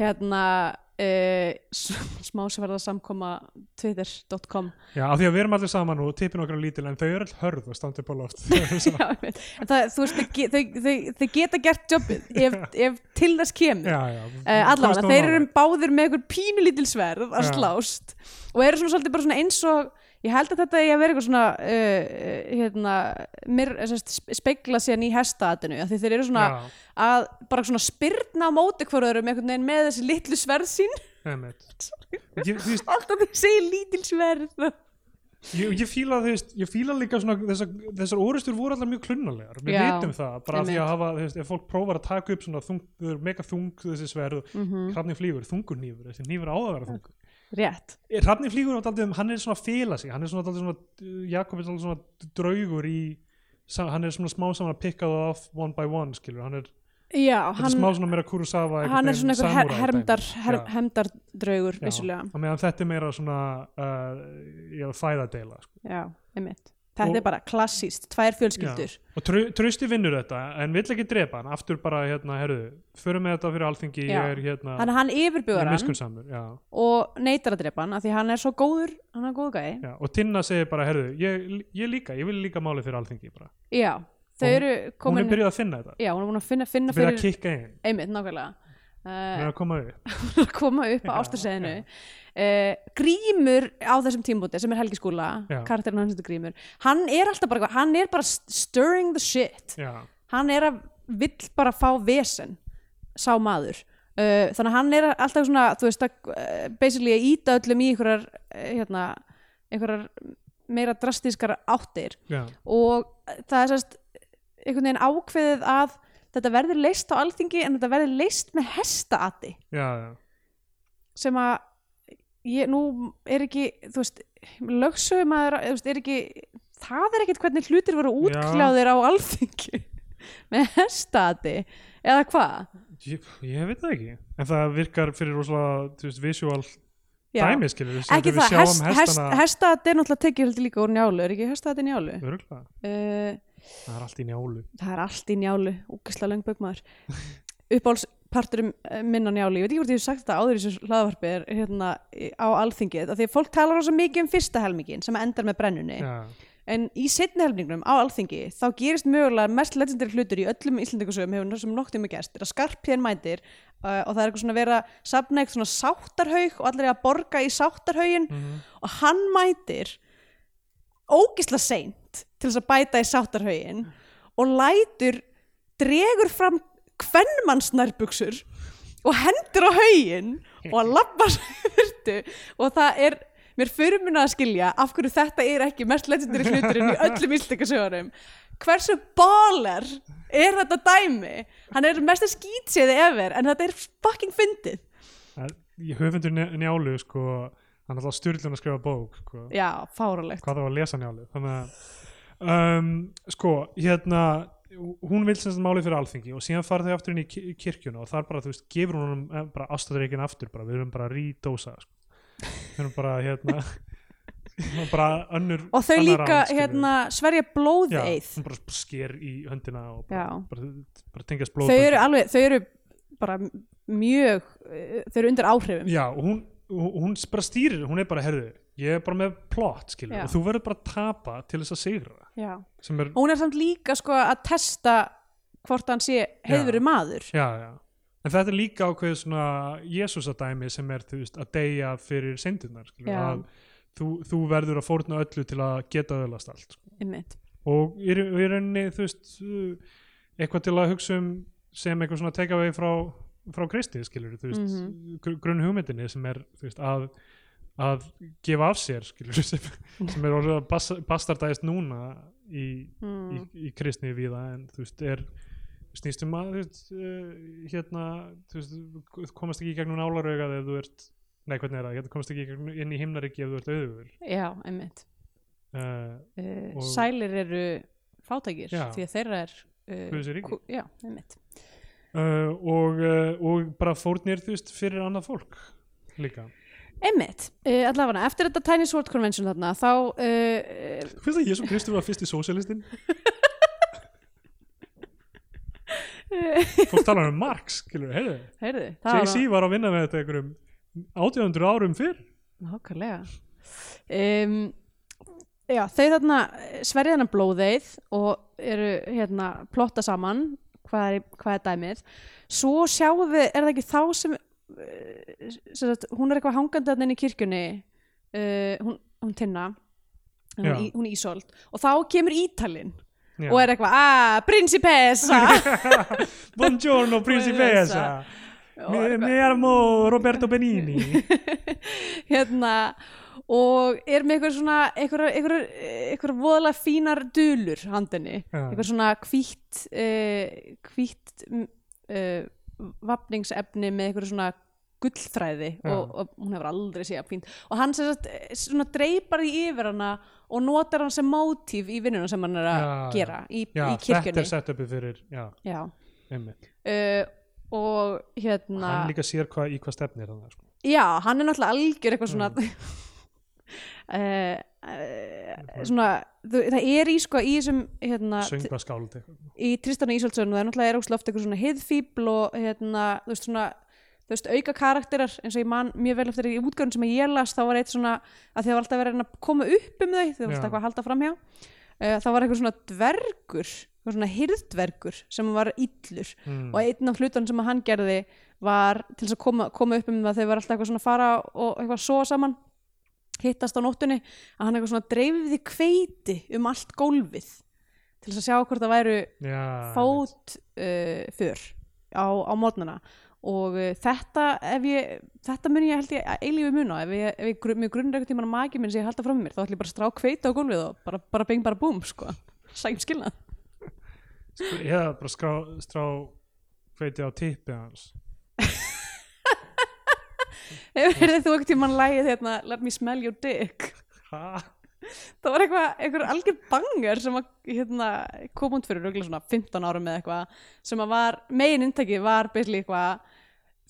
B: hérna eh, smásverðarsamkoma twitter.com
A: Já, af því að við erum allir saman og tippin okkar er lítil en þau eru all hörð og standa upp á loft Já,
B: Já, einmitt. en það, þú veist, þau ge- þau, þau, þau geta gert jobbið ef, ef til þess kemur
A: já
B: Uh,
A: Komst
B: allavega,
A: á
B: þeir eru
A: nálægt.
B: báðir með einhver pínulítil sverð að
A: Já.
B: slást og eru svona svolítið bara svona eins og ég held að þetta eigi að vera eitthvað svona uh, hérna, mér, sest, spegla síðan í hestaatinu því þeir eru svona
A: Já,
B: að bara svona spyrna á móti hvort öðrum einhvern veginn með þessi litlu sverð sín
A: einmitt. ég, þú veist,
B: alltaf því segir lítil sverð
A: ég, ég fíla þú veist, ég fíla líka svona þessar, þessar orustur voru allar mjög klunnalegar við
B: Já,
A: vitum það, bara af því að
B: einmitt.
A: hafa þú veist, ef fólk prófar að taka upp svona þung, þau eru mega þung þessi sverð, mm
B: Mhm,
A: flýgur, þungur nýfur þessi nýfur á að vera þungur
B: rétt,
A: hrafni Eh, flýgur er daldið um, hann er svona að fela sig hann er svona daldið svona, uh, Jakob er daldið svona draugur í sa- hann er svona smá saman að pikka það off one by one skilur, hann er,
B: já
A: þetta er
B: hann,
A: smá svona meira Kurosawa einhvern
B: hann er
A: veginn
B: svona einhver her,
A: samúræ dæmi.
B: hermdar her,
A: Já.
B: hermdardraugur,
A: Já,
B: vissulega
A: á meðan þetta er meira svona uh, ég er að fæða deila eh, sko.
B: já, einmitt þetta
A: Og-
B: er bara klassíst, tvær fjölskyldur
A: og tru- trausti vinnur þetta en vill ekki drepa hann aftur bara hérna, herðu, förum með þetta fyrir alþingi
B: Já.
A: ég er hérna,
B: þannig að hann yfirbjóður hann
A: miskunnsamur já,
B: og neytar að drepa hann af því hann er svo góður, hann er góð gæði
A: já. og Tinna segir bara, herðu, ég, ég líka ég vil líka málið fyrir alþingi bara.
B: já, þau
A: Og hún-
B: eru
A: hún
B: komin
A: er byrjuð að finna þetta
B: já, hún er búin að finna, finna
A: fyrir að
B: fyrir
A: kikka inn,
B: einmitt, nákvæmlega uh,
A: fyrir að koma upp
B: að koma upp á
A: Já,
B: ástarsæðinu
A: já.
B: uh, Grímur á þessum tímbúti sem er Helgi Skúla,
A: Já.
B: karakterinn hans heitir Grímur hann er alltaf bara, eitthvað- hann er bara st- stirring the shit,
A: já,
B: hann er að vill bara fá vesen sá maður uh, þannig að hann er alltaf svona, þú veist að, uh, basically að íta öllum í einhverjar uh, hérna, einhverjar meira drastískar áttir
A: já,
B: og það er sérst einhvern veginn ákveðið að þetta verður leist á alþingi en þetta verður leist með hestaati
A: já, já.
B: sem að ég, nú er ekki, þú veist lögsögum að veist, er ekki það er ekkert hvernig hlutir voru
A: Já.
B: útkljáðir á alþingi með hestati eða hvað
A: Ég, ég veit það ekki en það virkar fyrir rosalega þú veist, visual
B: Já.
A: dæmi skilur við,
B: ekki
A: við
B: það,
A: sjáum
B: hest, hest,
A: hestana
B: hestati er náttúrulega tekið heldur líka úr njálu, er ekki hestati njálu?
A: Örugglega.
B: Uh,
A: það er allt í njálu
B: það er allt í njálu, úkislega löng bögmaður uppáhaldsparturum minn á njálu, ég veit ekki hvort ég hef sagt þetta áður í þessu hlaðvarpi er hérna í- á alþingið, af því að fólk talar rosa mikið um fyrsta helmingin sem endar með brennunni
A: já,
B: En í setni helmingnum á alþingi þá gerist mögulega mest legendary hlutur í öllum Íslandingasögum hefur sem noktið með gerst er að skarpjén mætir uh, og það er eitthvað svona verið að safna eitthvað svona sáttarhaug og allir er að borga í sáttarhaugin
A: mhm.
B: og hann mætir ógisla seint til þess að bæta í sáttarhaugin og lætur dregur fram kvennmannsnærbuksur og hendur á haugin og lappar hurtu og það er mér fyrirmunna að skilja af hverju þetta er ekki mest legendary hluturinn í öllum íslendingasögunum hversu baller er þetta dæmi hann er mest að skýtsiði efer en þetta er fucking fyndið
A: Það- ég höfundur Nj- njálu sko, hann er alltaf styrlun að skrifa bók sko.
B: já, fáralegt
A: hvað það var að lesa njálu þannig að um, sko, hérna hún vil sem sagt málið fyrir alþingi og síðan fara þau aftur inn í ki- kirkjuna og þar bara, þú veist, gefur hún honum, eh, bara ástæðreikin aftur, bara, við erum bara að rítósa sko. við erum bara, hérna við erum bara önnur
B: og þau
A: annar
B: líka
A: án, skilur við.
B: hérna, sverja
A: Já,
B: blóðeið
A: hún bara sker í höndina og bara,
B: Já.
A: bara, bara tengjast
B: þau eru
A: blóðböndum
B: alveg, þau eru bara mjög, eh, þau eru undir áhrifum
A: Já, og hún, og hún s- bara stýrir, hún er bara herðu, ég er bara með plot skilur,
B: Já.
A: og þú verður bara að tapa til þess að sigra
B: Já.
A: sem er,
B: og hún er samt líka sko að testa hvort hann sé heiðurinn maður
A: já, já en þetta er líka ákveðið svona Jésusadæmi sem er, þú veist, að deyja fyrir syndirnar, skilur,
B: Já.
A: að þú, þú verður að fórna öllu til að geta öðlast allt, sko.
B: einmitt,
A: og í ra- og í rauninni, þú veist uh, eitthvað til að hugsa um sem eitthvað svona teka vegi frá frá Kristi, skilur, þú veist gr grunn hugmyndinni sem er, þú veist, að að gefa af sér, skilur sem, sem er orðið að bas- bastardæðist núna í í,
B: mm.
A: í kristni viða en þú veist er snýstum að þú veist, uh, hérna þú veist, komast ekki í gegnum nálarauðað ef þú ert, nei hvernig er það hérna, komast ekki í gegnum inn í himnaríki ef þú ert auðugur
B: já, einmitt
A: uh,
B: uh,
A: Og-
B: sælir eru fátækir
A: Já.
B: því að þeirra er uh,
A: Guðs ríki.
B: ku- já, einmitt
A: uh, og, uh, og bara fórnir þú veist fyrir annað fólk líka
B: einmitt, uh, allavega, eftir þetta Tiny Sword Convention þarna, þá uh,
A: þú veist að Jésu Kristur var fyrst í sósialistin
B: uh,
A: fólk talar um Marx, skilur, heyrðu
B: heyrðu, það var
A: JC var að vinna með þetta einhverjum 800 árum fyrr
B: Nákvæmlega um, Já, þau þarna eh, sverja þarna blóðeið og eru hérna plotta saman hvað er, hvað er dæmið svo sjáum við, er það ekki þá sem, eh, sem sagt, hún er eitthvað hangandi þarna inn í kirkjunni uh, hún, hún tinna hún,
A: Já.
B: í, hún er ísolt og þá kemur Ítalinn
A: Já.
B: og er eitthvað, ah, principessa
A: Buongiorno principessa
B: Og
A: Mi,
B: eitthvað-
A: mi armo Roberto Benini
B: hérna og er með eitthvað svona eitthvað, eitthvað, eitthvað voðalega fínar dulur handinni,
A: Já.
B: eitthvað svona hvítt uh, hvítt uh, vapningsefni með eitthvað svona gullþræði
A: Já.
B: og, og hún hefur aldrei séð fínt og hann sem sagt, eh, svona dreipar því yfir hana og notar hann sem mótíf í vinnuna sem hann er að
A: Já, já.
B: gera í,
A: já,
B: í kirkjunni
A: þetta er setupið fyrir já,
B: já.
A: einmitt
B: Uh, og hérna
A: hann líka sér hva, í hvað stefnir hann sko.
B: Já, hann er náttúrulega algjör eitthvað svona mm. uh, svona, þú, það er í sko í þessum hérna,
A: söngvaskáld eitthvað.
B: í Tristan og Ísöldsson það er náttúrulega er óslega oft eitthvað svona heiðfíbl og hérna, þú veist svona þú veist, auka karakterar eins og ég man mjög vel eftir í útgörun sem ég las, þá var eitt svona að þið var alltaf verið að reyna að koma upp um þau
A: Já.
B: þau var alltaf eitthvað að halda framhjá uh, þá var eitthvað svona dvergur eitthvað svona hirðdvergur sem var illur
A: Mm.
B: og einn af hlutunum sem að hann gerði var til þess að koma, koma upp um það þau var alltaf eitthvað svona að fara og eitthvað svo saman hittast á nóttunni að hann eitthvað svona dreifði kveiti um allt gólfið til þess að sjá hvort það væru
A: Já, einmitt.
B: fót uh, för á, á mótnana og uh, þetta ef ég, þetta mun ég held ég að eilífi muna ef ég, ef ég gru- mig grunnir einhvern tímann að magi minn sem ég halda frá mér, þá ætlum ég bara að strá kveita á gólfið og bara, bara bing bara búm sko sæm skilnað
A: eða Sko, bara skrá, strá hveiti á tippið hans
B: hefur þú einhvern tímann lægið hérna let me smell your dick
A: ha?
B: það var eitthvað, einhver algjör bangar sem að, hérna, kom út fyrir röglega svona 15 árum eða eitthvað sem að var, megin inntæki var basically eitthvað,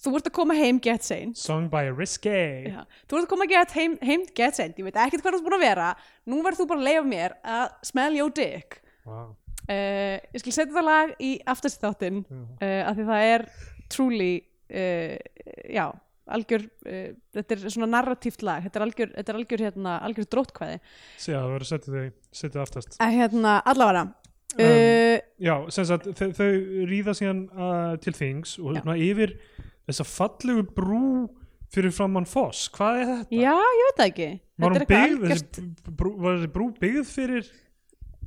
B: þú ert að koma heim get sein
A: song by Risky
B: Já. Þú ert að koma að geta heim, heim get send, ég veit ekkert hvað þú ert búin að vera Nú verður þú bara að leifa mér að smell your dick
A: wow.
B: uh, Ég skal setja það lag í aftastáttinn uh, af því það er truly uh, já, algjör uh, þetta er svona narratíft lag þetta er algjör, þetta er algjör, hérna, algjör drótkvæði
A: síðan það verður setið þau setið aftast
B: að hérna, allavega
A: Um,
B: uh,
A: já, sem sagt, þau, þau ríða síðan uh, til þings og
B: Já.
A: svona yfir þessa fallegu brú fyrir framann foss, hvað er þetta?
B: Já, ég veit það ekki
A: var hún
B: Þetta er eitthvað
A: byggð,
B: algjört-
A: þessi b- brú, var þessi brú byggð fyrir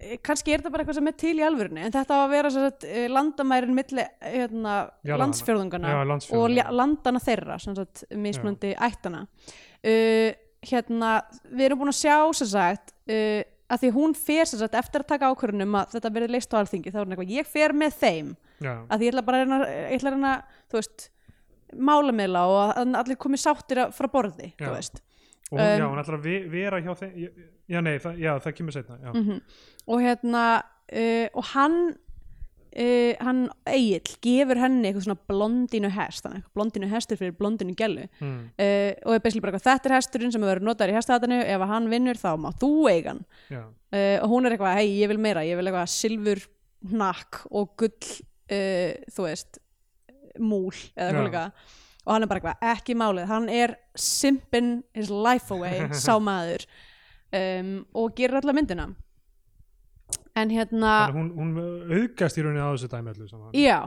B: Eh, kannski er þetta bara eitthvað sem er til í alvörunni en þetta á að vera sem sagt, eh, landamærin milli eh, hérna,
A: Jarðanna.
B: landsfjörðungana
A: Já,
B: og
A: landsfjörðungana.
B: lja- landana þeirra sem sagt, mismunandi ættana uh, hérna, við erum búin að sjá sem sagt, uh, að því hún fer sem sagt, eftir að taka ákvörunum að þetta verið leist á alþingi þá er hún eitthvað, ég fer með þeim
A: já,
B: að því ég ætla bara að reyna, ég ætla að reyna þú veist, málamiðla og að- að allir komi sáttir að- frá borði
A: Já.
B: þú veist
A: og hún,
B: Um,
A: já, hún ætlar að ve- vera hjá þeim já, nei, það, já, það kemur setna já.
B: Mhm. og hérna uh, og hann uh, hann Egil gefur henni eitthvað svona blondinu hest þannig eitthvað blondinu hestur fyrir blondinu gælu
A: Mm.
B: uh, og er basically bara eitthvað þetta er hesturinn sem verður notaður í hestaðatinu ef að hann vinnur þá má þú eiga hann
A: já,
B: uh, og hún er eitthvað hei ég vil meira ég vil eitthvað silfur hnakk og gull uh, þú veist múl eða
A: Já.
B: eitthvað líka og hann er bara eitthvað ekki málið hann er simpin his life away sá maður um, og gerir alla myndina en hérna
A: Þannig að hún, hún auðgast í rauninni á þessu dæmi öllu saman
B: já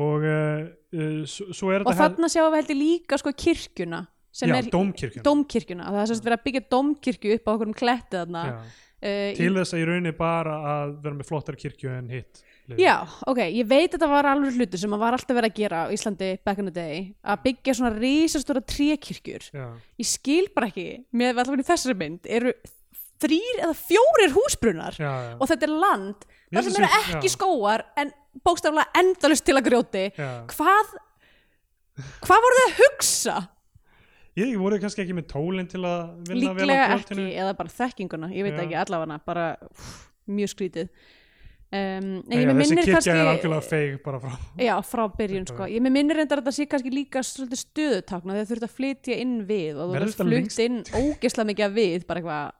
A: og uh, uh, svo, svo er
B: og
A: þetta
B: þarna sjáum við heldur líka sko kirkjuna sem
A: já,
B: er
A: dómkirkjuna
B: dómkirkjuna það er semst verið að byggja dómkirkju upp á okkur um kletti þarna
A: Já,
B: uh,
A: til þess að í rauninni bara að vera með flottar kirkju en hitt liðið.
B: Já, ok, ég veit að þetta var alveg hlutur sem að var alltaf verið að gera á Íslandi back in the day, að byggja svona risastóra trékirkjur.
A: Já,
B: Ég skil bara ekki, með allavega í þessari mynd, eru þrýr eða fjórir húsbrunnar
A: já, já.
B: og þetta er land,
A: Mér
B: þar sem
A: finnst
B: eru
A: þessi-
B: ekki
A: já.
B: skóar en bókstaflega endalust til að grjóti.
A: Já.
B: Hvað, hvað voru þið að hugsa?
A: ég voru kannski ekki með tólinn til að vinna vel
B: Líklega
A: á
B: ekki,
A: kvortinu
B: eða bara þekkinguna, ég veit
A: Já.
B: ekki allavega, bara úff, mjög skrítið. Um, en ég
A: Já,
B: með
A: þessi
B: minnir
A: kirkja
B: kannski...
A: er algjörlega feig bara frá
B: Já, frá byrjun
A: Þetta
B: sko.
A: er-
B: Ég með minnir reyndar að þetta sé kannski líka svolítið stöðutakna þegar þurft að flytja inn við og þú
A: Verður
B: þurft
A: þetta lengst?
B: flutt inn ógesla mikið að við, bara eitthvað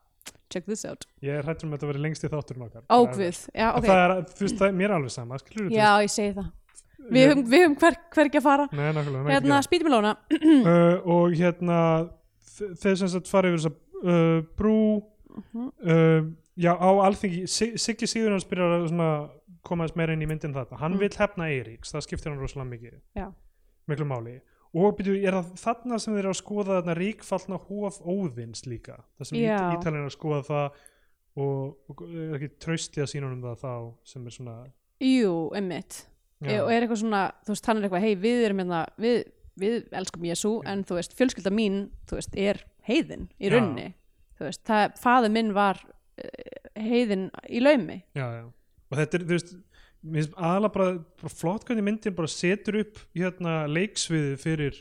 B: check this out,
A: ég er hrættur um að þetta verið lengst í þátturinn okkar
B: ágvið Já,
A: En
B: ok,
A: það er, þú veist, það er mér er alveg sama skilur
B: já ég segi það Við
A: Ég-
B: höfum, við höfum hver, hver ekki að fara
A: Nei, nákvæmlega, nei,
B: Hérna,
A: ekki
B: spýtum í lóna
A: það. uh, og hérna þ- þeir sem sagt farið yfir þessa uh, brú
B: Mhm.
A: uh, já, á alþingi Sig- Siggi Sigurinn hans byrjar að svona koma þess meira inn í myndin þarna hann vill hefna Eiríks, það skiptir hann rosalega mikið
B: Mm. Já,
A: miklu máli og byrju, er það þarna sem þeir eru að skoða þarna ríkfallna hóf óðins líka það sem ít,
B: Já.
A: ítalinn er að skoða það og, og er ekki traustið að sína um það þá sem er svona
B: jú, emmitt
A: já,
B: E, Og er eitthvað svona, þú veist, hann er eitthvað hei, við erum hérna, við, við elskum Jésu en þú veist, fjölskylda mín, þú veist, er heiðin í
A: Já.
B: runni Þú veist, það, faðir minn var eh, heiðin í laumi
A: já, já. og þetta er þú veist mér finnst aðalega bara, bara flott hvernig myndin bara setur upp hérna leiksviði fyrir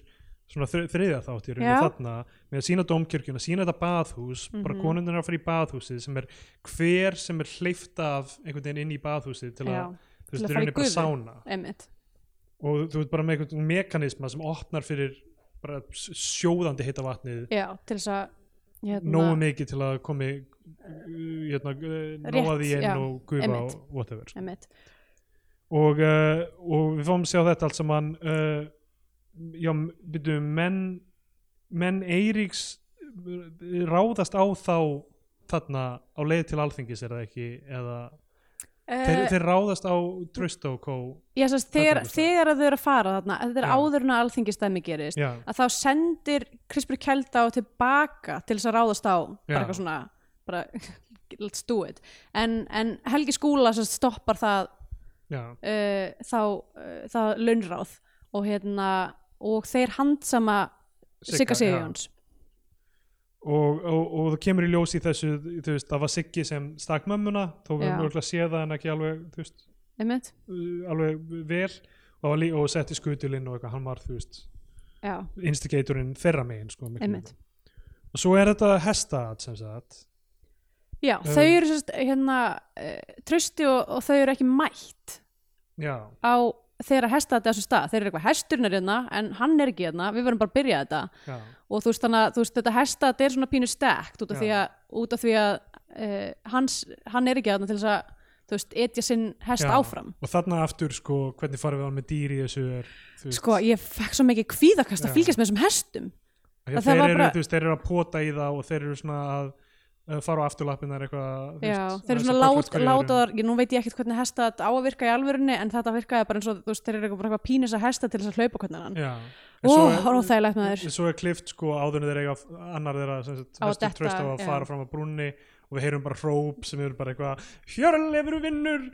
A: svona þri- þriðja þátt í rauninni
B: Já.
A: þarna með að sína dómkirkjuna, sína þetta baðhús bara
B: Mhm.
A: konundin er að fara í baðhúsið sem er hver sem er hleyft af einhvern veginn inn í baðhúsið til að,
B: Já,
A: þú
B: til
A: veist, í
B: að fara í
A: rauninni bara
B: gufu.
A: sána
B: emmitt
A: og þú veit bara með einhvern mekanisma sem opnar fyrir bara s- sjóðandi heita vatnið
B: Já, til þess að hérna,
A: nógu mikið til að komi hérna, nóa
B: Rétt,
A: því inn
B: já,
A: og gufa
B: einmitt.
A: og whatever sko.
B: einmitt.
A: og, uh, og við fáum að sjá þetta allt saman uh, já, byrju menn, menn Eiríks uh, ráðast á þá þarna á leið til alþingis er það ekki eða þeir,
B: Uh,
A: þeir ráðast á Trust og Kó
B: ég,
A: Þarna
B: sérst, þegar,
A: einhvers staðar.
B: þegar að þau eru að fara þarna þetta er
A: Já.
B: áður en að alþingistæmi gerist
A: já,
B: að þá sendir Krispur Kjelda á tilbaka til þess að ráðast á bara
A: Já.
B: eitthvað svona bara, let's do it en, en Helgi Skúla sem sagt stoppar það
A: já,
B: uh, þá, uh, það launráð og hérna og þeir handsama
A: Sigga,
B: Sigga Sigjóns
A: og, og, og það kemur í ljós í þessu þú veist, það var Siggi sem stakk mömmuna þó við
B: Já.
A: höfum örugglega séð það en ekki alveg þú veist,
B: einmitt,
A: uh, alveg vel og, var lí- og setti skutulinn og eitthvað hann var þú veist
B: já,
A: instigatorinn þeirra megin sko, miklu
B: Einmitt.
A: meira. og svo er þetta hestaat sem sagt
B: já þau
A: Um.
B: eru sérst hérna uh, trösti og, og þau eru ekki mætt
A: já,
B: á þeirra hesta þetta þessu stað, þeir eru eitthvað hesturinn er hérna en hann er ekki hérna, við verðum bara að byrja þetta
A: já,
B: og þú veist þannig að þú veist, þetta hesta þetta er svona pínu stekt út af
A: Já.
B: því að, út af því að uh, hans, hann er ekki þarna til þess að þú veist, etja sinn hest
A: já.
B: áfram
A: og þarna aftur sko hvernig farið við án með dýr í þessu er, þú veist,
B: sko, ég fekk svo mikið
A: Já.
B: kvíðakast að fylgjast með þessum hestum
A: af því að
B: það
A: þeir,
B: var
A: eru,
B: bara-
A: þú veist, þeir eru að pota í það og þeir eru svona að uh, fara á afturlappinnar eitthvað þú veist,
B: já, þeir eru
A: aðeins
B: svona
A: að
B: lát,
A: kollast hverju öðrum.
B: látaðar ég, nú veit ég ekkert hvernig hesta þetta á að virka í alvörunni en þetta virkaði bara eins og þú veist, þeir eru eitthvað, bara eitthvað pínis að hesta til þess að hlaupa hvernig hann
A: já En
B: ó,
A: svo er-
B: hann óþægilegt með þér
A: En svo er klift sko áður en þeir eiga annar þeirra sem sagt,
B: Á að
A: hestur
B: detta,
A: tröst á að
B: já.
A: fara fram á brúnni og við heyrum bara hróp sem eru bara eitthvað Hjörleifur vinnur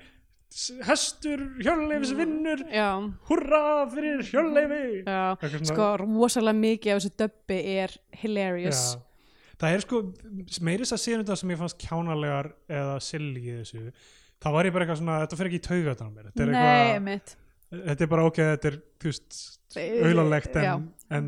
A: s- hestur Hjörleifus vinnur
B: já,
A: hurra fyrir Hjörleifi
B: já,
A: Eitthvað svona-
B: sko, rosalega mikið af þessu döbbi er hilarious
A: Já. það er sko meiris að síðan þetta sem ég fannst kjánalegar eða silly í þessu það var ég bara eitthvað svona, þetta fer ekki í taugatana mér þetta er,
B: nei,
A: eitthvað,
B: mitt
A: þetta er bara ok þetta er, þú veist,
B: Eh,
A: auðalegt
B: já.
A: en, en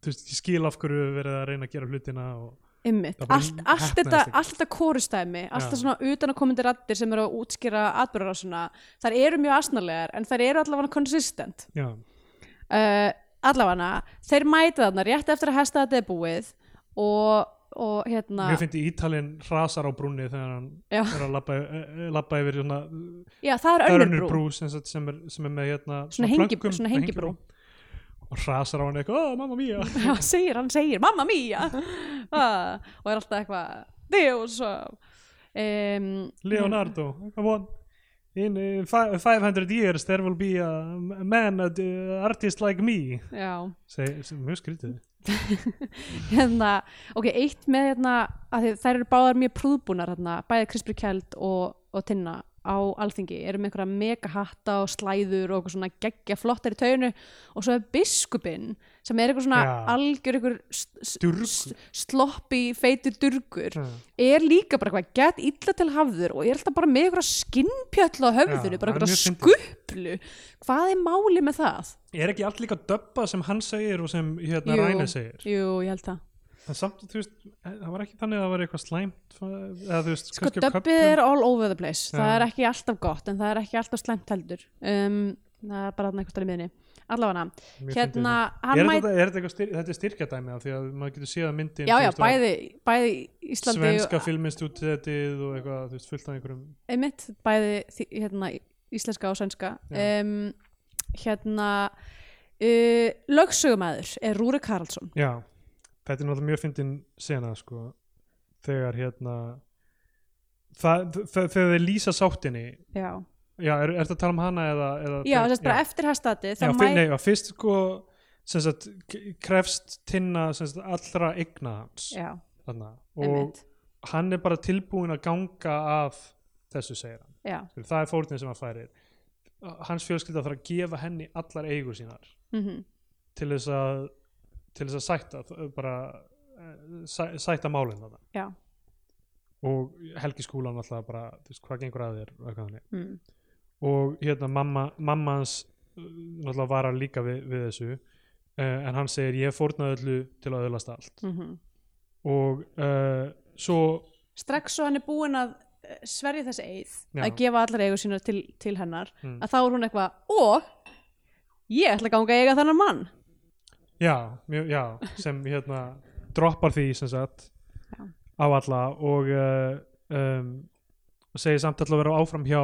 A: þú veist, ég skil af hverju við verið að reyna að gera hlutina og
B: Einmitt,
A: Það bara
B: allt, allt
A: heppnaðist
B: þetta,
A: ekki.
B: allt þetta kórustæmi,
A: Já.
B: alltaf svona utanakomandi rattir sem eru að útskýra atbyrðarásuna, þær eru mjög asnalegar en þær eru allavega konsistent.
A: já,
B: Uh, allavega, þeir mæta þarna rétt eftir að hesta þetta er búið og, og hérna,
A: mér finnst Ítalinn hrasar á brúnni þegar hann
B: Já.
A: er að labba, eh, eh, labba yfir svona,
B: já það
A: það
B: er
A: er
B: önnur
A: önnur
B: brú,
A: brú sem, sagt- sem, er, sem er með hérna,
B: Svona hengi-
A: plönkum,
B: svona hengibrú.
A: og hrasar á hann eitthvað, oh, mamma mía
B: já, segir, hann segir, mamma mía, ah, og er alltaf eitthvað, Deus, um,
A: Leonardo, come on in uh, fi- 500 years there will be a man, a d- artist like me
B: já.
A: Seg, sem mjög skrítið
B: hérna, ok, eitt með hérna, að þið, þær eru báðar mjög prúðbúnar hérna, bæði Krispur Kjeld og, og Tinna á alþingi, eru með einhverja mega hatta og slæður og eitthvað svona geggja flottar í taunu og svo er biskupinn sem er eitthvað svona
A: Já.
B: algjör einhver st- st-
A: Durgur.
B: st- sloppi feitur durgur
A: Já.
B: er líka bara eitthvað gett illa til hafður og er alltaf bara með einhverja skinnpjöll á höfðinu,
A: Já,
B: bara
A: það er
B: einhverja
A: mjög fyndið.
B: skuplu hvað er máli með það?
A: er ekki allt líka döbba sem hann segir og sem hérna
B: Jú.
A: Ræne segir
B: Jú, ég held það
A: en samt, þú veist, eh, það var ekki þannig að það var eitthvað slæmt fa- eða þú veist,
B: sko
A: kannski á
B: döbbið
A: köflum.
B: er all over the place það
A: Já.
B: er ekki alltaf gott en það er ekki alltaf slæmt heldur um, það er bara þarna einhvern veginn miðinni allavega
A: Mjög
B: hérna
A: er
B: hann mæt
A: þetta, er þetta, eitthvað styr, þetta er styrkjadæmi af því að maður getur séð að myndin
B: já
A: þú
B: já
A: veist, á
B: bæði, bæði í Íslandi
A: svenska filminstútið og eitthvað þú veist, fullt af einhverjum
B: einmitt, bæði þi- hérna, íslenska og svenska
A: Já.
B: um, hérna uh, lögsögumæður er Rúri Karlsson
A: já, þetta er náttúrulega mjög fyndin sena sko þegar hérna það, þ- þ- þegar þeir lýsa sáttinni
B: já,
A: já, er, er þetta að tala um hana eða, eða
B: já
A: þegar-
B: þess bara eftir hestati
A: já,
B: það
A: fyr, nei, já, fyrst sko sem sagt, k- krefst tinna sem sagt, allra eigna hans
B: já,
A: þarna, og
B: einmitt
A: hann er bara tilbúin að ganga af þessu segir hann
B: já,
A: Skilur, það er fórnið sem hann færir hans fjölskylda þarf að gefa henni allar eigur sínar
B: mhm
A: til þess að til þess að sætta þ- bara eh, sæ, sætta málin þarna
B: já,
A: og Helgi skúlan alltaf bara þú veist, hvað gengur að þér og eitthvað þannig.
B: mm.
A: og hérna mamma, mamma hans uh, náttúrulega varar líka við, við þessu uh, en hann segir ég fórnaði öllu til að öðlast allt
B: mhm
A: og uh, svo
B: strax svo hann er búinn að eh, sverja þessi eið
A: Já.
B: að gefa allar eigur sínar til, til hennar
A: Mm.
B: að þá er hún eitthvað og ég ætla að ganga að eiga þannan mann
A: já, mjö, já sem hérna droppar því sem sagt
B: Já.
A: á alla og uh, um, segir samt alltaf að vera áfram hjá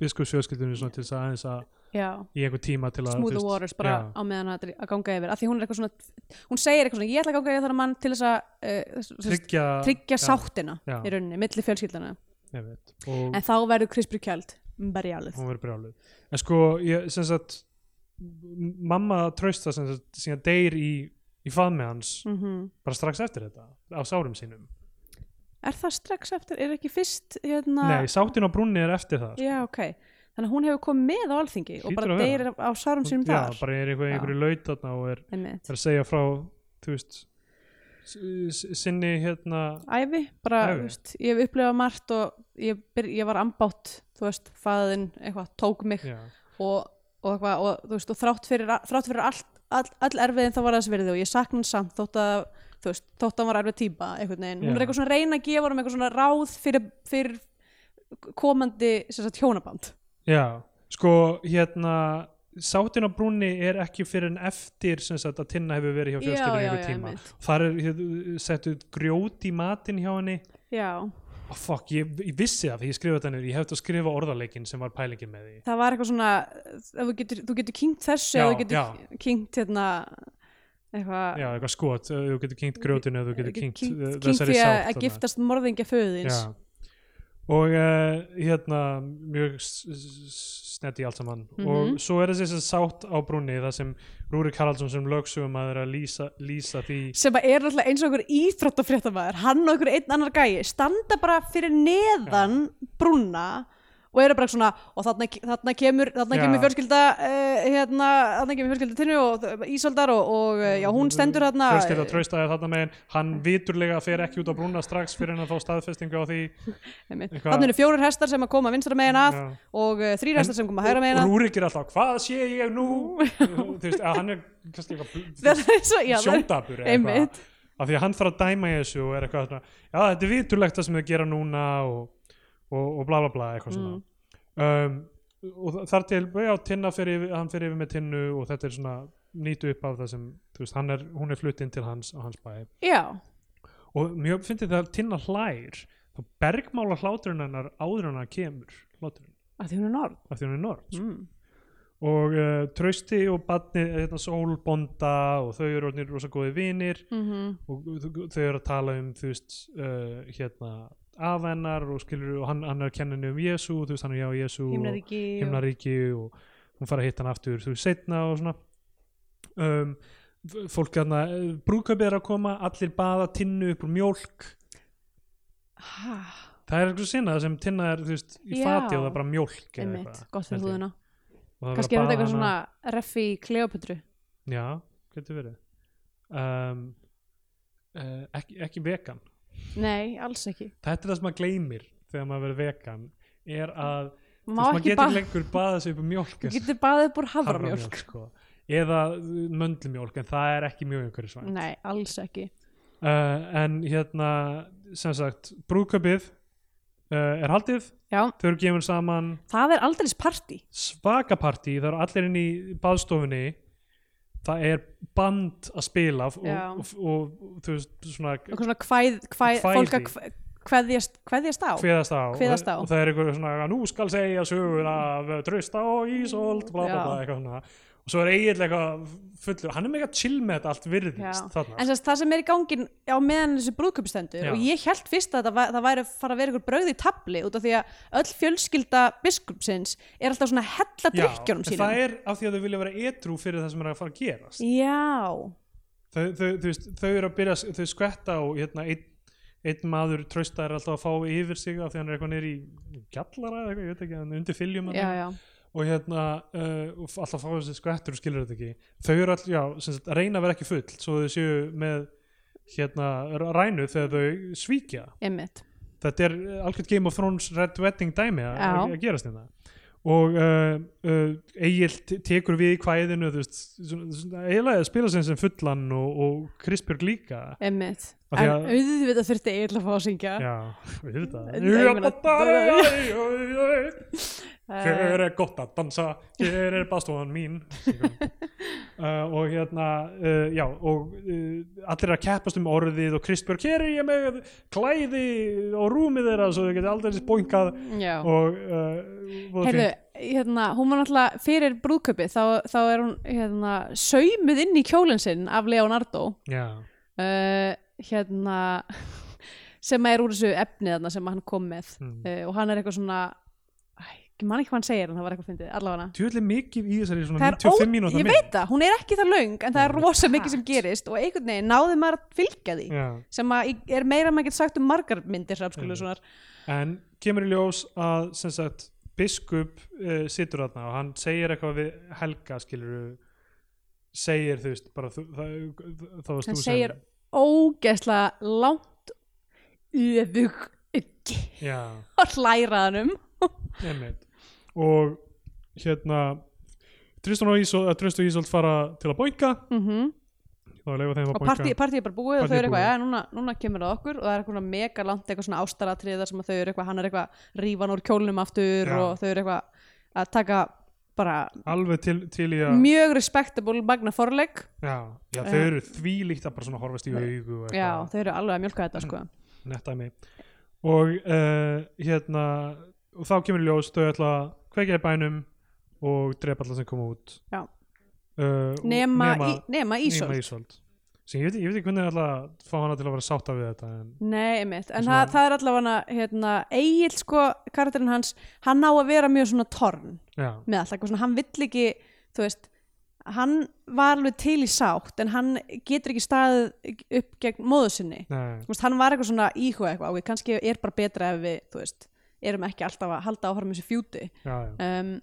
A: biskupsfjölskyldunni svona til þess að aðeins að
B: já,
A: í einhver tíma til að
B: smooth
A: þú
B: the
A: veist,
B: waters bara
A: já.
B: á meðan að, að ganga yfir af því hún er eitthvað svona, hún segir eitthvað svona ég ætla að ganga yfir þarna mann til þess að uh, þess- þess-
A: tryggja,
B: tryggja
A: já,
B: sáttina
A: já.
B: í rauninni, milli fjölskyldana
A: ég veit, og
B: en þá verður krispur kjald berjálið,
A: hún verður brjálið en sko, ég, sem sagt m- mamma trausta sem sagt síðan deyr í, í faðmi hans
B: mm
A: bara strax eftir þetta, á sárum sínum
B: er það strax eftir, er ekki fyrst hérna,
A: nei, sáttin á brúnni er eftir það
B: já ok þannig að hún hefur komið með á alþingi og
A: Hlýtur
B: bara
A: að vera.
B: deyrir á sárum
A: sko.
B: sínum
A: já,
B: þar
A: bara er einhver,
B: Já.
A: einhverju laut þarna og er,
B: einmitt,
A: er að segja frá þú veist s- s- sinni hérna
B: æfi, bara,
A: Ævi.
B: þú veist, ég hef upplifað margt og ég, byr, ég var ambátt þú veist, faðin, eitthvað, tók mig
A: já,
B: og, og, eitthvað, og, þú veist, og þrátt fyrir, þrátt fyrir allt, all, all erfiðin þá var þess verðið og ég sakna hann samt þótt að þú veist, þótt að hann var erfið típa einhvern veginn, hún
A: Já.
B: er eitthvað svona að reyna að gefa hann eitthvað svona ráð fyrir, fyrir komandi sem sagt, hjónaband
A: já, sko hérna sáttin á brúnni er ekki fyrir en eftir sem sagt að Tinna hefur verið hjá
B: Já,
A: fjölskyldunni
B: já,
A: einhver
B: já,
A: tíma
B: einmitt.
A: þar er hér- settu grjót í matinn hjá henni
B: já,
A: oh, fuck, ég, ég vissi það, því ég skrifa þetta niður ég hefði að skrifa orðarleikin sem var pælingin með því
B: það var eitthvað svona ef þú getur, þú getur kynnt þessu
A: Já,
B: eða þú getur
A: já.
B: kynnt hérna eitthvað
A: já, eitthvað skot, uh, þú getur kynkt grjótinu eða þú getur kynkt uh,
B: kynnt
A: þessari
B: því að,
A: sátt
B: að
A: þarna.
B: giftast morðingja föðins
A: Já. og uh, hérna mjög s- s- snetti allt saman
B: Mhm.
A: og svo er þessi sem sátt á brúnni þar sem Rúrik Haraldsson sem lögsögum að er að lýsa, lýsa því
B: sem að er alltaf eins og einhver íþróttafréttamaður hann og einhver einn annar gæi standa bara fyrir neðan brúna og eru bara svona og þarna, þarna kemur, þarna
A: Já.
B: kemur fjölskylda uh, hérna, þarna kemur fjölskylda tinnu og Ísaldar og, og eh, já, hún stendur þarna eh,
A: fjölskylda traustaði þarna megin hann viturlega fer ekki út á brúnna strax fyrir hann að fá staðfestingu á því
B: Einmitt.
A: eitthvað-
B: þarna eru fjórir hestar sem að koma vinstra megin að
A: Já.
B: og uh, þrýr hestar sem koma hægra megin
A: og
B: að
A: Rúrik er alltaf, hvað sé ég nú þú veist, að hann er kannski
B: það
A: eitthvað
B: er svo, já, það er-
A: sjóndabur eða eitthvað
B: Einmitt.
A: af því að hann þarf að dæma í þessu og er eitthvað svona, já þetta er viturlegt það sem þau gera núna og, og, og bla bla bla eitthvað svona
B: Mm.
A: um, og þar til, já, tinna fyrir yfir, hann fyrir yfir með tinnu og þetta er svona nýtu upp af það sem, þú veist, hann er, hún er flutt inn til hans á hans bæ
B: já,
A: og mjög fyndið það að tinna hlær þá bergmála hláturinn hennar áður en hann kemur hláturinn,
B: að því hún er norð
A: af því hún er nort
B: mm.
A: og uh, trausti og badni, hérna sólbonda og þau eru orðnir rosa góði vinir
B: Mm
A: og þau- þau eru að tala um þú veist, uh, hérna af hennar og skilur og hann, hann er að kenna henni um Jésu, þú veist, hann er já Jésu og,
B: himnaríki og-
A: himnaríki og hún fara að hitta hann aftur þú veist setna og svona um, f- fólk aðna brúðkaupið er að koma, allir baða tinnu upp úr mjólk
B: Ha,
A: það er eitthvað sinna sem tinna er þú veist, í
B: Já.
A: fati og það er bara mjólk eða
B: einmitt,
A: eitthvað,
B: gott fyrir
A: held ég.
B: húðuna
A: Og það er
B: kannski er
A: verið að
B: þetta
A: baða
B: eitthvað svona reffi Kleopatru
A: hana- já, getur verið um, uh, ekki, ekki vegan
B: nei, alls ekki
A: þetta er það sem maður gleymir þegar maður verið vegan er að þú
B: má
A: veist, maður
B: ekki
A: getur
B: ba
A: lengur baða sig upp úr mjólk
B: þú getur baðið upp úr
A: haframjólk
B: haframjólk
A: sko. eða uh, möndlumjólk en það er ekki mjög einhverjum svænt
B: nei, alls ekki
A: uh, en hérna sem sagt brúðkaupið uh, er haldið,
B: já,
A: þau eru gefin saman
B: það er aldrei partí
A: svakapartí, það eru allir inn í baðstofunni það er band að spila og,
B: Já.
A: og, og, þú veist svona
B: eitthvað svona kvæð, kvæð
A: Kvæði.
B: fólk að kv- kveðjast, kveðjast á
A: kveðast á,
B: Kveðast á.
A: Og, og það er eitthvað svona að nú skal segja sögur af trösta og ísolt bla bla
B: Já.
A: bla eitthvað svona og svo er eiginlega eitthvað fullur hann er mega chill með þetta allt virðist
B: Já.
A: þarna
B: en sérst, það sem er í gangin á meðan þessi brúðköpistendur
A: Já.
B: og ég held fyrst að það, væ- það væri að fara að vera ykkur brauð í tabli út af því að öll fjölskylda biskupsins er alltaf svona að hella
A: Já,
B: drikkjónum
A: en
B: sínum
A: það er af því að þau vilja vera edrú fyrir það sem er að fara að gerast
B: já,
A: þau, þau, þau, veist, þau eru að byrja þau skvetta og hérna einn einn maður trausta er alltaf að fá yfir sig af því hann er eitthvað nýri í gjallara eða eitthvað, ég veit ekki, hann er undir fyljum
B: já, já,
A: og hérna uh, og f- alltaf fá þessi skvettur og skilur þetta ekki þau eru alltaf, já, sem sagt, að reyna að vera ekki full svo þau séu með hérna r- rænu þegar þau svíkja
B: einmitt
A: þetta er eh, algjört Game of Thrones Red Wedding dæmi að-
B: Já.
A: að gerast þetta og uh, uh, Egil tekur við í kvæðinu þú veist, svona- svona- eiginlega spila sem sem fullan og, og Krispjörg líka
B: Einmitt.
A: Af því
B: En
A: að-
B: auðvitað þurfti eiginlega að fá að syngja.
A: já, við þetta
B: Nei, ég meina-
A: Jöppadæ, jöi, jöi. hér
B: Eh.
A: er gott að dansa hér er baðstofan mín uh, og hérna uh, já og uh, allir að keppast um orðið og Kristbjörg hér er ég með klæði og rúmið þeirra svo þau geti aldrei spóinkað
B: Já.
A: og uh, voða
B: Heyrðu,
A: fínt.
B: hérna, hún var náttúrulega fyrir brúðköpi þá, þá er hún hérna, saumuð inn í kjólinn sinn af Leonardo
A: já,
B: uh, hérna sem er úr þessu efni þarna sem hann kom með
A: Mm.
B: uh, og hann er eitthvað svona æ, ég man ekki hvað hann segir en það var eitthvað fyndið, allavega
A: tjóðlega mikið í þessari svona
B: Það er
A: 95
B: ó-
A: mínúta
B: ég
A: mynd.
B: veit það, hún er ekki það löng en það er rosa mikið sem gerist og einhvern veginn náði maður að fylgja því
A: Mm. Já.
B: sem að í- er meira en maður getur sagt um margar myndir sem
A: Mm.
B: skulu svona
A: en kemur í ljós að sem sagt biskup uh, situr þarna og hann segir eitthvað við Helga skilur segir þú veist bara þú, það, það varst
B: hann
A: þú
B: segir ógeðslega langt öfug ekki
A: sem já,
B: og hlæraðanum
A: einmitt og hérna Tristan og Ísold, Tristan og Ísold fara til að boinka
B: mm
A: þá leifa þeim að
B: og
A: boinka
B: partí, partí er bara búið og
A: Partíið
B: þau eru
A: búið.
B: eitthvað, já núna, núna kemur það okkur og það er eitthvað mega langt eitthvað svona ástaratriða sem að þau eru eitthvað, hann er eitthvað rífan úr kjólnum aftur
A: Já.
B: og þau eru eitthvað að taka bara
A: alveg til, til í að
B: mjög respectable magna forleik
A: já, já, þau eru þvílíkt að bara svona horfast í augu og
B: Eh. já,
A: eitthvað,
B: þau eru alveg að mjölka þetta
A: Mm.
B: sko
A: nettæmi og uh, hérna og þá kemur í ljós þau ætla að kveikja í bænum og drepa alla sem koma út
B: Já.
A: uh, og-
B: nema, nema, nema
A: nema
B: Ísold
A: Ísold sem ég veit, ég veit ekki hvernig þau ætla að fá hana til að vera sátta við þetta en
B: Nei, einmitt, en
A: Svona-
B: það, það er allavega hérna, Egil sko, karakterinn hans hann á að vera mjög svona torn
A: já,
B: með allt, eitthvað svona, hann vill ekki þú veist, hann var alveg til í sátt, en hann getur ekki staðið upp gegn móðu sinni
A: nei,
B: Þú veist, hann var eitthvað svona íhuga eitthvað, ok, kannski er bara betra ef við, þú veist, erum ekki alltaf að halda áfram þessu fjúti
A: já, já
B: um,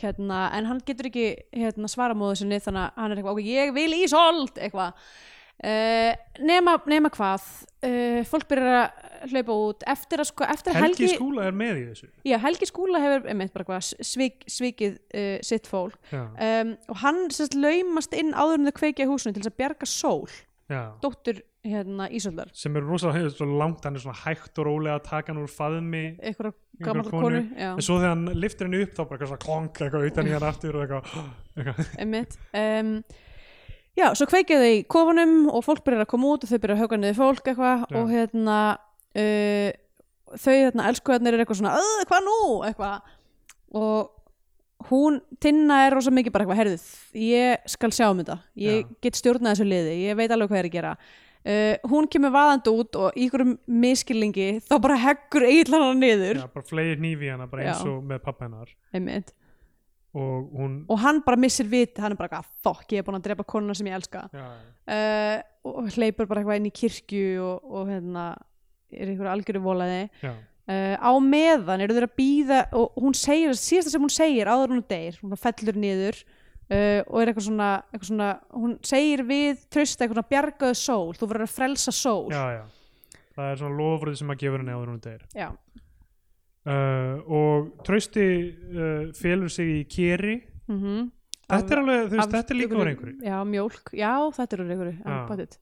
B: hérna, en hann getur ekki hérna, svara móðu sinni, þannig að hann er eitthvað, ok, ég vil ísold, eitthvað Uh, nema, nema hvað uh, fólk byrjar að hlaupa út eftir að sko, eftir að
A: Helgi Skúla er með í þessu
B: Já, Helgi Skúla hefur einmitt bara hvað, svik, svikið uh, sitt fólk
A: já,
B: um, og hann sérst laumast inn áður en þau kveikja í húsinu til þess að bjarga sól
A: já.
B: dóttur hérna Ísöldar
A: sem er rosalega hefur svo langt hann er svona hægt og rólega að taka hann úr faðmi
B: einhverja
A: einhverrar
B: gammal konu, já,
A: en svo þegar hann liftir henni upp þá bara eitthvað svona klonk eitthvað utan í hann aftur og eitthvað, eitthvað.
B: einmitt um, já, svo kveikja þau í kofanum og fólk byrjar að koma út og þau byrjar að höga niður fólk eitthvað
A: Já.
B: og hérna uh, þau hérna elskuðarnir er eitthvað svona, "Ugh, hvað nú eitthvað og hún, Tinna er rosa mikið bara eitthvað, herðið, ég skal sjá um þetta ég
A: Já.
B: get stjórnað þessu liði, ég veit alveg hvað ég er að gera uh, hún kemur vaðandi út og í einhverjum miskilningi þá bara heggur eiginlega hana niður
A: já, bara flegir hnífi í hana bara eins
B: Já.
A: og með pappa hennar
B: einmitt,
A: og hún
B: og hann bara missir vit hann er bara eitthvað, fokk, ég er búin að drepa konuna sem ég elska
A: já,
B: uh, og hleypur bara eitthvað inn í kirkju og, og hérna er einhverju algjöru volaði
A: já,
B: uh, á meðan eru þeir að býða og hún segir, síðasta sem hún segir áður en hún deyr, hún fellur niður uh, og er eitthvað svona, eitthvað svona hún segir við trösta eitthvað svona bjargaðu sól, þú verður að frelsa sól
A: já, já það er svona lofrið sem að gefur henni áður en hún deyr
B: Já.
A: uh, og trausti uh, félur sig í keri
B: Mhm.
A: þetta er alveg, þú veist,
B: Af-
A: þetta er líka
B: einhverju-
A: úr einhverju
B: já, mjólk, já, þetta er úr einhverju Ah, já,
A: Já.
B: pottþétt.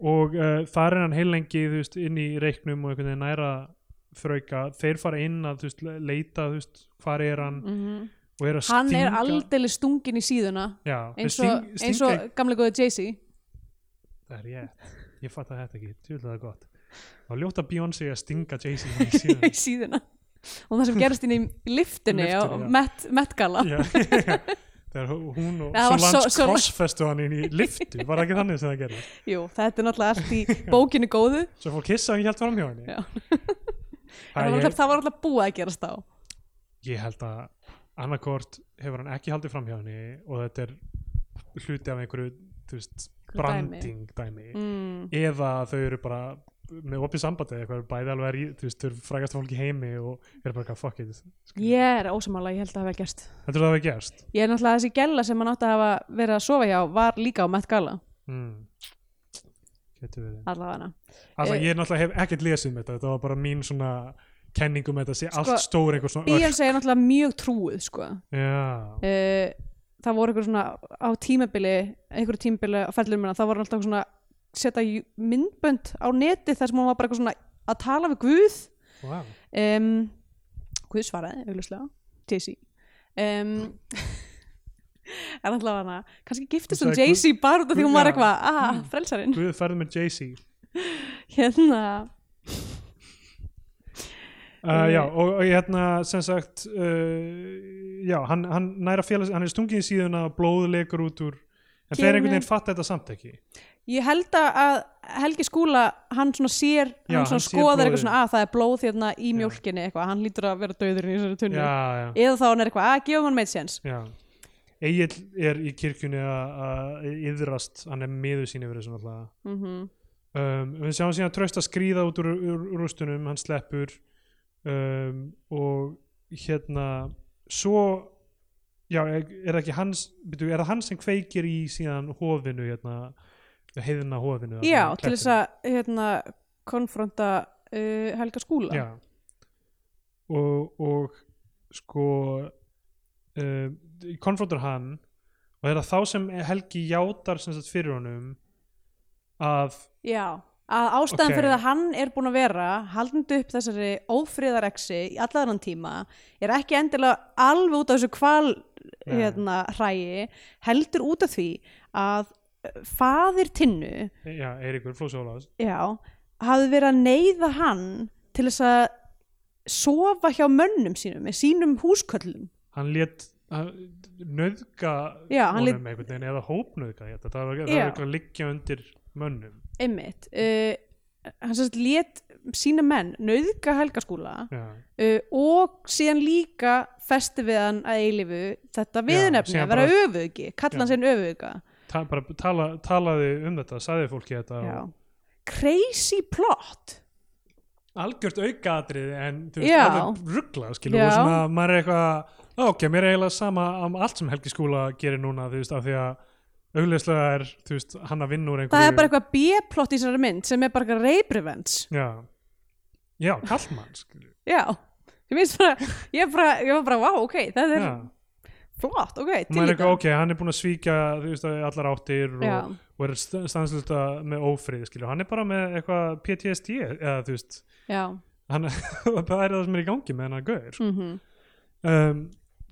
A: og uh, þar er hann heilengi þú veist, inn í reiknum og einhvern veginn næra fröyka, þeir fara inn að þú veist, le- leita, þú veist, hvar er hann
B: Mhm.
A: og er að
B: hann
A: stinga
B: er aldrei stungin í síðuna
A: já,
B: eins
A: þeir
B: og,
A: sting,
B: eins
A: stinga
B: og gamlega góða Jay-Z
A: það er ég, ég fatt að þetta ekki tjóðlega það er gott og ljóta Beyoncé að stinga Jay-Z
B: í síðuna og það sem gerist inn í liftinni
A: Lyftunni,
B: og
A: já.
B: Met, Met Gala
A: Já, þegar hún og
B: Það var
A: Solange
B: Sol- Sol-
A: crossfestu hann inn í liftu var það ekki þannig sem það gerði
B: Jú, þetta er náttúrulega allt í bókinu góðu
A: svo fór kissa og ég held fram hjá henni
B: Já.
A: Æ,
B: það var,
A: ég,
B: alltaf, það var alltaf búið að gerast á
A: ég held að annarkort hefur hann ekki haldið fram hjá henni og þetta er hluti af einhverju þú veist,
B: Einhverju
A: branding dæmi,
B: mm.
A: eða þau eru bara með opið sambandi eða eitthvað eru bæði alveg að rí- þú veist, þau eru frægast fólk í heimi og eru bara eitthvað fuck it
B: Ég er ósamála, ég held að það hafa gerst
A: heldur það að hafa gerst
B: Ég er náttúrulega þessi gella sem hann átti að hafa verið að sofa hjá var líka á Met Gala
A: mm. getur verið
B: allavega hana
A: Alltaf,
B: Eh,
A: ég náttúrulega hef ekkert lesið um þetta þetta var bara mín svona kenning um þetta sé
B: Sko,
A: allt stór einhver svona örk
B: Beyoncé er náttúrulega mjög trúið sko.
A: já,
B: uh, Það voru einhver svona á tímabili einhverju tímabili á fellur minna það voru alltaf svona setja jú- myndbönd á neti þar sem hún var bara eitthvað svona að tala við Guð
A: wow.
B: um, Guð svaraði augljóslega Jay-Z um, en alltaf hana kannski giftist
A: Hún
B: hún
A: sagði
B: Jay-Z bara út af því hún var
A: Já. Mm.
B: eitthvað ah, frelsarinn
A: Guð færðu með Jay-Z
B: hérna,
A: Uh, já, og, og hérna, sem sagt, uh, já, hann, hann næra félags, hann er stungið í síðuna, blóð lekur út úr, en þeir
B: Kemur.
A: einhvern veginn fatta þetta samt ekki.
B: ég held að Helgi Skúla, hann svona sér
A: Já,
B: hann svona
A: hann sér
B: skoðar
A: blóðið.
B: eitthvað svona að það er blóð hérna í mjólkinni eitthvað, hann lítur að vera döður í þessari tunnu
A: Já, já,
B: eða þá hann er eitthvað, að gefum hann meitt séns
A: já. Egil er í kirkjunni að að yðrast, hann er miður sín yfir þessum alltaf.
B: mm
A: Um, við sjáum síðan tröst að skríða út úr, úr, úr rústunum, hann sleppur um, og hérna, svo, já, er það ekki hans, byrju, er það hans sem kveikir í síðan hofinu, hérna, heiðina hofinu? þarna
B: já,
A: í
B: til þess
A: klettinum?
B: að hérna, konfronta uh, Helga Skúla
A: Já. Og, og sko uh, konfrontur hann og það er að þá sem Helgi játar sem sagt fyrir honum að
B: Já, að ástæðan
A: Ok.
B: fyrir að hann er búin að vera haldandi upp þessari ófriðareksi í allaðanan tíma er ekki endilega alveg út af þessu kval
A: Nei.
B: hérna hræi heldur út af því að eh, faðir tinnu
A: já, Eiríkur Flósólas
B: já, hafði verið að neyða hann til þess að sofa hjá mönnum sínum með sínum húsköllum
A: hann lét hann nöðga
B: Já, hann
A: honum einhvern veginn eða hópnöðga hérna. það var það var
B: Já.
A: eitthvað að liggja undir mönnum
B: einmitt uh, hann sérst lét sína menn nöðga helgaskúla
A: já.
B: uh, og síðan líka festi við hann að eilifu þetta viðnefni,
A: síðan
B: að vera
A: bara-
B: öfugi kalla hann
A: Já.
B: sinn öfuga
A: Ta, bara tala, talaði um þetta sagði fólki þetta
B: Já.
A: og
B: crazy plot
A: algjört aukaadrið en þú
B: Já.
A: veist, alveg ruggla skilur
B: Já.
A: og svona, maður er eitthvað "Á, ok, mér er eiginlega sama um allt sem Helgi Skúla gerir núna, þú veist, af því að augljóslega er, þú veist, hann að vinna úr einhverju
B: það er bara eitthvað B-plot í þessari mynd sem er bara eitthvað rape revenge
A: Já, já kallmann, skilur
B: já, ég minnst bara ég, bara, ég var bara, wow, ok, það er
A: Já,
B: flott, ok,
A: og maður er
B: til í
A: eitthvað,
B: það
A: ok, hann er búin að svíkja, þú veist, í allar áttir
B: Já.
A: og, og er stanslista með ófrið, skilur hann er bara með eitthvað PTSD eða, þú veist,
B: já,
A: hann, það er það sem er í gangi með hennar gaur, sko.
B: mm
A: um,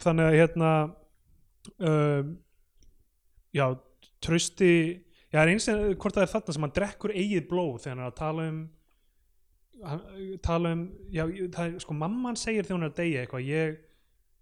A: þannig að hérna um, já, trösti já, er eins og hvort það er þarna sem hann drekkur eigið blóð þegar hann er að tala um hann, tala um já, ég- það er, sko mamman segir þegar hún er að deyja eitthvað, ég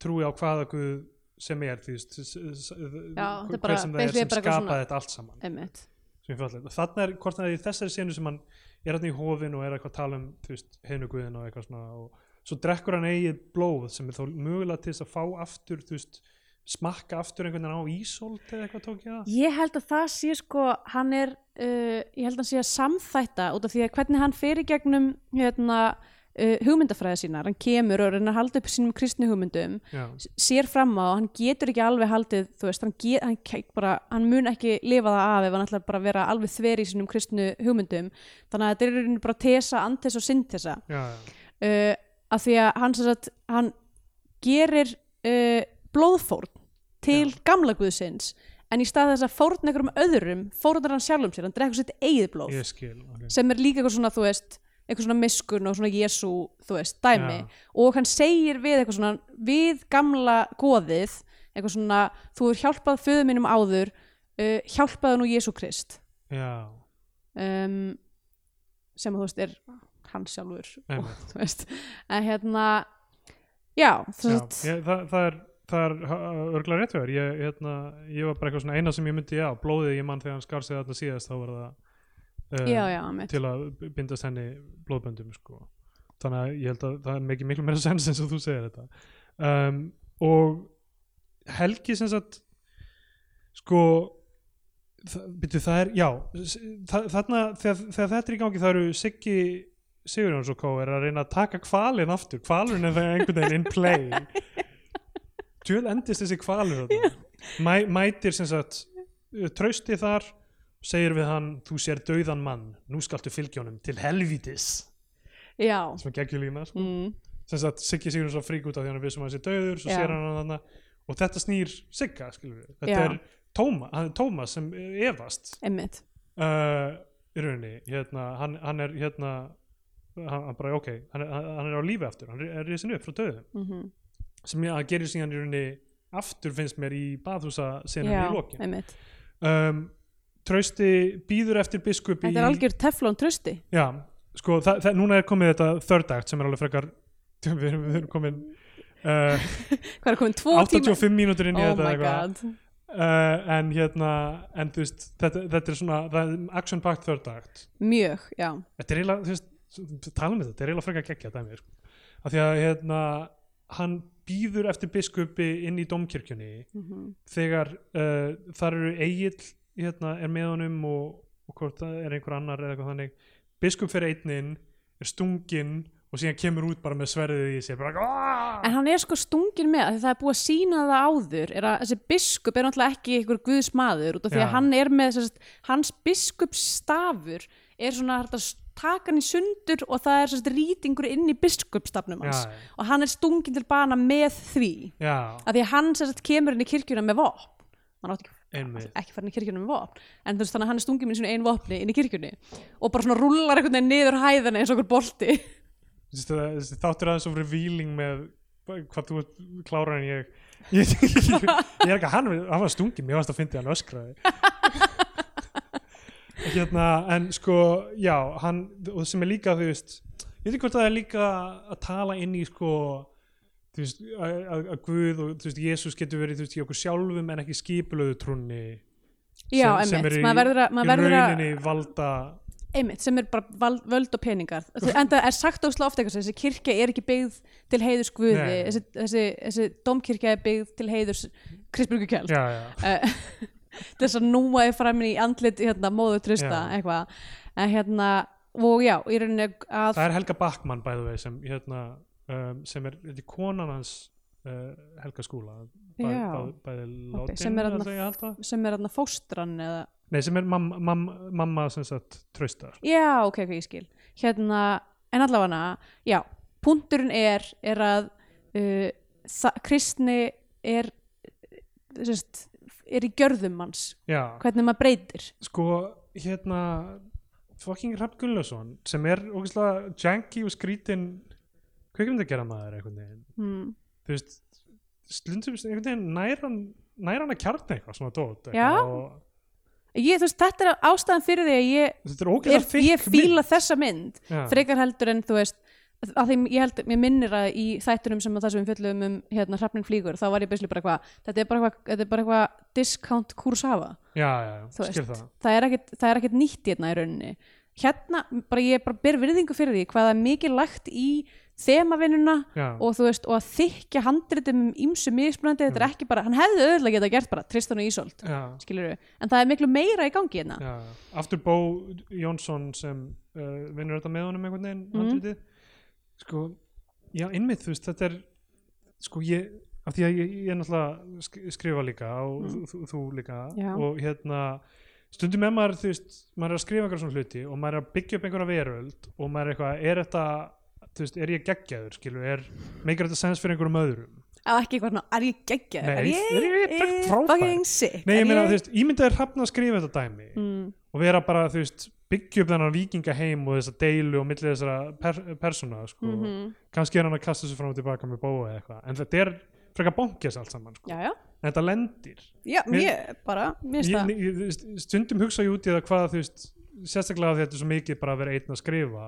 A: trúi á hvaða guð sem er, þú veist s- s-
B: Já, þetta
A: hver
B: er bara-
A: sem það er
B: basically
A: sem
B: bara eitthvað
A: skapaði
B: svona-
A: þetta allt saman
B: einmitt
A: sem er fallegt. Og þarna er hvort það er í þessari senu sem hann er hann í hofin og er eitthvað að tala um þú veist, hinu guðin og eitthvað svona og svo drekkur hann eigið blóð sem er þá mögulega til þess að fá aftur þú veist, smakka aftur einhvern veginn á ísóld eða eitthvað tók ég það
B: Ég held að það sé sko, hann er, uh, ég held að hann sé að samþætta út af því að hvernig hann fer í gegnum hérna, uh, hugmyndafræði sínar, hann kemur og reyna að halda upp sínum kristni hugmyndum,
A: Já,
B: s- sér fram á, hann getur ekki alveg haldið, þú veist, hann, get, hann, ke- bara, hann mun ekki lifa það af ef hann ætlar bara að vera alveg þver í sínum kristnu hugmyndum, þannig að þetta er í rauninni bara tesa, antesa og syntesa
A: já, já,
B: uh, að því að hann, sem sagt, hann gerir uh, blóðfórn til gamla guðsins en í stað þess að fórna einhverjum öðrum fórnar hann sjálfum sér, hann drekkur sitt eigið blóð
A: ég skil okay.
B: sem er líka eitthvað svona, þú veist eitthvað svona miskun og svona jesu þú veist, dæmi
A: Já.
B: og hann segir við eitthvað svona, við gamla goðið, eitthvað svona þú er hjálpað föðu mínum áður uh, hjálpaðu nú Jésu Krist
A: Já,
B: um, sem þú veist er hann sjálfur og,
A: Einmitt.
B: þú veist, að hérna já, þú
A: já
B: veist
A: ég, það, það er það er örglega rétt vegar ég, hérna, ég var bara eitthvað svona eina sem ég myndi já, blóðið ég mann þegar hann skar sig þarna síðast þá var það eh,
B: já, já, mitt
A: til að bindast henni blóðböndum sko. þannig að ég held að það er mikið miklu meira sens eins og þú segir þetta um, og Helgi sem sagt sko það, byrju, það er, já s- þa- þarna, þegar, þegar þetta er í gangi það eru Siggi Sigurjóns og Kó er að reyna að taka kvalin aftur kvalin er það einhvern veginn in play tjöl endist þessi kvalin þarna. Mæ, mætir sem sagt uh, trausti þar segir við hann, þú sér dauðan mann nú skaltu fylgjónum til helvítis
B: já,
A: sem er geggjulína sko.
B: mm,
A: sem sagt Siggi Sigurins var frík út af því hann er vissum að þessi dauður svo
B: Já.
A: sér hann hann þarna og þetta snýr Sigga skilur við, þetta
B: Já.
A: er Tóma, hann er Tómas sem efast
B: einmitt
A: uh, í rauninni, hérna, hann, hann er hérna, hann, hann bara ok hann, er- hann er á lífi aftur, hann er risin upp frá dauðum
B: mhm,
A: sem ég að gerir síðan í rauninni aftur finnst mér í baðhúsa senum
B: já,
A: Hérna í lokin
B: einmitt
A: um, Trausti býður eftir biskup í
B: Þetta er algjör teflon trösti
A: Já, sko, það, það, núna er komið þetta third act sem er alveg frekar við erum, við erum komin uh,
B: Hvað er komin tvo tíma?
A: 85 mínútur inn í
B: Oh
A: þetta
B: my
A: eitthvað.
B: god
A: uh, en hérna en þú veist, þetta, þetta er svona það er action packed third act
B: Mjög, já
A: þetta er eiginlega, þú veist, tala um þetta þetta er eiginlega frekar geggja dæmi sko. af því að hérna, hann býður eftir biskupi inn í domkirkjunni
B: Mhm.
A: þegar uh, þar eru eigill hérna, er með honum og, og hvort það er einhver annar eða eitthvað þannig biskup fyrir einninn, er stunginn og síðan kemur út bara með sverðið í sér bara, "Aah!"
B: En hann er sko stungin með að það er búið að sína það áður er að þessi biskup er náttúrulega ekki einhver guðsmaður út af því
A: Já.
B: að hann er með sérst, hans biskupsstafur er svona hægt að s- taka hann í sundur og það er sérst, rýtingur inn í biskupsstafnum hans
A: Já, já.
B: og hann er stungin til bana með því
A: já,
B: af því að hann sérst, kemur inn í kirkjuna með vopn hann átti ekki
A: einmitt
B: ekki fara inn í kirkjunni með vopn en þú veist þannig að hann er stungin með sínu einu vopni inn í kirkjunni og bara svona rullar einhvern veginn niður hæðina eins og okkur bolti
A: Þessi- það- þessi þáttur aðeins of revealing með hvað þú ert klárar en ég ég, ég, ég, er ekki að hann, hann var stungin mér varst að fyndi hann öskraði hérna, en sko já, hann, og sem er líka þú veist, ég veit ekki hvort það er líka að tala inn í sko þú veist, að, að að Guð og þú veist, Jésús getur verið þú veist, í okkur sjálfum en ekki skipulöðu trúnni
B: já,
A: sem, sem
B: einmitt,
A: er í,
B: maður verður
A: í
B: að, maður verður að
A: rauninni valda
B: einmitt, sem er bara vald, völd og peningar en það er sagt óslega oft eitthvað sem þessi kirkja er ekki byggð til heiðurs guði
A: Nei.
B: þessi, þessi, þessi domkirkja er byggð til heiðurs Kristbjörgukjál
A: já, já,
B: uh, þess að núa er framin í andlit hérna, móður trösta
A: Já.
B: eitthvað en hérna, og já, í rauninni að
A: það er Helga Backmann bæðu vei sem hérna um, sem er, þetta er konan hans uh, Helga Skúla bæ,
B: Já.
A: bæ, bæði látin
B: sem er þarna-
A: ætla ég að halda.
B: sem er hérna fóstran eða,
A: nei sem er mam, mam, mamma sem sagt tröstar
B: já, ok, ok, ég skil hérna, en allavega já, punkturinn er, er að uh, það- kristni er sérst, er í gjörðum hans
A: já,
B: hvernig maður breytir
A: sko hérna fucking Rapp Gullason sem er ógeðslega janky og skrítin kveikmyndagera maður einhvern veginn
B: mm.
A: þú veist slundum einhvern veginn nær hann nær hann að kjarna eitthvað svona dót eitthvað,
B: Já.
A: og
B: ég, þú veist, þetta er ástæðan fyrir því að ég,
A: þetta er
B: er,
A: ógeðslega
B: ég fíla þessa mynd
A: Já.
B: frekar heldur en þú veist að því ég held, mér minnir að í þættunum sem að það sem við fjöllum um hérna hrafnin flýgur þá var ég beislega bara eitthvað, þetta er bara eitthvað þetta er bara eitthvað discount kursafa
A: já, já,
B: þú
A: já, skil það
B: það er ekkert, það er ekkert nýtt hérna í rauninni hérna, bara ég bara ber virðingu fyrir því hvað það er mikið lagt í þemavinnuna
A: já.
B: og þú veist, og að þykja handritum ímsu mismunandi, þetta er
A: Mm.
B: ekki bara, hann hefði auðvitað geta gert bara, Tristan og Ísolt
A: Já,
B: skilur en það er miklu meira í gangi hérna
A: já. Aftur Bó Jónsson sem uh, vinnur þetta með honum einhvern veginn
B: Mhm.
A: handritið sko, já, innmitt þú veist, þetta er sko, ég, af því að ég, ég er náttúrulega sk- skrifa líka og
B: Mm.
A: þú, þú líka
B: Já.
A: og hérna stundum er maður, þú veist, maður er að skrifa einhverja svona hluti og maður er að byggja upp einhverja veröld og maður er eitthvað, er þetta þú veist, er ég geggjaður, skilu, er meikir þetta sens fyrir einhverjum öðrum
B: á ekki eitthvað svona, er ég geggja
A: Nei,
B: er ég,
A: er ég bara frábær?
B: eh, fucking sick
A: Nei, ég
B: Er
A: meina, þú veist, ímyndaðir hrafna að skrifa þetta dæmi
B: mm,
A: og vera bara, þú veist, byggja upp þennan vikingaheim og þessa deilu og milli þessara per persóna, sko
B: mm
A: kannski er hann að kasta þessu fram og tilbaka með bóa eða eitthvað, en þetta er frekar bónkjast allt saman, sko,
B: já, já,
A: en þetta lendir
B: já,
A: Mér-
B: ég bara mér finnst
A: ég,
B: það,
A: ég, þú veist, stundum hugsa ég út í það hvað, þú veist, sérstaklega af því að þetta er svo mikið bara að vera einn að skrifa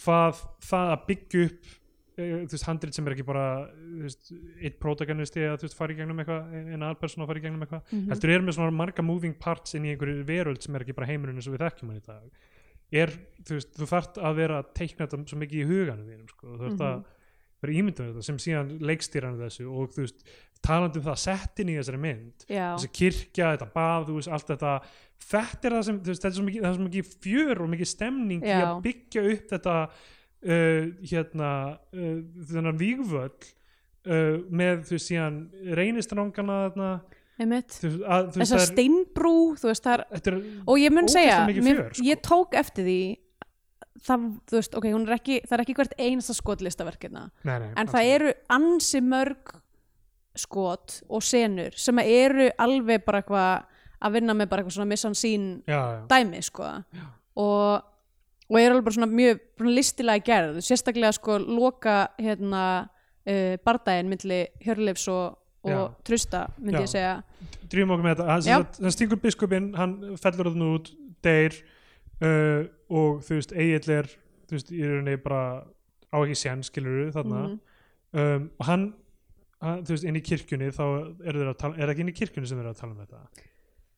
A: hvað það að byggja upp eh, þú veist, handrit sem er ekki bara þú veist, eitt protagonisti eða þú veist, fara í gegnum eitthvað, einn alpersona fara í gegnum eitthvað
B: Mhm.
A: heldur er með svona marga moving parts inn í einhverju veröld sem er ekki bara heimurinn eins og við þekkjum hann í dag er, þú veist, þú þarft að vera að teikna þetta svo mikið í huganum þínum sko. þú þarft
B: Mhm.
A: að vera ímyndum þetta sem síðan leikstýran þessu og þú veist talandi um það settin í þessari mynd
B: já,
A: þessi kirkja, þetta bað, þú veist, allt þetta þetta er það sem, þú veist, þetta er svo mikið, það er svo mikið fjör og mikið stemning í að
B: Já.
A: byggja upp þetta uh, hérna, uh, þennan vígvöll uh, með, þú veist, síðan reynistrangana þarna,
B: einmitt
A: þú veist, að, þú veist,
B: þessar
A: það er,
B: steinbrú, þú veist, það er
A: þetta er
B: og ég mun segja,
A: Ógeðslega mikið
B: mér,
A: fjör, sko.
B: ég tók eftir því það, þú veist, ok, hún er ekki það er ekki hvert einasta skotlistaverkina
A: nei, nei,
B: en það eru ansi mörg skot og senur sem að eru alveg bara eitthvað að vinna með bara eitthvað svona missan sín
A: já, já,
B: dæmi sko og, og er alveg bara svona mjög svona listilega gerð sérstaklega sko loka hérna uh, bardaginn myndli Hjörleifs og, og
A: Já.
B: Trausta myndi
A: Já.
B: ég segja
A: drýjum okkur með þetta hann,
B: Já.
A: sem sagt- hann stingur biskupinn, hann fellur þarna út deyr uh, og þú veist, Egill er þú veist, í rauninni bara á ekki sén skilur þarna
B: Mhm.
A: um, og hann, hann, þú veist, inn í kirkjunni þá eru þeir að tala, er það ekki inn í kirkjunni sem þeir eru að tala um þetta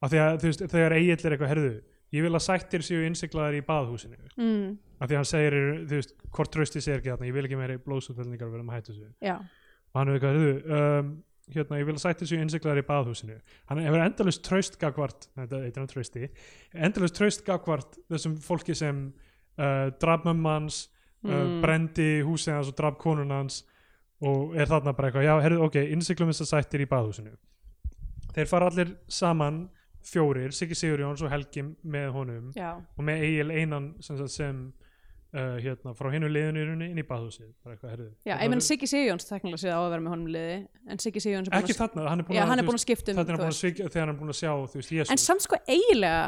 A: af því að, þú veist, þegar Egill er eitthvað herðu, ég vil að sættir séu innsiklaðar í baðhúsinu
B: mm,
A: af því að hann segir, þú veist, hvort trösti sér ekki þarna ég vil ekki meiri blóðsútvelningar verðum að hættu þessu
B: já,
A: og hann hefur eitthvað, heyrðu, um, hérna, ég vil að sætti sér innsiklaðar í baðhúsinu hann hefur endalaust traust gagvart þetta heitir hann trausti, endalaust traust gagvart þessum fólki sem uh, draf mömmu hans uh,
B: Mm.
A: brendi húsið hans og draf konun hans og er þarna bara eitthvað, já, heyrðu, ok innsiklum þessar sættir í baðhúsinu þeir fara allir saman fjórir, Siggi Sigurjóns og Helgi með honum
B: já,
A: og með Egil einan sem, sagt sem uh, hérna, frá hinu liðinu í rauninni inn í baðhúsið bara eitthvað, heyrðu,
B: já
A: þetta
B: ég menn
A: verður-
B: Siggi Sigjóns teknilega séð á að vera með honum í liði en Siggi Sigjóns er
A: ekki
B: búin að,
A: þarna, hann er búin
B: já,
A: að,
B: hann
A: þú
B: er búin að skipta um
A: þetta er hann búin
B: þú
A: að um-
B: veist.
A: svíkja þegar hann er búin að sjá þú veist, Jésús
B: en samt sko eiginlega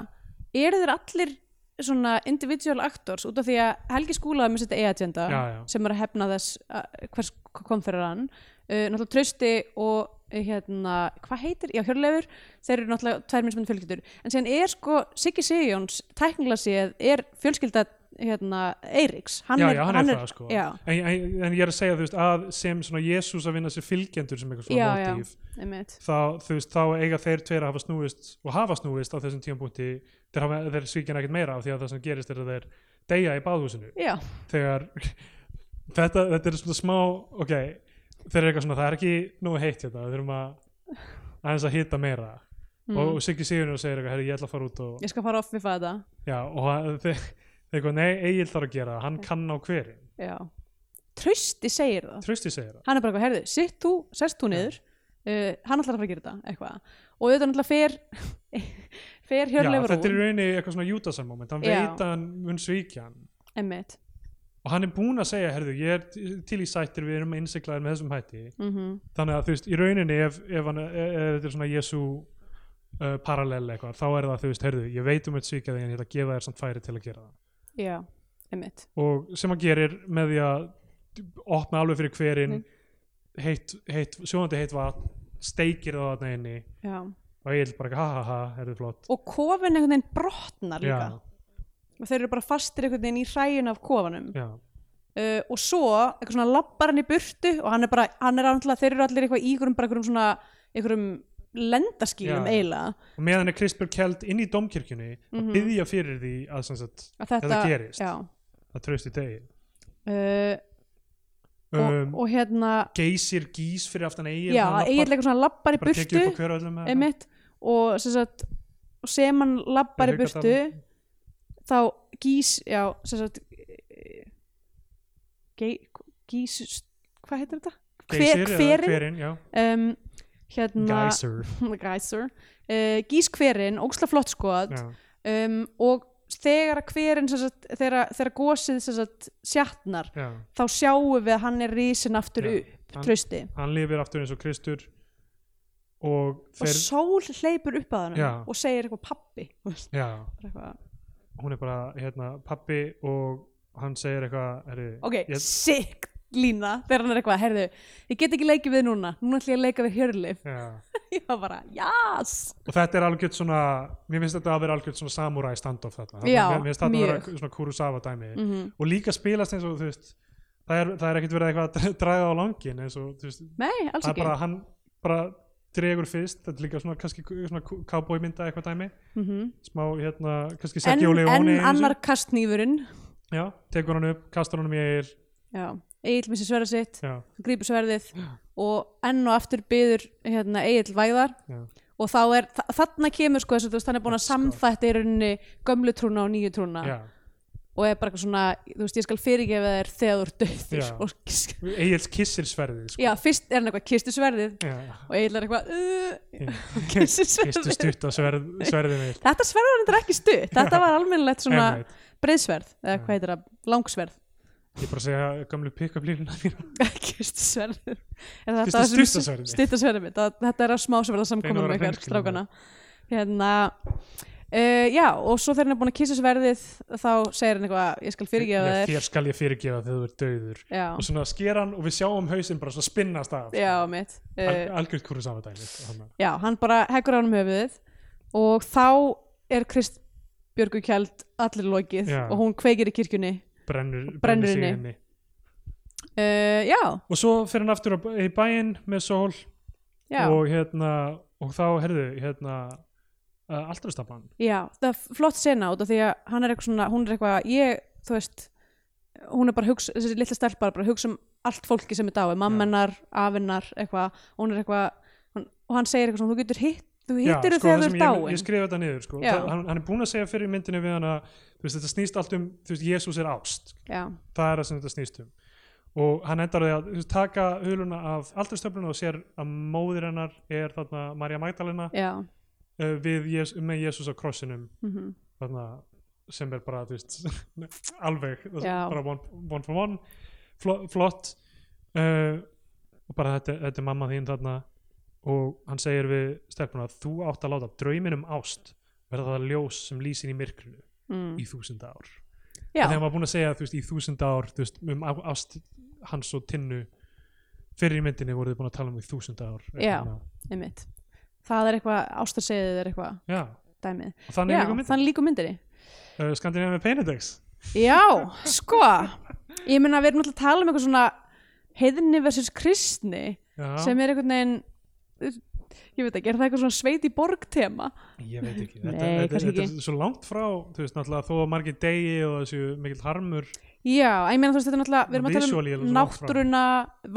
B: eru þeir allir svona individual actors út af því að Helgi skúlaði með sitt e-agenda
A: Já, já.
B: sem er að hefna þess að, hvers hvað kom fyrir hann uh, náttúrulega trausti og uh, hérna, hvað heitir, já Hjörleifur þeir eru náttúrulega tvær minnsmynd fjölskyldur en síðan er sko Siggi Sigjóns tæknilega séð er fjölskylda hérna Eiríks, hann
A: já,
B: er,
A: já, hann, er, það sko
B: já,
A: en, en, en ég er að segja þú veist, að sem svona Jésús að vinna sér fylgjendur sem eitthvað
B: já,
A: svona
B: já,
A: mótíf
B: einmitt
A: þá, þú veist, þá eiga þeir tveir að hafa snúist og hafa snúist á þessum tímapunkti þeir, hafa- þeir svíkja hann ekkert meira af því að það sem gerist er að þeir deyja í baðhúsinu
B: já,
A: þegar þetta, þetta er svona smá ok, þeir eru eitthvað svona það er ekki nógu heitt hérna, við þurfum að aðeins að hita meira og,
B: Mm.
A: og Siggi Sigurinn segir eitthvað, herri ég ætla að fara út og,
B: ég skal fara off við fæða
A: já, og hann- þeir þeir eitthvað, nei, Egil þarf að gera það, hann kann á hverin
B: já, trausti segir það
A: Trösti segir það,
B: hann er bara eitthvað, herðu, sitt þú, sest þú niður uh, hann ætlar að fara að gera þetta eitthvað og auðvitað náttúrulega fer fer
A: já,
B: hjörleifur
A: þetta er í
B: úr
A: rauninni eitthvað svona júdasar moment, hann
B: Já.
A: veit að hann mun svíkja hann
B: emmitt
A: og hann er búinn að segja, herðu, ég er til- til í sættir við erum innsiklaðir með þessum hætti
B: mm
A: þannig að þú veist, í rauninni ef, ef, hann, ef, ef þetta er svona Jésu uh, parallel eitthvað, þá er það þú veist, heyrðu, ég veit um eitt svíkja þig en ég ætla að gefa þér samt færi til að gera það
B: já, emmitt
A: og sem hann gerir með því að opna alveg fyrir hverin heitt, heitt, sjóðandi heitt vatn steikir það þarna inni
B: já.
A: og ég bara, ha ha ha, þetta er flott
B: og kofin einhvern veginn brotnar líka
A: já,
B: og þeir eru bara fastir einhvern veginn í hræjun af kofanum
A: já,
B: uh, og svo eitthvað svona labbar hann í burtu og hann er bara, hann er náttúrulega, þeir eru allir eitthvað í einhverjum, bara einhverjum svona einhverjum lendaskýrum
A: Já.
B: eiginlega
A: og meðan er Krispur keld inn í domkirkjunni
B: Mhm.
A: að byðja fyrir því að, sem sagt,
B: að þetta,
A: Þetta gerist.
B: já,
A: að trausti degi
B: uh,
A: um,
B: og, og hérna
A: geysir gís fyrir aftan eigin
B: já, eiginlega eitthvað svona labbar í
A: bara tekið
B: burtu
A: upp á hver og öllum með þetta.
B: einmitt, og sem, sagt, og sem hann labbar í
A: Ég hugsa
B: burtu þá gís já, sem sagt eh, gei, gís hvað heitir þetta?
A: Geysir eða
B: hverinn?
A: hverinn, já.
B: Um, hérna
A: Geyser,
B: gæsur uh, gís hverinn, óksla flott skoð
A: já.
B: um, og þegar að hverinn sem sagt, þegar, þegar gósið sem sagt, sjatnar
A: já.
B: þá sjáum við að hann er risin aftur
A: Já,
B: upp,
A: hann-
B: trösti
A: hann lifir aftur eins og Kristur og
B: og
A: þeir
B: sól hleypur upp að hann
A: Já.
B: og segir eitthvað pappi þú veist,
A: já,
B: bara eitthvað
A: hún er bara hérna, pappi og hann segir eitthvað herri,
B: ok,
A: ég,
B: sick lína þegar hann er eitthvað, herðu, ég get ekki leikið við núna núna ætlum ég að leika við Hjörleif
A: já.
B: ég var bara, jás
A: og þetta er algjört svona mér finnst þetta að vera algjört svona samurai standoff þarna,
B: Já,
A: mér mér finnst þetta að
B: mjög.
A: vera svona Kurosawa dæmi
B: mm -hmm.
A: og líka spilast eins og þú veist það er, það er ekkert verið eitthvað að draga á langin eins og þú veist,
B: nei, alls
A: það er
B: ekki
A: bara hann bara dregur fyrst, þetta er líka svona kannski svona cowboy mynda eitthvað dæmi
B: mm
A: smá hérna, kannski
B: en,
A: Sergio Leone
B: en
A: eins og-
B: annar kastnýfurinn
A: Já, tekur hann upp, kastar hann um ég
B: já, Egil missi sverða sitt
A: já,
B: grípur sverðið og enn og aftur byður hérna, Egil væðar
A: já,
B: og þá er, þa þarna kemur sko þess að þú veist, hann er búin að
A: Sko.
B: samþætti í rauninni gömlu trúna og nýju trúna
A: já.
B: og er bara eitthvað svona, þú veist, ég skal fyrirgefa þér þegar þú ert döður
A: Já.
B: og,
A: Egils kissir sverðið sko.
B: já, fyrst er hann eitthvað, kistu sverðið
A: já.
B: og Egil er eitthvað uh, kyssi
A: Kistu
B: sverðið
A: stutt á sverð, sverðið mitt
B: þetta sverð var þetta ekki stutt þetta var almennilegt svona
A: Einmitt.
B: breiðsverð eða
A: Já.
B: hvað heitir það, langsverð
A: Ég er bara að segja gömlu pick-up línuna þína
B: kistu sverðið Er þetta
A: Kysstu
B: það sem-
A: stutta sverðið.
B: stutta sverðið mitt Það- þetta er að smásverða
A: Reyna að
B: samkominum
A: vera
B: ykkar
A: hreinskilin
B: strákana hérna Uh, já, og svo þegar hann er búin að kissa sverðið þá segir hann eitthvað, ég skal fyrirgefa
A: Nei,
B: þér
A: þér skal ég fyrirgefa þegar þú ert dauður
B: Já,
A: og svona sker hann og við sjáum hausinn bara svona spinnast af sko.
B: já, mitt
A: Al
B: uh,
A: algjörð kúru samadæli
B: Já, hann bara heggur á hann um höfuðið og þá er Kristbjörgu kjald allir lokið
A: Já.
B: og hún kveikir í kirkjunni
A: brennur,
B: Brennur
A: sig
B: inni.
A: inni
B: uh, Já,
A: og svo fer hann aftur á, í bæinn með sól
B: já,
A: og hérna og þá, herðu, hérna uh, aldrastafan
B: já það er flott sena út af því að hann er eitthvað svona, hún er eitthvað ég, þú veist hún er bara að hugsa, þessi litla stelpar bara að hugsa um allt fólki sem er dái, mammenar, afinnar eitthvað, og hún er eitthvað hún- og hann segir eitthvað svona, þú getur hitt þú hittir þau
A: sko, það
B: þegar þú
A: sem
B: er
A: ég,
B: dáin
A: ég skrifa þetta niður sko.
B: Já.
A: það, hann, hann er búinn að segja fyrir myndinu við hann að þú veist, þetta snýst allt um, þú veist, Jésús er ást
B: já,
A: það er það sem þetta snýst um og hann endar á því að þú veist, taka huluna af aldurstöfluna og sér að móðir hennar er þarna Maria Magdalena
B: já,
A: uh, við, Jes- með Jésús á krossinum
B: mhm
A: þarna, sem er bara þú veist, alveg það er
B: Já.
A: bara one, one for one Flo, flott uh, og bara þetta, þetta er mamma þín þarna og hann segir við stelpuna þú átt að láta drauminn um ást verða það ljós sem lýsir í myrkrinu
B: mm.
A: í þúsund ár
B: já,
A: en þegar maður búin að segja þú veist, í þúsund ár þú veist, um á- ást hans og tinnu fyrir í myndinni voru þið búin að tala um í þúsund ár Þannig
B: Já.
A: að-
B: einmitt það er eitthvað, ástarseðið er eitthvað
A: Já.
B: dæmið,
A: og þannig
B: já,
A: er líka myndin
B: þannig líka myndinni
A: uh, Skandinavia með Penedex
B: já, sko ég meina við erum alltaf að tala um eitthvað svona heiðinni versus kristni sem er einhvern veginn ég veit ekki, er það eitthvað svona sveit í borg tema
A: Ég veit ekki, þetta,
B: Nei,
A: þetta,
B: kannski
A: þetta er svo langt frá þú veist, náttúrulega þó að margir degi og þessu mikill harmur
B: já, ég meina þú veist þetta er náttúrulega við erum að
A: Visually
B: tala
A: er það
B: um
A: svo langt frá.
B: náttúruna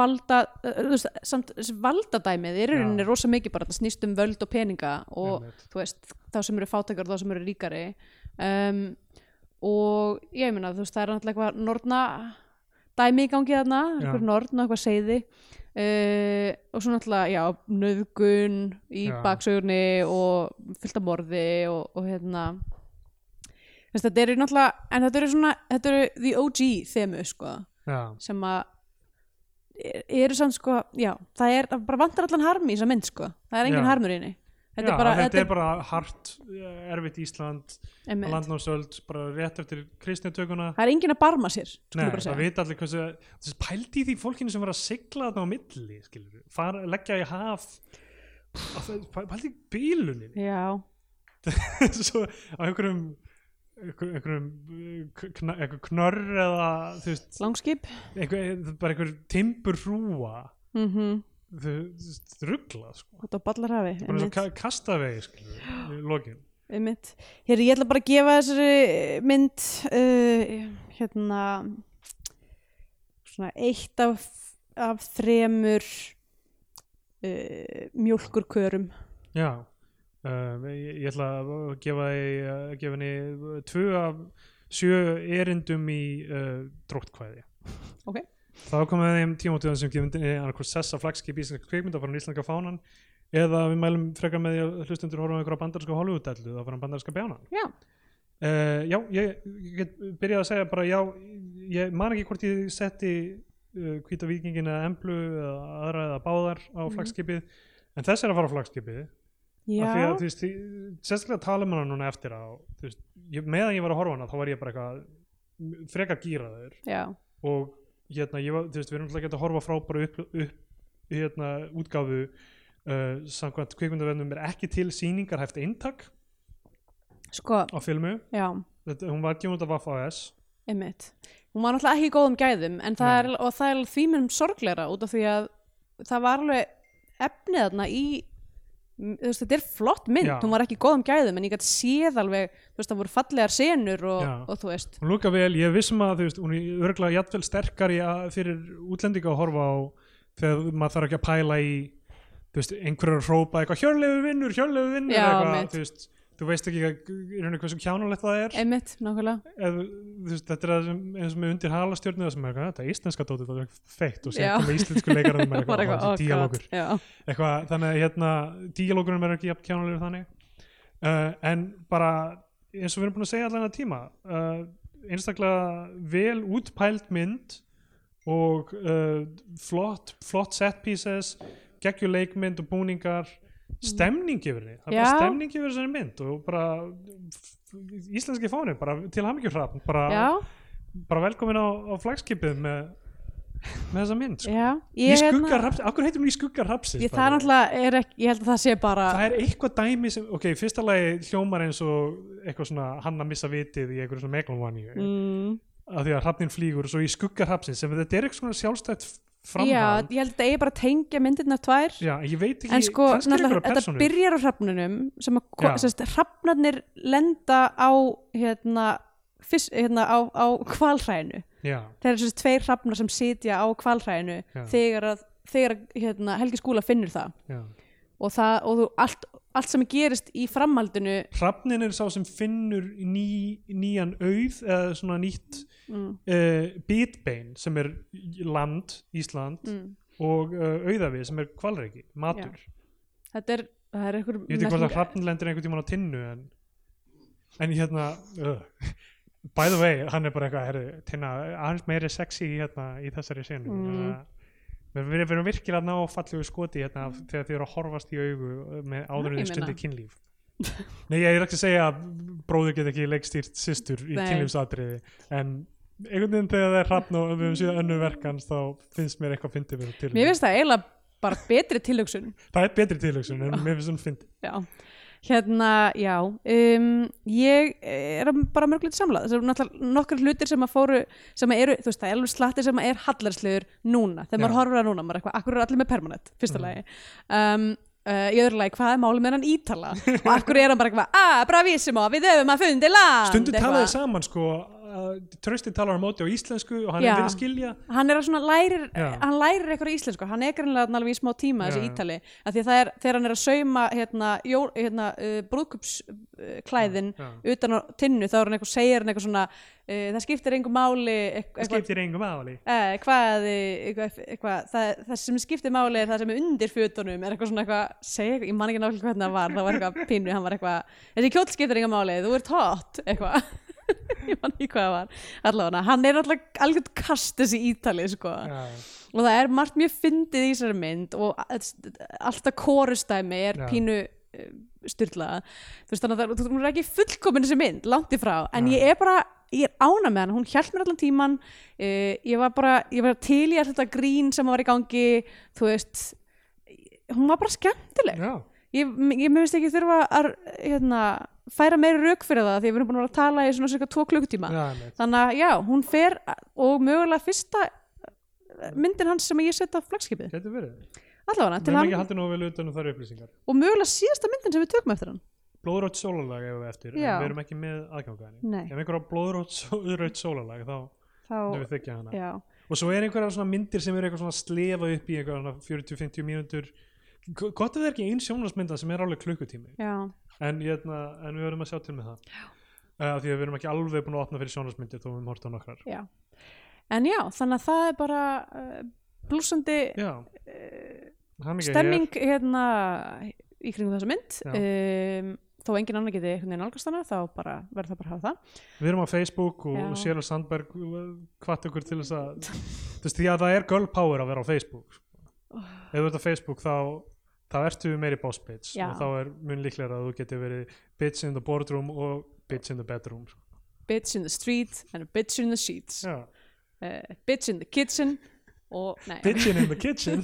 B: valda, eh, þú veist, samt þessi valdadæmið í rauninni
A: Já.
B: er rosa mikið bara þetta snýst um völd og peninga og
A: Einmitt.
B: þú veist, þá sem eru fátækar og þá sem eru ríkari um, og ég meina þú veist, það er náttúrulega eitthvað norna dæmi í gangi þarna,
A: Já.
B: eitthvað norn og eitthvað seiði uh, og svo náttúrulega, já, nöðgun í
A: Já.
B: baksögurni og fullt af morði og, og hérna þú veist, þetta eru náttúrulega en þetta eru svona, þetta eru the OG þemu, sko,
A: Já,
B: sem að er- eru samt sko, já, það er það bara vantar allan harm í þessa mynd sko, það er engin
A: Já.
B: harmur í henni þetta
A: Já,
B: er bara,
A: þetta er bara hart eh, erfitt Ísland,
B: einmitt.
A: landnámsöld bara rétt eftir kristnitökuna
B: það er enginn að barma sér skulum
A: Nei,
B: bara
A: það
B: segja.
A: vita allir hversu þessi pældi í því fólkinu sem var að sigla þarna á milli, skilur fara, leggja í haf Að það- pældi í bíluninni
B: já,
A: svo á einhverjum einhverjum, einhverjum eh, kn- kna- einhver knörr eða þú veist,
B: langskip
A: einhver, bara einhver timbur hrúa
B: mm -hmm.
A: ruggla sko.
B: út á ballarhafi
A: bara eins og
B: einmitt,
A: ka kastavegi skilur, við, í lokin
B: einmitt. Hér, ég ætla bara að gefa þessari mynd uh, hérna svona eitt af, af þremur uh, mjólkurkörum
A: já uh, ég, ég ætla að gefa, því, uh, gefa henni uh, tvö af sjö erindum í uh, dróttkvæði
B: Ok.
A: þá komum við þeim tímótiðan sem gefum annarkvæð sessa flagskip íslenska kvikmynda frá íslenska fánan eða við mælum frekar með því að hlustundur horfum einhverja bandarinska Hollywood-dellu þá fyrir bandarinska bjánan
B: já,
A: Uh, já, ég, ég get byrjað að segja bara já, ég man ekki hvort ég setti uh, hvíta vikingin eða emblu eða aðra eða báðar á
B: Mhm.
A: flagskipið en þess er að fara á flagskipið af því að
B: já.
A: þú veist, því- sérstaklega tala með hana núna eftir á, þú veist, ég, meðan ég var að horfa á hana þá var ég bara eitthvað frekar gíraður
B: já.
A: og hérna, ég var, þú veist, við erum alltaf ekki að horfa frá bara upp, upp hérna, útgáfu uh, samkvæmt kvikmyndavefnum er ekki til sýningarhæft eintak
B: sko,
A: á filmu,
B: já
A: Þetta, hún var gefin út af VFS
B: Einmitt. Hún var náttúrulega ekki í góðum gæðum en það er,
A: Nei.
B: og það er alveg því minnum sorgleira út af því að það var alveg efnið þarna í þú veist, þetta er flott mynd,
A: Já.
B: hún var ekki í góðum gæðum en ég gæti séð alveg, þú veist, það voru fallegar senur og,
A: Já.
B: og þú veist
A: hún lúka vel, ég er vissum að þú veist, hún er örgulega jafnvel sterkari að- fyrir útlendinga að horfa á þegar maður þarf ekki að pæla í þú veist, einhverjar að hrópa eitthvað hjörlegu vinnur, hjörlegu vinnur
B: Já,
A: eitthvað,
B: mitt.
A: þú veist, þú veist ekki að, í rauninni hversu kjánulegt það er
B: einmitt, nákvæmlega
A: Eð, þú veist, þetta er það sem, eins og með undir halastjörnu það sem er eitthvað, þetta er íslenska dótið það er feitt og sér
B: Já.
A: komið íslensku leikarinn með
B: Bara "Oh,
A: eitthvað, eitthvað,
B: ó,
A: eitthvað díalókur
B: gott, já.
A: eitthvað, þannig að hérna díalógurinn verður ekki jafn kjánulegur þannig uh, en bara eins og við erum búin að segja allan að tíma uh, einstaklega vel útpælt mynd og uh, flott, flott set pieces geggjur leikmynd og búningar stemning yfir henni það er
B: Mm. Já.
A: bara stemning yfir þessari mynd og bara f- íslenski fónin, bara til hamingju hrapp bara,
B: já,
A: bara velkomin á, á flagskipið með, með þessa mynd sko.
B: já
A: í
B: ég, hérna,
A: skugga rapsins, akkur heitum hún í skugga rapsins
B: ég, það er náttúrulega er ekki, ég held að það sé bara
A: það er eitthvað dæmi sem, ok, í fyrsta lagi hljómar eins og eitthvað svona hann að missa vitið í einhverju svona megalvaníu
B: mm,
A: af því að hrafnin flýgur og svo í skugga hrafnsins sem þetta er eitthvað svona sjálfstætt
B: já,
A: framhald
B: ég held að það er bara að tengja myndirna tvær
A: já, ég veit ekki,
B: en sko,
A: kannski er
B: náttúrulega,
A: einhverja
B: þetta
A: persónu
B: byrjar á hrafnunum sem að,
A: Já.
B: ko- sem að hrafnarnir lenda á hérna, fyrst, hérna á, á kvalhræinu
A: já,
B: það eru þessi tveir hrafnar sem sitja á kvalhræinu
A: Já.
B: þegar að, þegar að hérna, Helgi Skúla finnur það
A: já.
B: og, það, og þú, allt, allt sem gerist í framhaldinu
A: hrafnin er sá sem finnur ný, nýjan auð eða svona nýtt
B: mm,
A: uh, bitbein sem er land, Ísland
B: mm,
A: og uh, auðavið sem er kvalreiki, matur
B: þetta er, það er einhver
A: ég veit ekki hvort að
B: merking-
A: hrafn lendir einhvern tímann á tinnu en, en hérna uh, by the way, hann er bara eitthvað herri, tinna, aðeins meiri sexy í, hérna, í þessari senu
B: Mm.
A: mm. við við erum virkilega að ná fallegu skoti hérna, af- þegar þið eru að horfast í augu uh, með áður en
B: ég
A: þið
B: meina.
A: stundir kynlíf nei, ég er ekki að segja að bróður get ekki leikstýrt systur í
B: Nei.
A: kynlífsatriði en einhvern veginn þegar það er hrafn og við höfum síðan önnu verkans þá finnst mér eitthvað fyndið við þá tilhugsun.
B: mér finnst það eiginlega bara betri tilhugsun
A: það er betri tilhugsun en mér finnst hún fyndið
B: Já, hérna, já, um, ég eh, er bara mörg lítið samlað. Það eru náttúrulega nokkur hlutir sem að fóru, sem að eru, þú veist, það er alveg slatti sem að er hallarsliður núna, þegar maður
A: Já.
B: horfir að núna, maður er eitthvað, akkur eru allir með permanent, fyrsta
A: Mm.
B: lagi. Um, uh, í öðru lagi, hvað er málið með hann ítala? Og akkur er hann bara eitthvað, að, bravissimo, við höfum að fundi land.
A: stundum
B: Um, eitthvað.
A: talaði saman sko að Trausti talar á móti á íslensku og hann
B: Já.
A: er verið að skilja
B: hann er að svona lærir
A: Já.
B: hann lærir eitthvað í íslensku, hann er greinlega þarna alveg í smá tíma
A: Já,
B: þessi
A: já.
B: ítali að því að það er, þegar hann er að sauma hérna, jó, hérna uh, brúðkupsklæðin
A: Já,
B: utan á tinnu þá er hann eitthvað, segir hann eitthvað svona uh, það skiptir engu máli eitthvað,
A: það
B: eitthvað,
A: skiptir engum aðali
B: eh, hvað, eh, eitthvað, eitthvað það, það sem skiptir máli er það sem er undir fötunum er eitthvað svona eitthvað, segja eitthvað, ég man ekki náttúrulega hvernig það var, það var eitthvað pínu, hann var eitthvað þessi kjóll skiptir engu máli, þú ert hot eitthvað, ég man ekki hvað það var allavega, hann er alltaf algjörn kast þessi ítali, sko
A: Já,
B: og það er margt mjög fyndið í þessari mynd og a- alltaf kórustæmi er
A: Já.
B: pínu styrla þú veist þannig að það- þú þú er ekki fullkomin þessi mynd, langt í frá en ég er bara, ég er ána með hann hún hjælt mér allan tíman uh, ég var bara, ég var til í alltaf grín sem var í gangi, þú veist hún var bara skemmtileg
A: já,
B: ég, ég mér finnst ekki þurfa að hérna, færa meiri rauk fyrir það því að við erum búin að vera að tala í svona cirka tvo klukkutíma
A: já, einmitt.
B: þannig að já, hún fer og mögulega fyrsta eh, myndin hans sem ég setja á flagskipið
A: getur verið
B: allavega
A: Við
B: til
A: erum
B: hann
A: ekki haldið nógu vel utan um þar upplýsingar
B: og mögulega síðasta myndin sem við tökum eftir hann
A: Blóðrótt sólalag ef við eftir
B: Já.
A: en við erum ekki með aðganga henni
B: Nei.
A: Ef einhver á blóðrótt sólalag þá myndum
B: þá,
A: við þykja hana
B: já,
A: Og svo er einhverja svona myndir sem eru eitthvað svona slefa upp í einhverja 40-50 mínútur G- Gott að það er ekki ein sjónvarsmynda sem er alveg klukkutími
B: já,
A: en, hérna, en við verðum að sjá til með það uh, því að við erum ekki alveg búin að opna fyrir sjónvarsmyndir þó við höfum hort á nokkrar
B: já en já, þannig að það er bara uh, blúsandi eh,
A: Já, hamingja
B: stemming hérna í kringum þessa mynd
A: Já.
B: um, þó engin annar geti einhvern veginn nálgast hana þá bara verður það bara að hafa það
A: hér Við erum á Facebook og,
B: Já.
A: og Sérur Sandberg hvart okkur til þess að þú veist, því að það er girl power að vera á Facebook sko. ef þú ert á Facebook þá þá ertu meiri boss bitch
B: Já.
A: og þá er mun líklega að þú geti verið bitch in the boardroom og bitch in the bedroom sko.
B: bitch in the street and a bitch in the sheets uh,
A: Já.
B: bitch in the kitchen og, nei,
A: bitchin in the kitchen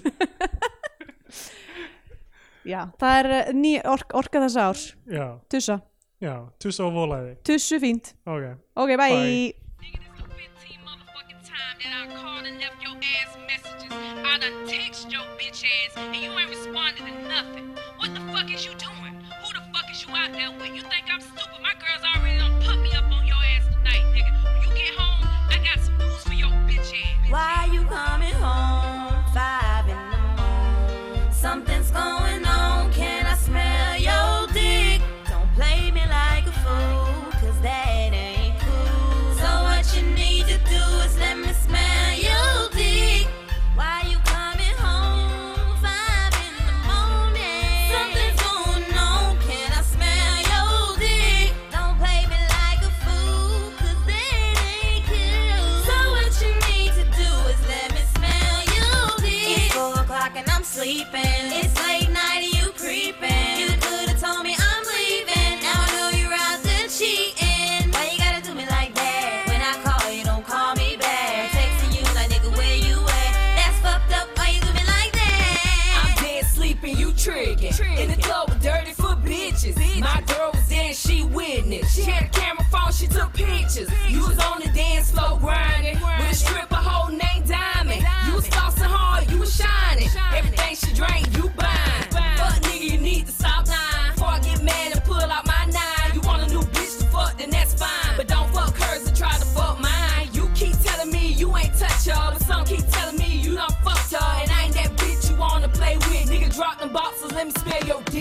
B: já, það er eh, ný ork, orka þessa árs
A: Já,
B: Tussa,
A: já, tussa og volaði
B: tussu fínt
A: Ok,
B: Ok,
A: Bye.
B: bye.
C: Nigga, this the 15 motherfucking time that I called and left your ass messages. I done text your bitch ass and you ain't responded to nothing. What the fuck is you doing? Who the fuck is you out there with? You think I'm stupid? My girls already done put me up on your ass tonight, nigga. When you get home, I got some news for your bitch ass.
D: Why you coming home? Five in the morning. Something's going on. Can I smell your dick? Don't play me like a fool, cause that ain't cool. So what you need to do is let me smell your dick. Why you coming home? Five in the morning. Something's going on. Can I smell your dick? Don't play me like a fool, cause that ain't cool. So what you need to do is let me smell your dick. It's four o'clock and I'm sleeping. It's late night and you creeping.
C: y'all, but some keep telling me you done fucked y'all. And I ain't that bitch you wanna play with. Nigga, drop them boxes, let me smell your